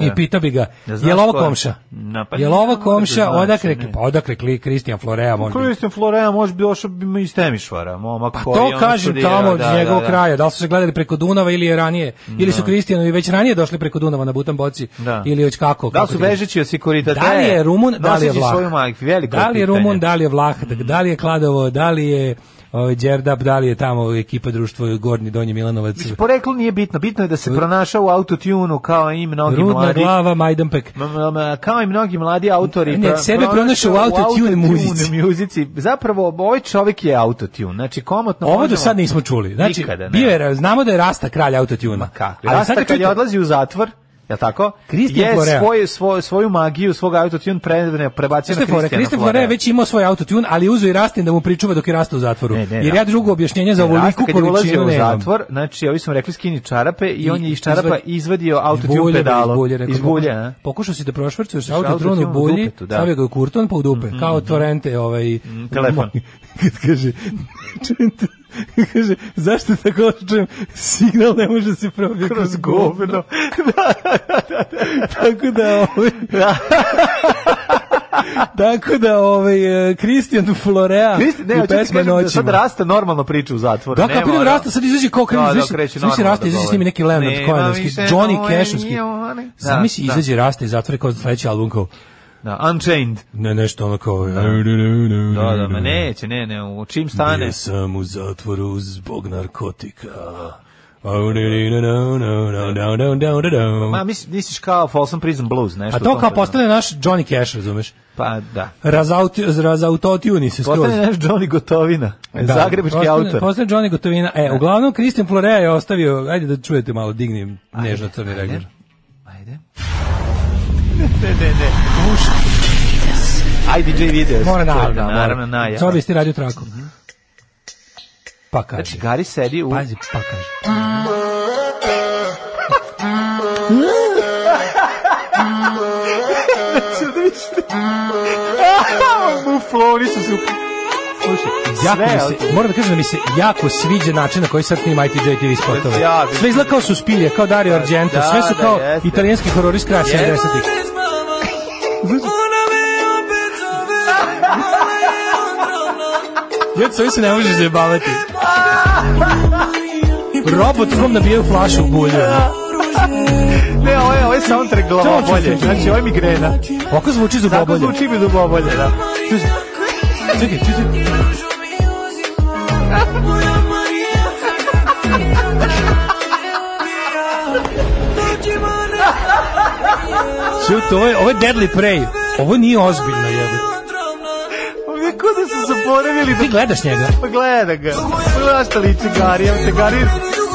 E: i pita bi ga,
F: Da znaš
E: je li ovo
F: ko je?
E: komša?
F: Na, pa
E: je li
F: ne
E: ovo
F: mogu da
E: komša?
F: znaš,
E: odakle,
F: ne.
E: pa odakle kli Kristijan Florea može biti?
F: Christian Florea može bi došao bi iz Temišvara, momak
E: Pa
F: koji
E: to
F: ono
E: kažem
F: studira,
E: tamo od
F: da,
E: njegovog
F: da, da.
E: kraja, da li su se gledali preko Dunava ili je ranije, ili su Kristijanovi već ranije došli preko Dunava na Butan Boci,
F: Da.
E: ili već kako.
F: Da li
E: kako
F: su
E: ti kažem.
F: bežeći od Sikoritate?
E: Da li je Rumun, da li je
F: Noseći
E: Vlah?
F: svoju majku, veliko
E: da li je
F: pitanje. Mm.
E: Rumun, da li je Vlah, da li je Kladovo, da li je ovaj, Đerdap, da li je tamo ekipa društvo Gornji Donji Milanovac.
F: Mislim, Poreklo nije bitno, bitno je da se pronašao u autotunu kao i mnogi
E: Rudna
F: mladi.
E: glava, Majdanpek.
F: M- m- m- kao i mnogi mladi autori pa
E: Ne,
F: pro-
E: sebe pronašao u autotune muzici.
F: muzici. zapravo ovaj čovjek je autotune znači komotno
E: Ovo do
F: možemo-
E: sad nismo čuli. Znači,
F: Nikada, ne.
E: bio je, znamo da je Rasta kralj autotuna.
F: Kako?
E: Ali
F: Rasta
E: sad
F: kad
E: kad
F: je
E: čujete-
F: odlazi u zatvor, je li tako?
E: Kristijan
F: je
E: Florea.
F: svoj, svoj, svoju magiju, svog autotune pre, prebacio
E: Znaš
F: na
E: šta je fora?
F: Kristijana
E: Kristijan
F: Florea.
E: Florea već imao svoj autotune, ali je uzeo i Rastin da mu pričuva dok je rastao u zatvoru.
F: Ne, ne,
E: Jer ja
F: Rasta-
E: drugo objašnjenje za ovu
F: Rasta
E: liku
F: kad je
E: količinu
F: ulazio u
E: nemam.
F: zatvor, znači ovi su mu rekli skini čarape i,
E: I-
F: on je iz čarapa
E: izvad-
F: izvadio
E: Iz
F: autotune
E: bulje,
F: pedalo.
E: Iz bulje, rekao,
F: iz bulje,
E: pokušao-
F: a?
E: Pokušao si da prošvrcuješ
F: Slušaj,
E: autotron
F: autotron
E: u
F: u
E: bulji,
F: dupetu, da. Mhm,
E: stavio ga u kurton pa u dupe, kao torrente ovaj...
F: telefon.
E: [LAUGHS] Kad kaže... [LAUGHS] kaže, zašto tako loše čujem? Signal ne može da se probije kroz govno. Tako da...
F: [LAUGHS]
E: Ovaj, Tako da ovaj e, Kristijan Florea
F: Kristi- ne,
E: i
F: hoću ti
E: pesma
F: kažem da sad
E: noćima.
F: Rasta normalno priča u zatvoru.
E: Da, kako vidim
F: ono-
E: Rasta sad izađe kao
F: Da,
E: krenuo,
F: da,
E: znaš,
F: kreće
E: znaš si
F: normalno
E: Rasta
F: da
E: izađe s
F: govori.
E: njima neki Leonard
F: Nema
E: Cohenovski,
F: više
E: Johnny
F: moje
E: Cashovski.
F: nije one. Da,
E: Zamisli
F: da.
E: izađe Rasta i zatvori kao sledeći album kao
F: Da, Unchained.
E: Ne, nešto ono kao... Da,
F: Da, da, ma neće, ne, ne, u čim stane.
E: Ja sam u zatvoru zbog narkotika. A
F: Ma, misliš, misliš kao Folsom Prison Blues, nešto. u
E: to
F: tom
E: kao
F: fazonu.
E: postane naš Johnny Cash, razumeš?
F: Pa, da.
E: Razauti, razautotuni se skroz.
F: Postane naš Johnny Gotovina, zagrebački
E: postane-
F: autor.
E: Postane Johnny Gotovina. E, uglavnom, Christian Florea je ostavio, ajde da čujete malo, digni nežno crni
F: ajde.
E: regler.
F: Ajde. [LAUGHS] ne, ne, ne. Muški. Ajde, DJ Videos.
E: Mora
F: To je,
E: naravno. mora.
F: Naravno, Mhm. naja.
E: Cobi, jesi ti radio traku? Pa kaže.
F: Znači, Gari sedi u...
E: Pazi, pa
F: [LAUGHS]
E: kaže.
F: Muflo, oni su su... Slušaj,
E: Jako mi
F: sve...
E: se, moram da kažem da mi se jako sviđa način na koji sad snima ITJ TV spotove.
F: Ja bi-
E: Sve izgleda kao su spilje, kao Dario Argento,
F: da,
E: sve su
F: da,
E: kao
F: jeste.
E: italijanski horori s kraja 70-ih. Jed, sve se ne možeš zajebavati. Robot vam nabijaju flašu u bulju.
F: Ne, ovo je, ovo je soundtrack glava
E: To ću
F: bolje.
E: se-
F: Znači, ovo je migrena.
E: Oko zvuči
F: Tako
E: zubobolje.
F: zvuči mi dubobolje, da.
E: Čekaj, čekaj. Ču, to ovo je, ovo je Deadly Prey. Ovo nije ozbiljno, jebote.
F: Ovo je ko da su zaboravili
E: Ti
F: da...
E: gledaš njega?
F: Pa gleda ga. Pogledaš šta liči Gari, evo te Gari...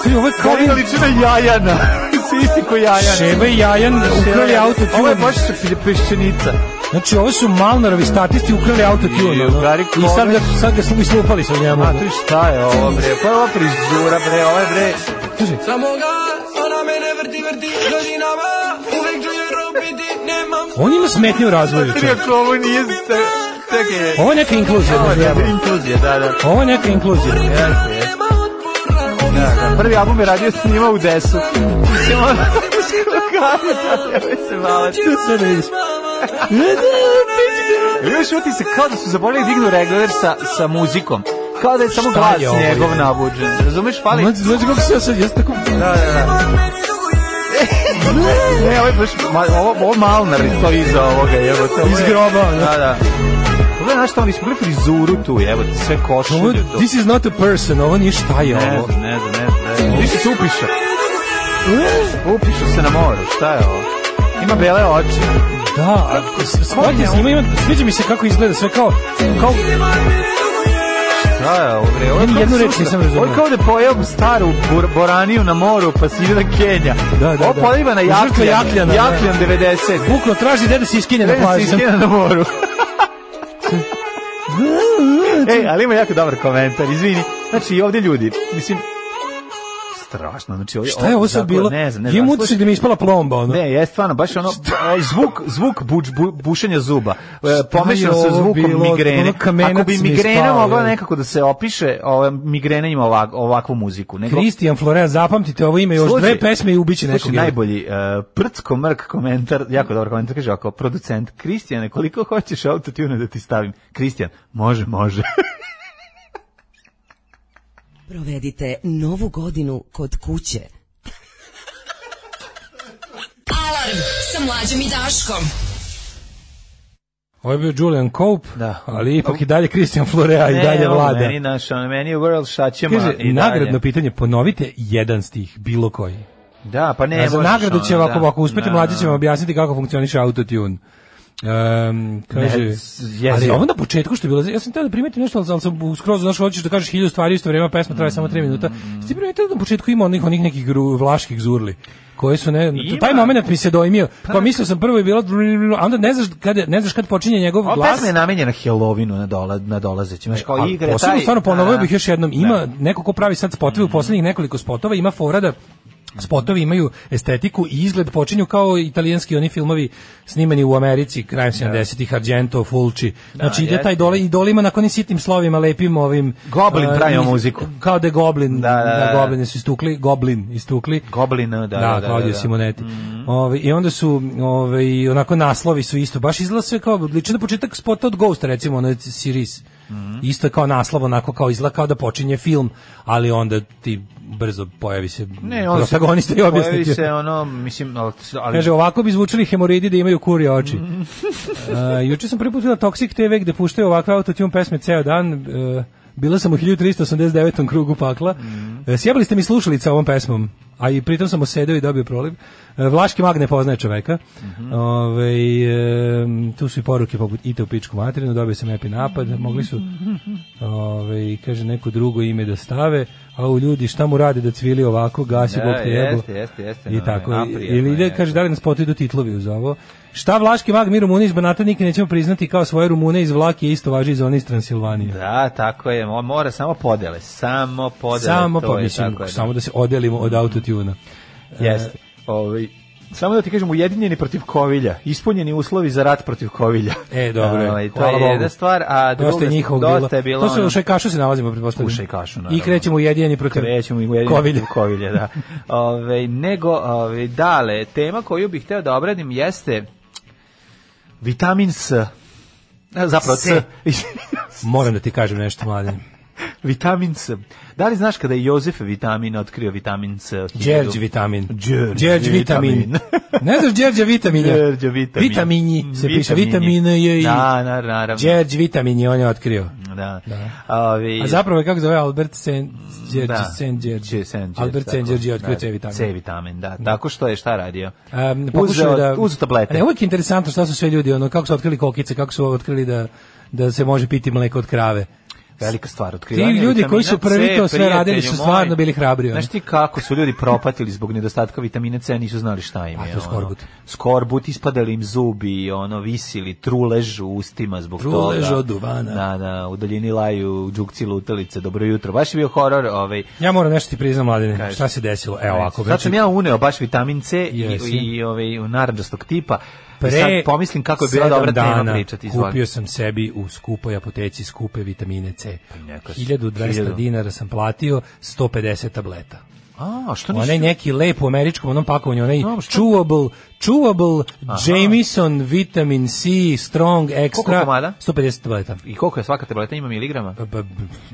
E: Ti, ovo je kao
F: Gari da liči na Jajana. [LAUGHS] Si isti ko Jajan.
E: Šeba i Jajan ukrali autotune.
F: Ovo je baš pe- peščenica.
E: Znači, ovo su Malnarovi statisti ukrali autotune.
F: I u Gari
E: ono. I sad ga, sad ga su islupali sa njemu.
F: A tu šta je ovo bre? Pa je ovo prizura bre, ovo je bre...
E: On ima smetnje u razvoju.
F: Tri
E: čovječe.
F: ako ovo nije... Čekaj,
E: Ovo je neka inkluzija.
F: ovo je
E: da
F: dobra
E: jebo.
F: inkluzija, da, da.
E: Ovo je neka inkluzija.
F: Jeste, jeste. Da, da. Prvi album je radio snimao u [LAUGHS] desu. Mislim, ono- Gari, da, nemoj se bavati.
E: Sve da vidiš.
F: Ili imaš utisak kao da su zaboravili da dignu regler sa, sa muzikom. Kao da je Ono samo
E: Šta
F: glas
E: je ovo,
F: njegov
E: je?
F: nabuđen. Razumeš, fali...
E: Mlađi, mlađi, kako se ja sad, jesi tako...
F: Da, da, da. ne, ovo je baš, ma, ovo, ovo Malnar je to iza ovoga, evo to.
E: Iz groba, ono.
F: da. da. Ovo je znaš šta, oni smo bili frizuru tu, evo, sve
E: Ovo,
F: košulje tu.
E: this is not a person, ovo nije šta je
F: Ne
E: ovo.
F: znam, ne znam, ne znam. ne znam. Više se upiše. Upiše se na moru, šta je ovo? Ima bele oči.
E: Da, a s- shvatio sam, ima, ima, sviđa mi se kako izgleda sve kao, kao
F: Da, je ovo bre, ovo je
E: Ni
F: kao
E: jednu reč
F: sutra.
E: nisam razumeo.
F: Ovo je kao da je pojeo staru bur, boraniju na moru, pa si ide na Kenja.
E: Da, da,
F: Ovo
E: da.
F: pojeva na
E: Žrtva
F: jakljan,
E: Jakljana,
F: jakljan,
E: da.
F: 90.
E: bukno traži gde da se iskine na
F: Kenja si
E: plaži.
F: iskina na
E: [LAUGHS]
F: moru. Ej, ali ima jako dobar komentar, izvini. Znači, i ovde ljudi, mislim, strašno, znači ovdje...
E: Šta je ovo sad
F: zakon-
E: bilo?
F: Ne znam, ne znam.
E: Imam utisak da mi je ispala plomba, ono.
F: Ne, je stvarno, baš ono, o, zvuk, zvuk buč, bu, bušenja zuba, e, pomešan
E: je
F: sa
E: ovo
F: zvukom
E: bilo?
F: migrene.
E: Ono kamenac
F: Ako bi
E: mi je
F: migrena
E: spao,
F: mogla
E: je.
F: nekako da se opiše, ove, migrena ima ovak, ovakvu muziku. Nego,
E: Kristijan Florea, zapamtite ovo ime, još
F: Slušaj,
E: dve pesme i ubiće nekog.
F: Slušaj, najbolji uh, prcko mrk komentar, jako dobar komentar, kaže ovako, producent, Kristijane, koliko hoćeš autotune da ti stavim? Kristijan, može, može.
I: Provedite novu godinu kod kuće.
G: Alarm sa mlađom i Daškom.
E: Ovo je bio Julian Cope,
F: Da.
E: ali ipak i dalje Kristijan Florea i dalje
F: ovo
E: vlada.
F: Meni, naš, ono, meni je world šaćema
E: Kaže,
F: i dalje.
E: nagradno pitanje, ponovite jedan stih, bilo koji.
F: Da, pa ne,
E: A za
F: možeš,
E: nagradu će
F: ono,
E: ovako,
F: da.
E: ako uspete,
F: Da,
E: mlađi
F: da.
E: će vam objasniti kako funkcioniše autotune. Um, kaže,
F: Ne, s- jezivo.
E: ali ovo na početku što je bilo, ja sam teo da primetim nešto, ali sam u- skroz znaš, hoćeš da kažeš hiljadu stvari, isto vreme, pesma traje samo 3 minuta.
F: Mm.
E: Jeste primetili da na početku ima onih, onih nekih gru, vlaških zurli? koje su ne,
F: Ima. Pa-
E: taj moment mi se dojmio. Kao mislio sam prvo je bilo, a onda ne znaš kad, je- ne znaš kad počinje njegov
F: Ova
E: glas.
F: pesma je namenjena Halloweenu na, dola, na dolazećem. Znaš, kao
E: A
F: igre,
E: E, posebno
F: taj...
E: stvarno ponovio
F: da,
E: bih još jednom, ima neko ko pravi sad spotove u poslednjih nekoliko spotova, ima fora da spotovi imaju estetiku i izgled počinju kao italijanski oni filmovi snimani u Americi krajem 70-ih Argento, Fulci. Znači ide
F: jeste.
E: taj dole i dole ima na onim sitnim slovima lepim ovim
F: Goblin
E: a,
F: pravio
E: iz-
F: muziku.
E: Kao da je Goblin, da,
F: Da, da, da, da.
E: Goblin su istukli, Goblin istukli.
F: Goblina, da, da, da,
E: Claudio
F: da, Mhm. da.
E: Simonetti. Ovaj, I onda su, ovaj, onako naslovi su isto, baš izgleda sve kao, liči na početak spota od Ghosta, recimo, ono Siris.
F: Mhm.
E: Isto kao naslov, onako kao izgleda kao da počinje film, ali onda ti brzo pojavi se
F: Ne,
E: ne,
F: on
E: protagonista i objasni ti.
F: Pojavi se ono, mislim, ali... ali Mm.
E: Kaže, ovako bi zvučali hemoroidi da imaju kurje oči. [LAUGHS] A, juče sam prvi put videla Toxic TV gde puštaju ovakve autotune pesme ceo dan. E, bila sam u 1389. krugu pakla.
F: Mm.
E: E, sjebali ste mi slušalica ovom pesmom, a i pritom sam osedeo i dobio proliv. E, Vlaški mag ne poznaje čoveka.
F: Mhm.
E: Ovaj, e, tu su i poruke poput ite u pičku materinu, dobio sam epi napad, mogli su ovaj, kaže neko drugo ime da stave, a u ljudi šta mu rade da cvili ovako, gasi
F: Da,
E: Bog te jebo.
F: jeste, jeste, jeste,
E: I
F: no,
E: tako.
F: naprijed,
E: Ili ide,
F: jeste.
E: kaže, da li nas potidu titlovi uz ovo? Šta Vlaški mag mi Rumuni iz Banata nikad nećemo priznati kao svoje Rumune iz Vlakije, isto važi iz one iz Transilvanije.
F: Da, tako je, mo- mora samo podele, samo podele.
E: samo,
F: to
E: pa,
F: je,
E: mislim,
F: tako je, da.
E: samo da se odelimo od autotuna.
F: Jeste. Ovaj Samo da ti kažem, ujedinjeni protiv Kovilja. Ispunjeni uslovi za rat protiv Kovilja.
E: E, dobro je.
F: Ovaj, to
E: Hvala
F: je
E: Bogu.
F: jedna stvar, a druga,
E: Dosta je njihovog
F: dosta je
E: bilo.
F: bilo...
E: To se
F: ono-
E: u Šajkašu se nalazimo, pretpostavljam.
F: U Šajkašu,
E: I
F: naravno.
E: krećemo ujedinjeni protiv
F: krećemo i ujedinjeni
E: Kovilja.
F: protiv Kovilja, da. Ove, nego, ove, dale, tema koju bih hteo da obradim jeste vitamin S. E, Zapravo C. [LAUGHS]
E: Moram da ti kažem nešto, mlade.
F: vitamin S. Da li znaš kada je Jozef vitamin otkrio vitamin S?
E: Đerđ vitamin.
F: Đerđ
E: Đerđ vitamin.
F: vitamin.
E: [LAUGHS] ne znaš Đerđa vitamina?
F: Đerđa vitamin.
E: Vitaminji se piše.
F: Vitaminji.
E: Vitamina je i...
F: Da, na- naravno.
E: Đerđ vitamin je on je otkrio.
F: Da. Ovi,
E: A zapravo je kako zove Albert Sen Đerđe,
F: Da.
E: Sen Đerđe.
F: Đe- Senđer,
E: Albert
F: tako.
E: Sen Đerđe je otkrio
F: Da,
E: C vitamin.
F: C vitamin, da. Tako što je šta radio?
E: Um,
F: Uzeo-
E: pokušao da
F: uzeo tablete.
E: Ne, uvijek je interesantno šta su sve ljudi ono kako su otkrili kokice, kako su otkrili da da se može piti mleko od krave.
F: Velika stvar
E: Ti
F: otkrivanje.
E: ljudi
F: vitamina
E: koji su prvi
F: C,
E: to sve radili su
F: prijatelju
E: stvarno
F: moj.
E: bili hrabri. ono.
F: Znaš ti kako su ljudi propatili zbog nedostatka vitamina C, nisu znali šta im
E: A,
F: je.
E: Pa, to je skorbut.
F: Ono. Skorbut, ispadali im zubi, ono, visili, trulež u ustima zbog toga.
E: Trulež od duvana.
F: Da, da, u daljini laju, džukci lutalice, dobro jutro. Baš je bio horor, ovaj,
E: Ja moram nešto ti priznam, mladine.
F: Kaži.
E: Šta se desilo? Evo ovako,
F: Sad sam
E: znači,
F: ja uneo baš vitamin C i,
E: Jesi.
F: i, i ovaj, narandžastog tipa. Pre,
E: pre
F: sad pomislim kako je bila
E: sedam
F: dobra tema
E: dana
F: pričati. izvoli.
E: Kupio sam sebi u skupoj apoteci skupe vitamine C.
F: neka si.
E: 1200
F: Pa Hiljadu.
E: dinara sam platio, 150 tableta.
F: A, što nisi?
E: onaj neki lep u američkom onom pakovanju, onaj
F: Znam, šta-
E: chewable, chewable Jameson vitamin C strong extra
F: komada?
E: 150 tableta.
F: I koliko je svaka tableta? Ima miligrama?
E: Pa, pa,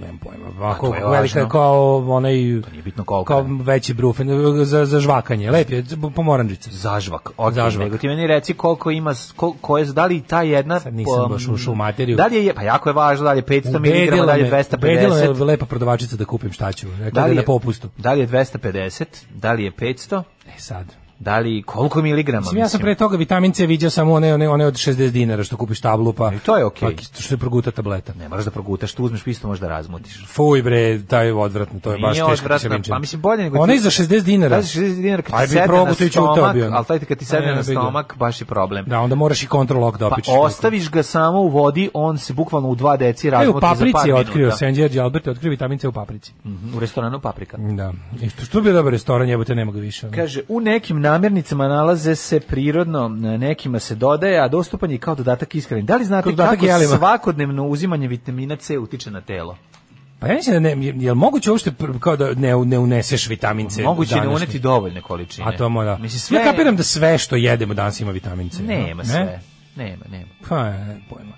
E: Nemam pojma, ovako
F: to je
E: velika je
F: važno.
E: kao onaj
F: nije bitno koliko,
E: kao
F: ne.
E: veći brufen za, za žvakanje, lep je, pomoranđice.
F: Zažvak. Ok,
E: Zažvak.
F: Nego ti meni reci koliko ima, s- ko, koje, da li ta jedna...
E: Sad nisam baš ušao u materiju.
F: Da li je, pa jako je važno, da li je 500 mg, da li je
E: ubedila me
F: 250.
E: lepa prodavačica da kupim šta ću, rekla da je na popustu.
F: Da li je 250, da li je 500,
E: E sad,
F: da li koliko miligrama?
E: Mislim, ja sam pre toga vitamin C viđao samo one, one, one od 60 dinara što kupiš tablu pa...
F: I E, to je okej.
E: pa što je proguta tableta.
F: Ne moraš da progutaš, tu uzmeš pisto, možeš da razmutiš.
E: Fuj bre, taj je odvratno, to je baš
F: Nije
E: teška
F: odvratno,
E: kiselinčina.
F: pa mislim, bolje nego ti-
E: Ona je za 60 dinara.
F: Da, za 60 dinara kad
E: Aj,
F: ti
E: bi
F: sedne
E: probao,
F: na
E: to je ćutao
F: stomak,
E: bio.
F: ali taj ti kad ti
E: A,
F: sedne
E: ne,
F: na
E: bi ga.
F: stomak, baš je problem.
E: Da, onda moraš i kontrolok da
F: Pa
E: opičeš.
F: ostaviš ga samo u vodi, on se bukvalno u dva deci
E: E,
F: razmuti
E: u
F: za par minuta.
E: paprici je otkrio, San Đerđe Albert je otkrio vitamin C u paprici.
F: Mhm, U restoranu paprika.
E: Da. I što, što bi bio dobar restoran, jebote, nema ga više. ono.
F: Kaže, u nekim namirnicama nalaze se prirodno, na nekima se dodaje, a dostupan je kao dodatak ishrani. Da li znate
E: Kao dodatak
F: kako
E: jelima.
F: svakodnevno uzimanje vitamina C utiče na telo?
E: Pa ja mislim da ne, je li moguće uopšte pr- kao da ne, ne uneseš vitamin C?
F: Moguće je ne
E: današnji?
F: uneti dovoljne količine.
E: A to mora.
F: Mislim, sve...
E: Ja kapiram da sve što jedemo danas ima vitamin C.
F: Nema
E: ne?
F: sve. Nema, nema.
E: Pa, ne, pojma.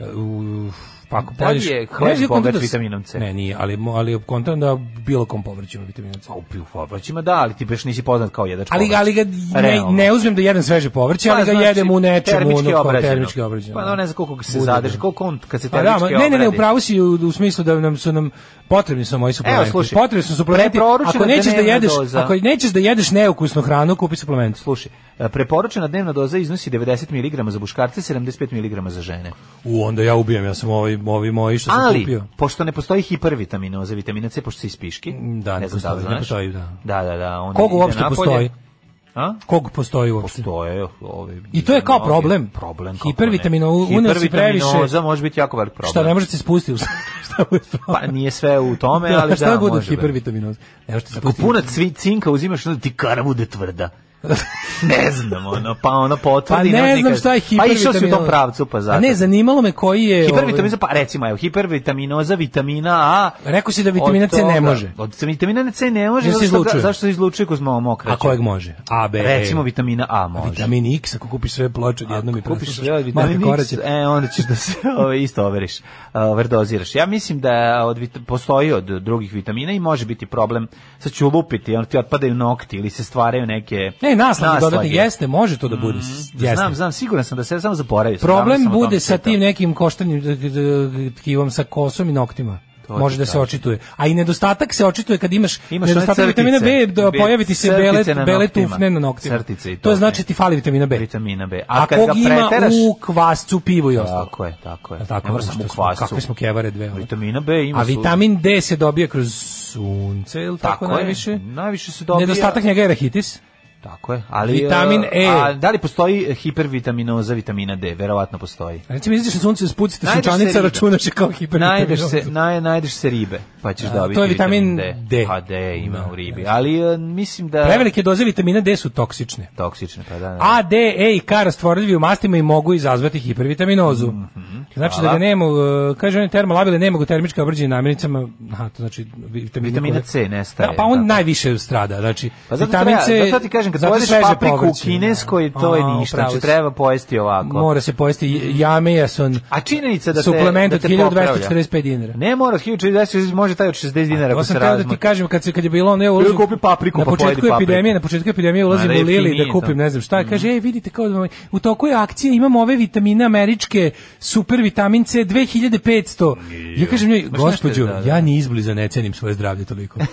E: E, u- Pa ako
F: Da li
E: pođeš-
F: je hleb
E: Ja znam
F: bogat
E: da s-
F: vitaminom C?
E: Ne, nije, ali, mo- ali kontam da bilo kom povrću ima vitamin C.
F: Pa u u povrćima da, ali ti baš nisi poznat kao jedač
E: Ali,
F: povrća.
E: ali ga ne,
F: Realno.
E: ne uzmem da jedem sveže povrće, ali
F: Pa,
E: ga
F: znači,
E: jedem u nečemu.
F: termički
E: ono, kao
F: obrađeno.
E: Termički obrađeno.
F: Pa no, ne znam koliko se
E: Bude,
F: zadrži,
E: da.
F: koliko on kad se
E: Pa
F: termički
E: da, ma-
F: obradi.
E: ne, ne, ne, upravo si u, u smislu da nam su nam potrebni su moji suplementi.
F: slušaj,
E: potrebni su suplementi.
F: preporučeno
E: Ako nećeš da
F: dnevna
E: jedeš,
F: doza.
E: ako nećeš da jedeš neukusnu hranu, kupi suplement.
F: Slušaj, e, preporučena dnevna doza iznosi 90 mg za muškarce, 75 mg za žene.
E: U, onda ja ubijem, ja sam ovi, ovi moji što sam
F: Ali,
E: kupio.
F: pošto ne postoji hipervitaminoza, vitamina C, pošto se ispiški,
E: Mm, Da, ne
F: znam
E: postoji,
F: li
E: ne
F: znaš.
E: postoji, da.
F: Da, da, da. Onda
E: Koga
F: ide
E: uopšte
F: napolje.
E: postoji?
F: A?
E: Kog postoji uopšte?
F: Postoje. Ove,
E: I to je kao
F: mnogi.
E: problem.
F: Problem.
E: Hipervitamino-
F: kako ne.
E: uneo si previše-
F: Hipervitaminoza može biti jako velik problem.
E: Šta, ne možete se spustiti? u- [LAUGHS] šta bude problem?
F: Pa nije sve u
E: [LAUGHS]
F: tome, ali da,
E: šta bude
F: može biti.
E: hipervitaminoza? Ne možete se
F: Ako
E: spustiti. [LAUGHS]
F: puno cvi, cinka uzimaš, onda ti kara bude tvrda. ne znam, ono, pa ono potvrdi.
E: Pa ne
F: ono,
E: znam
F: neka-
E: šta je
F: Pa išao si u tom
E: hipervitaminoza.
F: pravcu, pa zato.
E: A ne, zanimalo me koji je... ovaj,
F: Hipervitaminoza, pa recimo, evo, hipervitaminoza, vitamina A.
E: Rekao si da vitamina
F: od
E: C ne
F: toga-
E: može.
F: Od vitamina C ne može,
E: Jer se
F: zato što, ga,
E: izlučuje.
F: zašto se izlučuje kroz malo mokraće.
E: A kojeg može? A, B, E.
F: Recimo, vitamina A može.
E: Vitamin X, ako kupiš sve ploče, jednom i
F: kupiš
E: preslušaš.
F: sve od
E: Marka
F: vitamina X,
E: Koraća.
F: e, onda ćeš da se [LAUGHS] ove, isto overiš, e, overdoziraš. Ja mislim da od, vit- postoji od drugih vitamina i može biti problem, sad ću lupiti, ono ti otpadaju nokti ili se stvaraju neke
E: Ne, naslage dodatne, jeste, može to da bude. jeste.
F: Mhm, Znam, znam, siguran sam da se samo zaboravio. sam, davno
E: Problem
F: sam o
E: bude
F: tome
E: sa
F: čitao.
E: tim nekim koštanjem d- d- d- tkivom sa kosom i noktima.
F: To
E: može
F: ti
E: da se
F: kažem.
E: očituje. A i nedostatak se očituje kad imaš,
F: Imaš one
E: nedostatak
F: crtice.
E: vitamina B, da
F: Be-
E: pojavi se
F: crtice
E: bele,
F: na
E: bele
F: noktima.
E: tufne na noktima.
F: Crtice i
E: to,
F: to,
E: znači ti fali vitamina B.
F: vitamina B. A,
E: A,
F: kad
E: kog
F: ga
E: ima
F: preteraš,
E: u kvascu, pivu i ostalo.
F: tako je, tako je.
E: Jel tako?
F: Ne mora samo
E: Što
F: u
E: smo-
F: kvasu.
E: kakve smo kevare dve, ono.
F: Vitamina B ima
E: A
F: su-
E: vitamin D se dobije kroz sunce, ili tako,
F: Tako je,
E: najviše?
F: najviše se dobija-
E: Nedostatak njega je rahitis.
F: Tako je. Ali,
E: Vitamin
F: e,
E: E.
F: A, da li postoji hipervitaminoza vitamina D? Verovatno postoji.
E: Recimo, izađeš na sunce, spucite
F: Najdeš se
E: sunčanica,
F: ribe.
E: računaš je kao hipervitamin.
F: Najdeš se, naj, najdeš se ribe, pa ćeš
E: A,
F: dobiti
E: to je vitamin
F: D. Pa D ima u ribi, ali e, mislim da...
E: Prevelike doze vitamina D su toksične.
F: Toksične, pa da. da.
E: A, D, E i K rastvorljivi u mastima i mogu izazvati hipervitaminozu. Znači da
F: Mhm. hvala.
E: ga nema, e, kaže on je termolabile, nema ga termička obrđenja namirnicama, aha, to znači vitamina,
F: Vitamina
E: koje-
F: C nestaje,
E: Da, pa on
F: tako.
E: najviše strada, znači
F: Pa zato, treba, zato ti kažem, kad
E: zato
F: pojedeš
E: sveže
F: papriku
E: povrće.
F: u kineskoj, to je
E: A,
F: ništa.
E: upravo
F: Znači,
E: si.
F: treba pojesti ovako.
E: Mora se pojesti jamejason.
F: A činjenica da te,
E: Suplement
F: da
E: od
F: te
E: 1245 dinara.
F: Ne mora od 1245 može taj od 60 dinara
E: To
F: ako
E: sam
F: se
E: teo da ti
F: razmatra.
E: kažem kad se kad je bilo ono ja
F: Ili
E: ulazim
F: kupi papriku,
E: na
F: pa
E: početku
F: pojedi papriku.
E: epidemije, na početku epidemije ulazim
F: Ma, Mhm. da je
E: u Lili da
F: jeftinije
E: kupim
F: to.
E: ne znam šta, kaže ej vidite kao da vam- u toku je akcije imamo ove vitamine američke super vitamin C 2500. Ja kažem njoj
F: Baš
E: gospođo,
F: nešto je, da, da.
E: ja ni izbliza ne cenim svoje zdravlje toliko. [LAUGHS]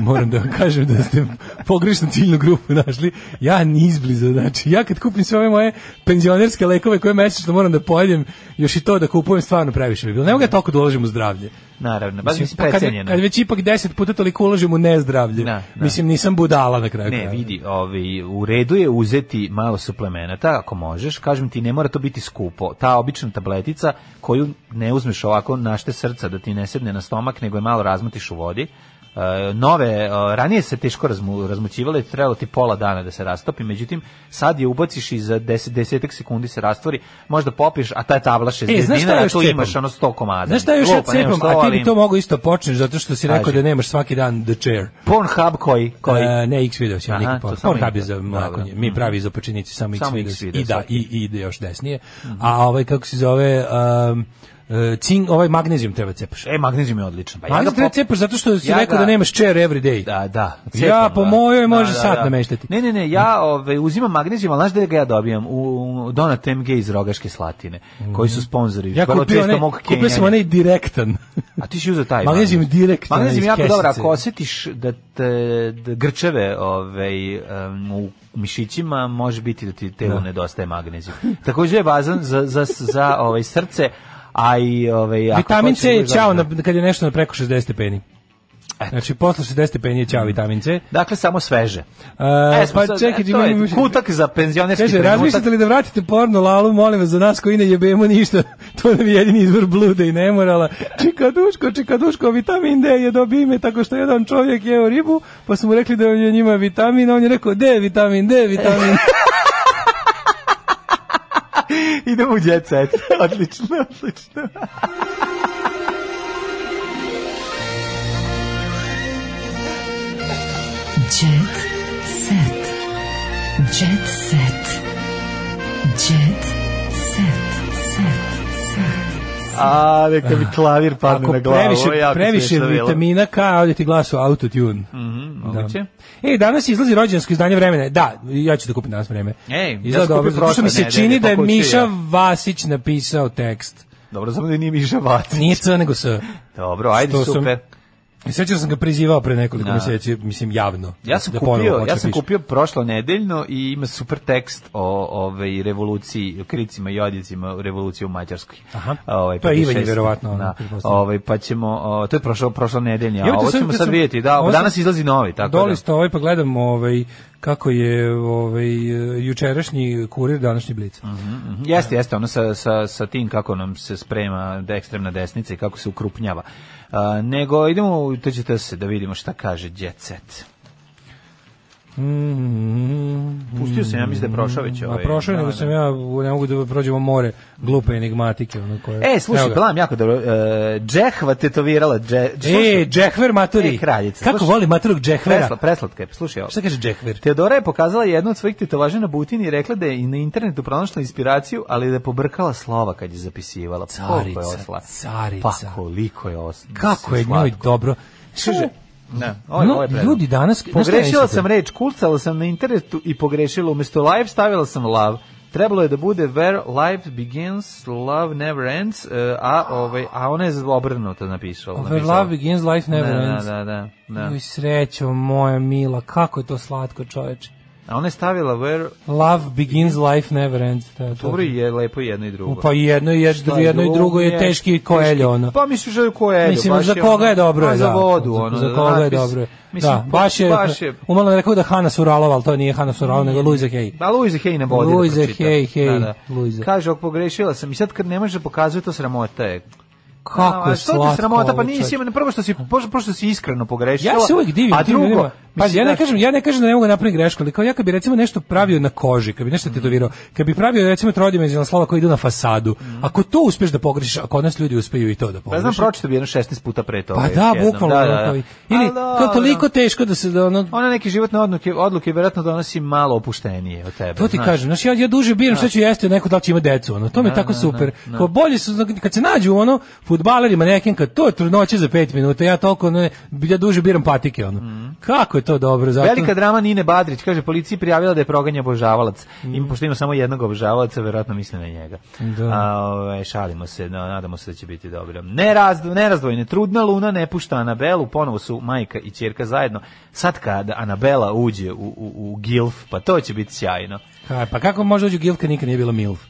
E: Moram da vam kažem da ste pogrešnu ciljnu grupu našli. Ja ni izbliza, znači ja kad kupim sve ove moje penzionerske lekove koje mesečno moram da pojedem, još i to da kupujem stvarno previše bi bilo. Ne mogu ja toliko da uložim u zdravlje.
F: Naravno, baš mislim,
E: Pa kad-
F: precenjeno.
E: Kad već ipak 10 puta toliko uložim u nezdravlje.
F: Da, da.
E: Mislim, nisam budala na kraju.
F: Ne,
E: krajeva.
F: vidi, ovi, u redu je uzeti malo suplemenata, ako možeš. Kažem ti, ne mora to biti skupo. Ta obična tabletica koju ne uzmeš ovako našte srca da ti ne sedne na stomak, nego je malo razmotiš u vodi. E, nove, e, ranije se teško razmu, razmućivale, trebalo ti pola dana da se rastopi, međutim, sad je ubaciš i za deset, desetak sekundi se rastvori, možda popiješ, a ta je tabla 60
E: E, znaš šta
F: dinara, a
E: još
F: tu
E: cepam?
F: imaš ono 100 komada.
E: Znaš šta još ja
F: Lupa, nemam
E: cepam,
F: što,
E: a ti
F: ali-
E: bi to mogu isto počneš, zato što si rekao
F: Kaži.
E: da nemaš svaki dan the chair.
F: Pornhub koji? koji?
E: E, ne, X video ćemo
F: Aha,
E: nikad
F: to
E: porn.
F: samo
E: Pornhub je
F: X-
E: za
F: dobro. Mhm.
E: mlakonje. Mi pravi za počinici samo X
F: Samo
E: video.
F: X video,
E: I da,
F: svaki.
E: i, i ide još desnije. A ovaj, kako se zove, um, e, cink, ovaj magnezijum treba cepaš.
F: E, magnezijum je odličan. Pa ja ga
E: Magnezijum treba
F: pop-
E: cepaš zato što si
F: ja
E: rekao
F: ga-
E: da nemaš chair every day.
F: Da, da.
E: Ja, po
F: da.
E: mojoj, može sad nameštati.
F: Ne, ne, ne, ja ovaj, uzimam magnezijum, ali znaš da ga ja dobijam? U Donat MG iz Rogaške Slatine, koji su sponzori.
E: Mhm. Ja
F: vrlo
E: kupio,
F: često
E: ne,
F: mog
E: kupio sam
F: kenjanja.
E: onaj direktan.
F: A ti si uzeo taj.
E: Magnezijum direktno
F: Magnezijum
E: iz
F: je jako dobro,
E: kesice.
F: ako osjetiš da, te, da grčeve ovaj, um, u mišićima, može biti da ti telu nedostaje magnezijum. Također je bazan za, za, za ovaj, srce, a i ovaj, ako
E: Vitamin C je
F: hoćeš-
E: ćao na, kad je nešto na preko 60 stepeni. Znači, posle 60 stepeni je ćao vitamin C.
F: Dakle, samo sveže.
E: E,
F: smo
E: pa
F: sad-
E: čekaj,
F: to
E: Jimmy,
F: je
E: imaš-
F: kutak za penzionerski
E: Kaže,
F: trenutak.
E: razmišljate li da vratite porno lalu, molim vas, za nas koji ne jebemo ništa, [LAUGHS] to nam je jedini izvor bluda i nemorala. Čikaduško, čikaduško, vitamin D je dobio ime tako što jedan čovjek jeo ribu, pa su mu rekli da je njima vitamin, a on je rekao, D, vitamin, D,
F: [LAUGHS]
E: vitamin.
F: [LAUGHS] Idemo u jet set. odlično, odlično.
D: Jet set. Jet set. Jet set. Set.
F: A, neka mi klavir padne
E: Ako
F: na glavu.
E: previše,
F: ovo je jako
E: previše
F: smiješno bilo. Mm.
E: vitamina K, ovdje ti glas u autotune.
F: Moguće.
E: E, danas izlazi rođensko izdanje vremena. Da, ja ću da kupim danas vreme.
F: Ej, ja
E: Izgleda
F: sam kupio
E: dobro, zato što
F: prošle
E: mi se
F: nedelje,
E: čini da je
F: pa kući,
E: Miša
F: ja.
E: Vasić napisao tekst.
F: Dobro, samo da nije Miša Vacić.
E: Nije C, nego S.
F: Dobro, ajde,
E: Što sam-
F: super.
E: I Sećam sam ga prizivao pre nekoliko
F: Da.
E: mjeseci, mislim javno.
F: Ja sam
E: da ponovo
F: kupio,
E: počne
F: ja sam
E: piše.
F: kupio prošlo nedeljno i ima super tekst o ovaj revoluciji, kricima i odjecima revolucije u Mađarskoj.
E: Aha.
F: Ovaj
E: To je Ivanje
F: 56.
E: verovatno, ono,
F: Da.
E: pretpostavljam.
F: Ovaj pa ćemo, o, to je prošlo prošlo nedeljno,
E: Jebote,
F: a ovo
E: sad
F: ćemo
E: kad
F: sad
E: sam-
F: vidjeti. Da,
E: ovo sam-
F: danas izlazi novi, tako da.
E: Doli ste ovaj pa gledam ovaj kako je ovaj jučerašnji kurir današnji blic.
F: Mhm, Jeste, jeste, ono sa, sa, sa tim kako nam se sprema da ekstremna desnica i kako se ukrupnjava. A, nego idemo u TGTS da vidimo šta kaže Jet Set. Pustio sam, ja mislim da je prošao već
E: Mm, A
F: ovaj.
E: Mhm. prošao je,
F: da,
E: nego
F: da.
E: sam ja, ne mogu da prođemo more glupe enigmatike. Ono koje...
F: E, slušaj,
E: Evo ga.
F: Blam, jako dobro. Uh, Džehva tetovirala. Dže,
E: E, Džehver maturi.
F: E, kraljica.
E: Kako
F: Slušaj.
E: voli maturog Džehvera?
F: Presla, preslatka je, slušaj ovo.
E: Šta kaže Džehver?
F: Teodora je pokazala jednu od svojih tetovaža na butini i rekla da je i na internetu pronašla inspiraciju, ali da je pobrkala slova kad je zapisivala. Pa, koliko je
E: Carica,
F: osla.
E: carica.
F: Pa koliko je osla.
E: Kako je njoj dobro.
F: Kaže, ne, ovo je,
E: No,
F: ovo je predano.
E: ljudi danas... znaš šta je
F: Pogrešila
E: isto?
F: sam reč, kucala sam na internetu i pogrešila. Umesto live stavila sam love. Trebalo je da bude where life begins, love never ends, eh, a, ovaj, a ona je obrnuto napisala.
E: Where
F: napisala.
E: love begins, life never
F: Da, da,
E: ends.
F: Da, da, da.
E: Joj, srećo, moja mila, kako je to slatko, čoveče.
F: A ona je stavila where...
E: Love begins, life never ends. Da, to.
F: Dobro je lepo jedno i drugo.
E: Pa i jedno, i jedno,
F: Šta je
E: jedno i drugo je teški koeljo, ono.
F: Pa misliš da je koeljo.
E: Mislim,
F: baš
E: za
F: je
E: koga
F: ono-
E: je dobro
F: Pa
E: je,
F: Za
E: da.
F: vodu,
E: za,
F: ono.
E: za koga je
F: natpis.
E: dobro je.
F: Mislim,
E: da, baš je,
F: Baš je
E: umalo je rekao da Hana Suralova, ali to nije Hana Suralova, nego Luisa Hay.
F: Da, Luiza Hej na vodi
E: Luiza
F: da pročita.
E: Hay, Hay,
F: Da, da.
E: Luiza.
F: Kaže, ok, pogrešila sam i sad kad ne može da pokazuje, to sramota je.
E: Kako
F: A,
E: je
F: što ti
E: slatko
F: sramota, pa
E: ovo,
F: nisi,
E: čovječe.
F: prvo što si, pošto, pošto si iskreno pogrešila.
E: Ja se uvek divim
F: a
E: tim
F: drugo,
E: ljudima. Pa
F: mislim, znači-
E: ja ne
F: znaš,
E: kažem, ja ne kažem da ne mogu napraviti grešku, ali kao ja kad bi recimo nešto pravio na koži, kad bi
F: Mm.
E: nešto tetovirao, kad bi pravio recimo trodimenzionalna slova koja idu na fasadu. Ako to uspeš da pogrešiš, ako kod nas ljudi uspeju i to da
F: Mm. Pa
E: pogreše.
F: znam, pročito bi jedno 16 puta pre toga.
E: Pa
F: još
E: da,
F: jednom.
E: bukvalno. ono kao i- Ili,
F: A, da,
E: kao toliko
F: da.
E: teško da se da ono...
F: Ona neke životne odluke, odluke vjerojatno donosi malo opuštenije od tebe.
E: To ti
F: znaš.
E: kažem, znači ja, ja duže biram šta ću jesti od nekog da li će ima decu, ono, to mi je tako super. Kao bolje su, kad se nađu ono, futbalerima nekim, kad to je trudnoće za pet minuta, ja toliko, ne, ja duže biram patike, ono. Kako je to dobro, zato...
F: Mm. Velika drama Nine Badrić, kaže, policiji prijavila da je proganja obožavalac. Im, pošto ima samo jednog obožavalaca, verovatno misle na njega.
E: Mm. Da.
F: A, ovaj, šalimo se, no, nadamo se da će biti dobro. Nerazdo, nerazdvojne, trudna Luna ne pušta Anabelu, ponovo su majka i čerka zajedno. Sad kad Anabela uđe u, u, u Gilf, pa to će biti sjajno.
E: Kaj, pa kako može uđu Gilka nikad nije bila MILF?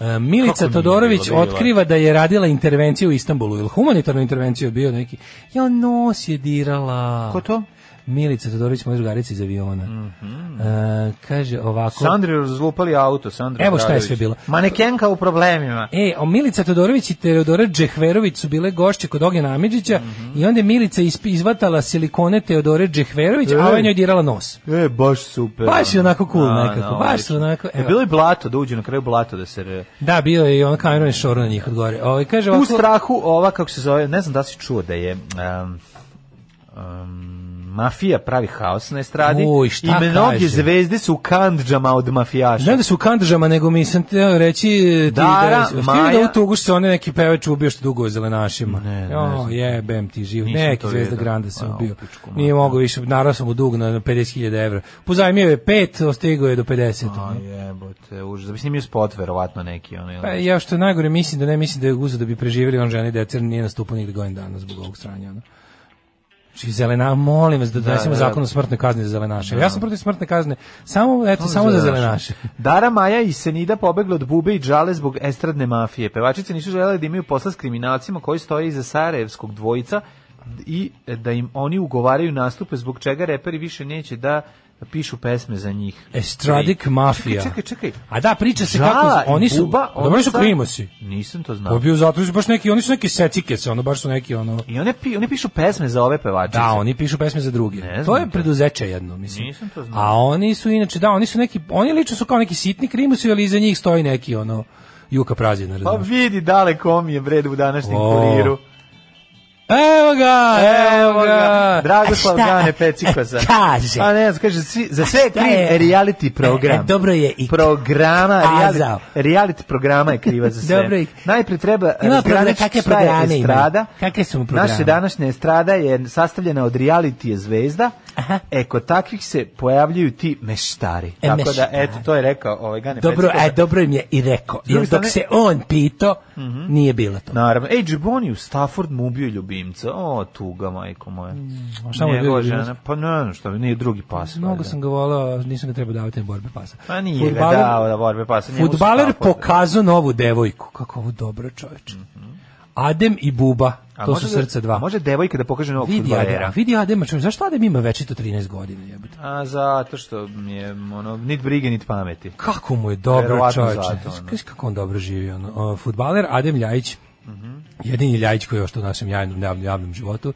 E: E, Milica
F: Kako nije
E: Todorović
F: bila, bila je.
E: otkriva da je radila intervenciju u Istanbulu, ili humanitarnu intervenciju je bio neki. Ja nos je dirala.
F: Ko to?
E: Milica Todorović, moja drugarica iz aviona.
F: Mhm.
E: E, kaže ovako...
F: Sandri razlupali auto, Sandra
E: Evo šta je
F: Obradović.
E: sve bilo.
F: Manekenka u problemima.
E: E, o Milica Todorović i Teodora Džehverović su bile gošće kod Ognjena Amidžića
F: Mhm.
E: i onda je Milica isp- izvatala silikone Teodore Džehverović, a ova je njoj dirala nos.
F: E, baš super. ono.
E: Baš je onako cool
F: Da,
E: nekako,
F: da,
E: baš
F: odlično.
E: onako,
F: E,
E: evo.
F: bilo je blato, da uđe na kraju blato da se... re-
E: Da, bio je i on kameron i šoro na njih od gore. Ovo, kaže
F: U
E: ovako,
F: strahu ova, kako se zove, ne znam da li si čuo da je... um, um, mafija pravi haos na estradi
E: Uj, šta
F: i mnoge
E: kaže?
F: zvezde su u kandžama od mafijaša.
E: Znam da su u kandržama, nego mi sam teo reći e, ti
F: Dara,
E: da, htio
F: Maja-
E: da u tugu što se one neki pevač ubio što dugo je zelenašima.
F: ne
E: jo,
F: znam.
E: jebem ti živ.
F: Nisam
E: Neki
F: to
E: zvezda
F: vidio. Pa,
E: Granda se
F: A,
E: ubio.
F: u pičku,
E: Nije mogao više, narao sam u dug na 50.000 evra. Pozajmio je pet, ostigao je do 50.
F: A jebote, užas. Da bi snimio spot, verovatno neki. Ono, ili-
E: Pa ja što je najgore mislim da ne mislim da je uzeo da bi preživjeli on ženi decer nije nastupao nigde godin dana zbog ovog stranja. Ono. Znači, zelena, molim vas da donesemo
F: da, da.
E: zakon o smrtnoj kazni za zelenaše. Ja sam protiv smrtne kazne, samo, eto, samo za zelenaše.
F: Dara Maja i Senida pobegla od Bube i Džale zbog estradne mafije. Pevačice nisu želele da imaju posla s kriminalcima koji stoje iza Sarajevskog dvojica i da im oni ugovaraju nastupe zbog čega reperi više neće da pišu pesme za njih.
E: Estradic mafija.
F: Čekaj, čekaj, čekaj.
E: A da, priča se
F: Džala
E: kako...
F: i
E: Oni su,
F: Buba,
E: dobro
F: oni
E: su
F: sad-
E: krimosi.
F: Nisam to znao.
E: Pobio zato su baš neki, oni su neki secike se, ono baš su neki ono...
F: I one, pi, one pišu pesme za ove pevačice.
E: Da, oni pišu pesme za druge.
F: Ne
E: to
F: znam
E: je
F: to.
E: preduzeće jedno, mislim.
F: Nisam to znao.
E: A oni su inače, da, oni su neki, oni lično su kao neki sitni krimosi, ali iza njih stoji neki ono Juka Prazina,
F: Pa
E: razumiješ?
F: vidi daleko mi je bred u današnjem
E: O.
F: kuriru.
E: Evo ga,
F: Evo ga, Dragoslav
E: A šta?
F: Gane Pecikoza.
E: E, [LAUGHS] Kaže.
F: A ne, znam, kaže, svi- za sve
E: A
F: je
E: šta
F: kriv
E: je?
F: reality program.
E: E, e, dobro je i
F: programa, reality,
E: kazao.
F: reality programa je kriva
E: [LAUGHS]
F: za sve.
E: Dobro je i-
F: Najprije treba
E: Ima
F: razgraničiti
E: program- kakve
F: šta je
E: programe ima?
F: estrada.
E: Kakve su mu programe?
F: Naša današnja estrada je sastavljena od reality zvezda. E, kod takvih se pojavljuju ti meštari.
E: E,
F: Tako
E: meštari.
F: da, eto, to je rekao ovaj Gane
E: Dobro,
F: Pecikoza.
E: a dobro im je i rekao.
F: druge
E: Jer dok
F: strane- Mhm.
E: se on pito, nije bilo to.
F: Naravno. Ej, Džiboni u Stafford mu ubio ljubimca. O, tuga, majko moja.
E: Mm, a šta mu je
F: Njegova
E: bio ljubimac?
F: žena. Pa ne, znam šta, nije drugi pas.
E: Mnogo
F: valjda.
E: sam ga volao, nisam ga trebao davati na borbe pasa.
F: Pa nije
E: Fudbaler-
F: ga dao da borbe pasa. njemu su
E: Futbaler
F: Stafford.
E: pokazao novu devojku. Kako ovo dobro čoveče. Adem i Buba,
F: Mhm. A
E: to
F: može
E: su
F: da-
E: srca dva.
F: a Može devojka da pokaže novog
E: Vidi Adem,
F: futbalera.
E: vidi Adem, čovječe, zašto Adem ima večito 13 godina, jebote?
F: A zato što mi je ono, nit brige, nit pameti.
E: Kako mu je dobro
F: Verovatno
E: čoveče.
F: zato, ono.
E: Kaži kako on dobro živi. Ono. Futbaler Adem Ljajić,
F: Mhm.
E: jedini Ljajić koji je ošto u našem javnom, javnom, javnom životu,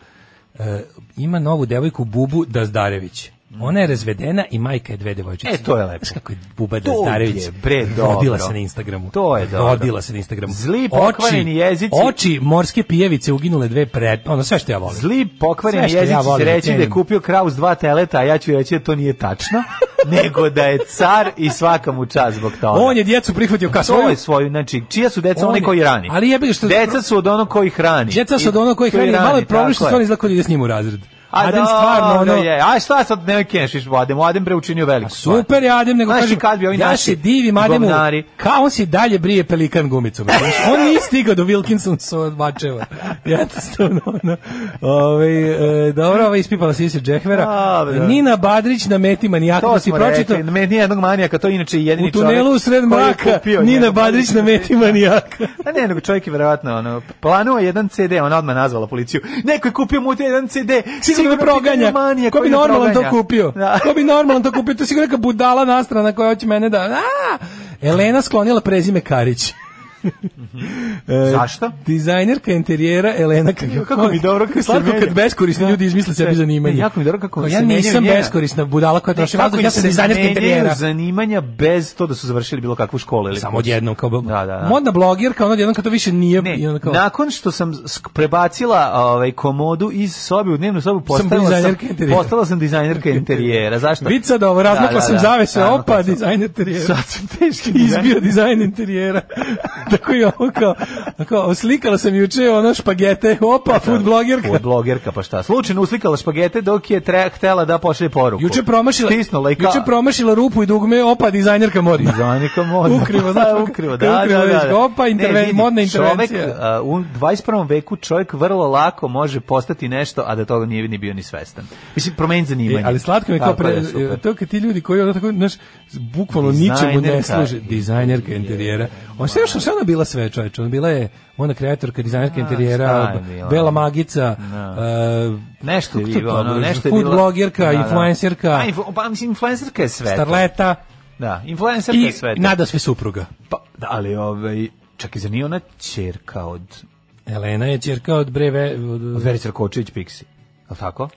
E: e, ima novu devojku Bubu Dazdarević. Ona je razvedena i majka je dve devojčice.
F: Mhm. E, to je lepo.
E: Znaš kako je Buba
F: To
E: Dazdarević
F: je, bre, dobro.
E: rodila se na Instagramu.
F: To je dobro.
E: Rodila se na Instagramu.
F: Zli pokvareni
E: Oči-
F: jezici.
E: Oči morske pijevice uginule dve pred... Ono, sve što ja volim.
F: Zli
E: Sve
F: pokvareni
E: što ja
F: jezici će
E: volim da
F: reći da je
E: cenim.
F: kupio kravu s dva teleta, a ja ću reći da to nije
E: [LAUGHS]
F: tačno, nego da je car i svaka mu čast zbog toga.
E: On je djecu prihvatio kao
F: svoju,
E: svoju.
F: svoju, svoju znači, čija su deca
E: On
F: oni
E: je-
F: koji rani.
E: ali jebi ga što-
F: Deca su od onog koji hrani.
E: Djeca su
F: I
E: od ono koji hrani, malo je problem što
F: tako
E: stvarno izlako ide s njim u razred.
F: A
E: Adem
F: da,
E: stvarno ono...
F: je. A šta sad ne kešiš Adem? Adem bre učinio veliku stvar.
E: Super je Adem, nego
F: Znaš i
E: kažem,
F: kad bi ovi
E: ja
F: naši
E: se divim Ademu,
F: govnari-
E: kao on se dalje brije pelikan gumicom.
F: [LAUGHS]
E: Znaš, on nije stigao do Wilkinson sa Bačeva. Jednostavno, ono. Ove, e, dobro, ova ispipala se Isi Džehvera.
F: Dobro.
E: Nina Badrić na meti manijaka,
F: To
E: da si
F: smo
E: pročitao.
F: rekli, me nije jednog manijaka, to je inače jedini
E: U tunelu
F: čovjek
E: u sred
F: koji je
E: mraka,
F: kupio
E: Nina
F: njega.
E: Badrić na meti manijaka.
F: [LAUGHS] A ne, nego čovjek je verovatno ono, planuo jedan CD, ona odmah nazvala policiju. Neko je kupio mu jedan CD,
E: Sigurno me proganja.
F: Manija,
E: Ko bi normalan to kupio?
F: Da.
E: Ko bi normalan to kupio? To je sigurno neka budala nastrana koja hoće mene da... A! Elena sklonila prezime Karić. E,
F: Zašto?
E: Dizajnerka interijera Elena kako,
F: kako mi dobro kako se
E: Slatko
F: menja.
E: kad beskorisni ljudi izmisle sebi zanimanje.
F: Ne, jako mi dobro kako
E: Kao,
F: se
E: ja
F: menjaju
E: nisam
F: njena.
E: beskorisna budala koja
F: E,
E: troši vazduh, ja sam dizajnerka
F: menjaju
E: interijera.
F: zanimanja bez to da su završili bilo kakvu školu ili
E: Samo
F: kurs.
E: odjednom kao
F: Da, da, da.
E: modna blogirka, ono odjednom kad to više nije
F: Ne,
E: i onda kao
F: nakon što sam sk- prebacila ovaj komodu iz sobe u dnevnu sobu postala sam,
E: dizajnerka interijera.
F: postala sam dizajnerka interijera. Zašto?
E: Vid sad ovo, razmakla
F: Da, da,
E: sam
F: da.
E: zavese,
F: Naravno,
E: opa,
F: kad sam-
E: dizajn interijera.
F: Sad sam teški
E: Izbio dizajn interijera. [LAUGHS] Tako i ovo kao, kao oslikala sam juče ono špagete, opa, food blogerka.
F: Od blogerka pa šta? Slučajno uslikala špagete dok je tre, htela da pošalje poruku.
E: Juče promašila,
F: Stisnula i kao.
E: juče promašila rupu i dugme, opa, dizajnerka modna.
F: Dizajnerka modna.
E: Ukrivo, znaš, [LAUGHS]
F: ukrivo, da,
E: ukrivo,
F: da, da, da.
E: već, opa, interve-
F: Ne, vidi,
E: modna intervencija.
F: Čovek, a, u 21. veku čovjek vrlo lako može postati nešto, a da toga nije ni bio ni svestan. Mislim, promeni zanimanje.
E: E, ali slatko mi je kao
F: Tako
E: pre, e,
F: je, super.
E: to kad ti ljudi koji ono tako, znaš, bukvalno
F: Dizajnerka.
E: ničemu ne služe, dizajnerka interijera. On sve što sve ona bila sve, čoveče, ona bila je ona kreatorka dizajnerka
F: šta
E: interijera,
F: je bila?
E: bela magica, e,
F: Nešto je
E: kako to
F: bilo,
E: dobro,
F: ono, nešto je
E: food
F: bilo.
E: blogerka, influencerka.
F: A, influ, pa, mislim, influencerka je sve. to.
E: starleta
F: Da, influencerka
E: i
F: je sve. to.
E: nada sve supruga.
F: Pa, da, ali, ovaj, čak i za nije ona čerka od,
E: Elena je ćerka od breve od,
F: od Verica Kočević Pixi. Je li tako?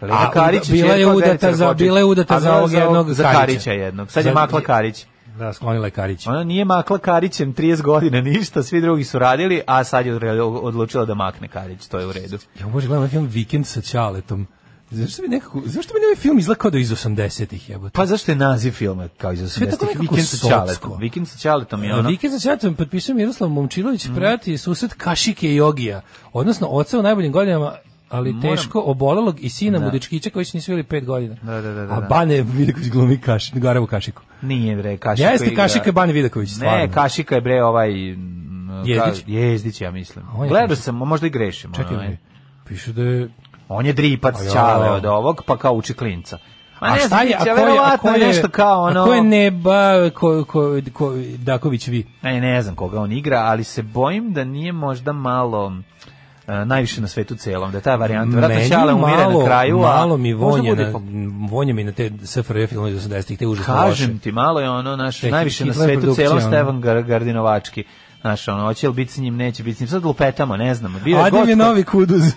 E: A, bila je
F: čerka od
E: udata
F: Verice
E: za-
F: Rakočević.
E: bila je udata
F: A,
E: za
F: bila
E: ovog jednog
F: za
E: Karića.
F: Karića jednog. Sad je
E: Za-
F: makla Karić.
E: da sklonila je Karić.
F: Ona nije makla Karićem 30 godina ništa, svi drugi su radili, a sad je odre- odlučila da makne Karić, to je u redu.
E: Ja možda gledam ovaj film Vikend sa Ćaletom. Zašto mi nekako, zašto meni ovaj film izgleda kao da je iz 80-ih jebote?
F: Pa zašto je naziv filma kao iz
E: Sve tako
F: 80-ih?
E: nekako
F: Vikend sa
E: socko.
F: Ćaletom. Vikend sa Ćaletom je ono. Mm.
E: Vikend sa Ćaletom potpisao Miroslav Momčilović, prati susret Kašike i Jogija, odnosno oca u najboljim godinama ali teško obolelog i sina
F: Da.
E: Mudičkića koji su nisu bili pet godina.
F: Da, da, da, da,
E: A
F: da.
E: Bane Vidaković glumi kaš, Garevu Kašiku.
F: Nije bre, Kašika.
E: Jeste
F: igra-
E: Kašika i Bane Vidaković, stvarno.
F: Ne, Kašika je bre ovaj... mm, ka-
E: Jezdić?
F: Jezdić, ja mislim.
E: on je
F: Gledao
E: Kašika.
F: sam, možda i grešim.
E: Čekaj,
F: ono,
E: bre.
F: je.
E: piše da je
F: On je dripac
E: A ja.
F: Ćale od ovog, pa kao uči klinca. Ma
E: A
F: ne
E: šta
F: znam,
E: je, a
F: biće,
E: ko je, a
F: verovatno
E: ko je,
F: nešto kao ono...
E: a ko je neba, ko, ko, ko, Daković vi?
F: Ne, ne znam koga on igra, ali se bojim da nije možda malo e, najviše na svetu celom, da je ta varijanta. Vratno
E: Meni
F: Ćale umire na kraju, a
E: malo mi
F: možda
E: vonje,
F: bude
E: na,
F: pa-
E: vonje mi na te SFRJ filmove ono iz 80-ih, te užasno
F: Kažem ti, malo je ono, naš,
E: Tehnički
F: najviše na
E: Hitler
F: svetu
E: produkcija,
F: celom
E: ono.
F: Stevan Gar- Gardinovački. Znaš, ono, hoće li biti s njim, neće biti s njim. Sad lupetamo, ne znamo. Bio
E: loše.
F: je
E: Adem
F: gost
E: je
F: kod-
E: novi kuduz. [LAUGHS]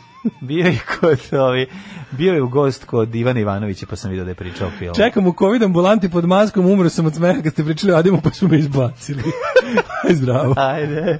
F: Bio je kod, ovi, bio je u gost kod Ivana Ivanovića, pa sam vidio da je pričao film.
E: Čekam u COVID ambulanti pod maskom, umro sam od smeha kad ste pričali o Ademu pa su me izbacili. [LAUGHS] Aj, Zdravo.
F: Ajde.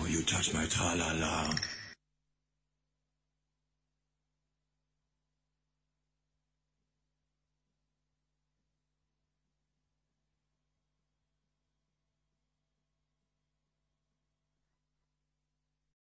C: Oh, you touch my tra-la-la.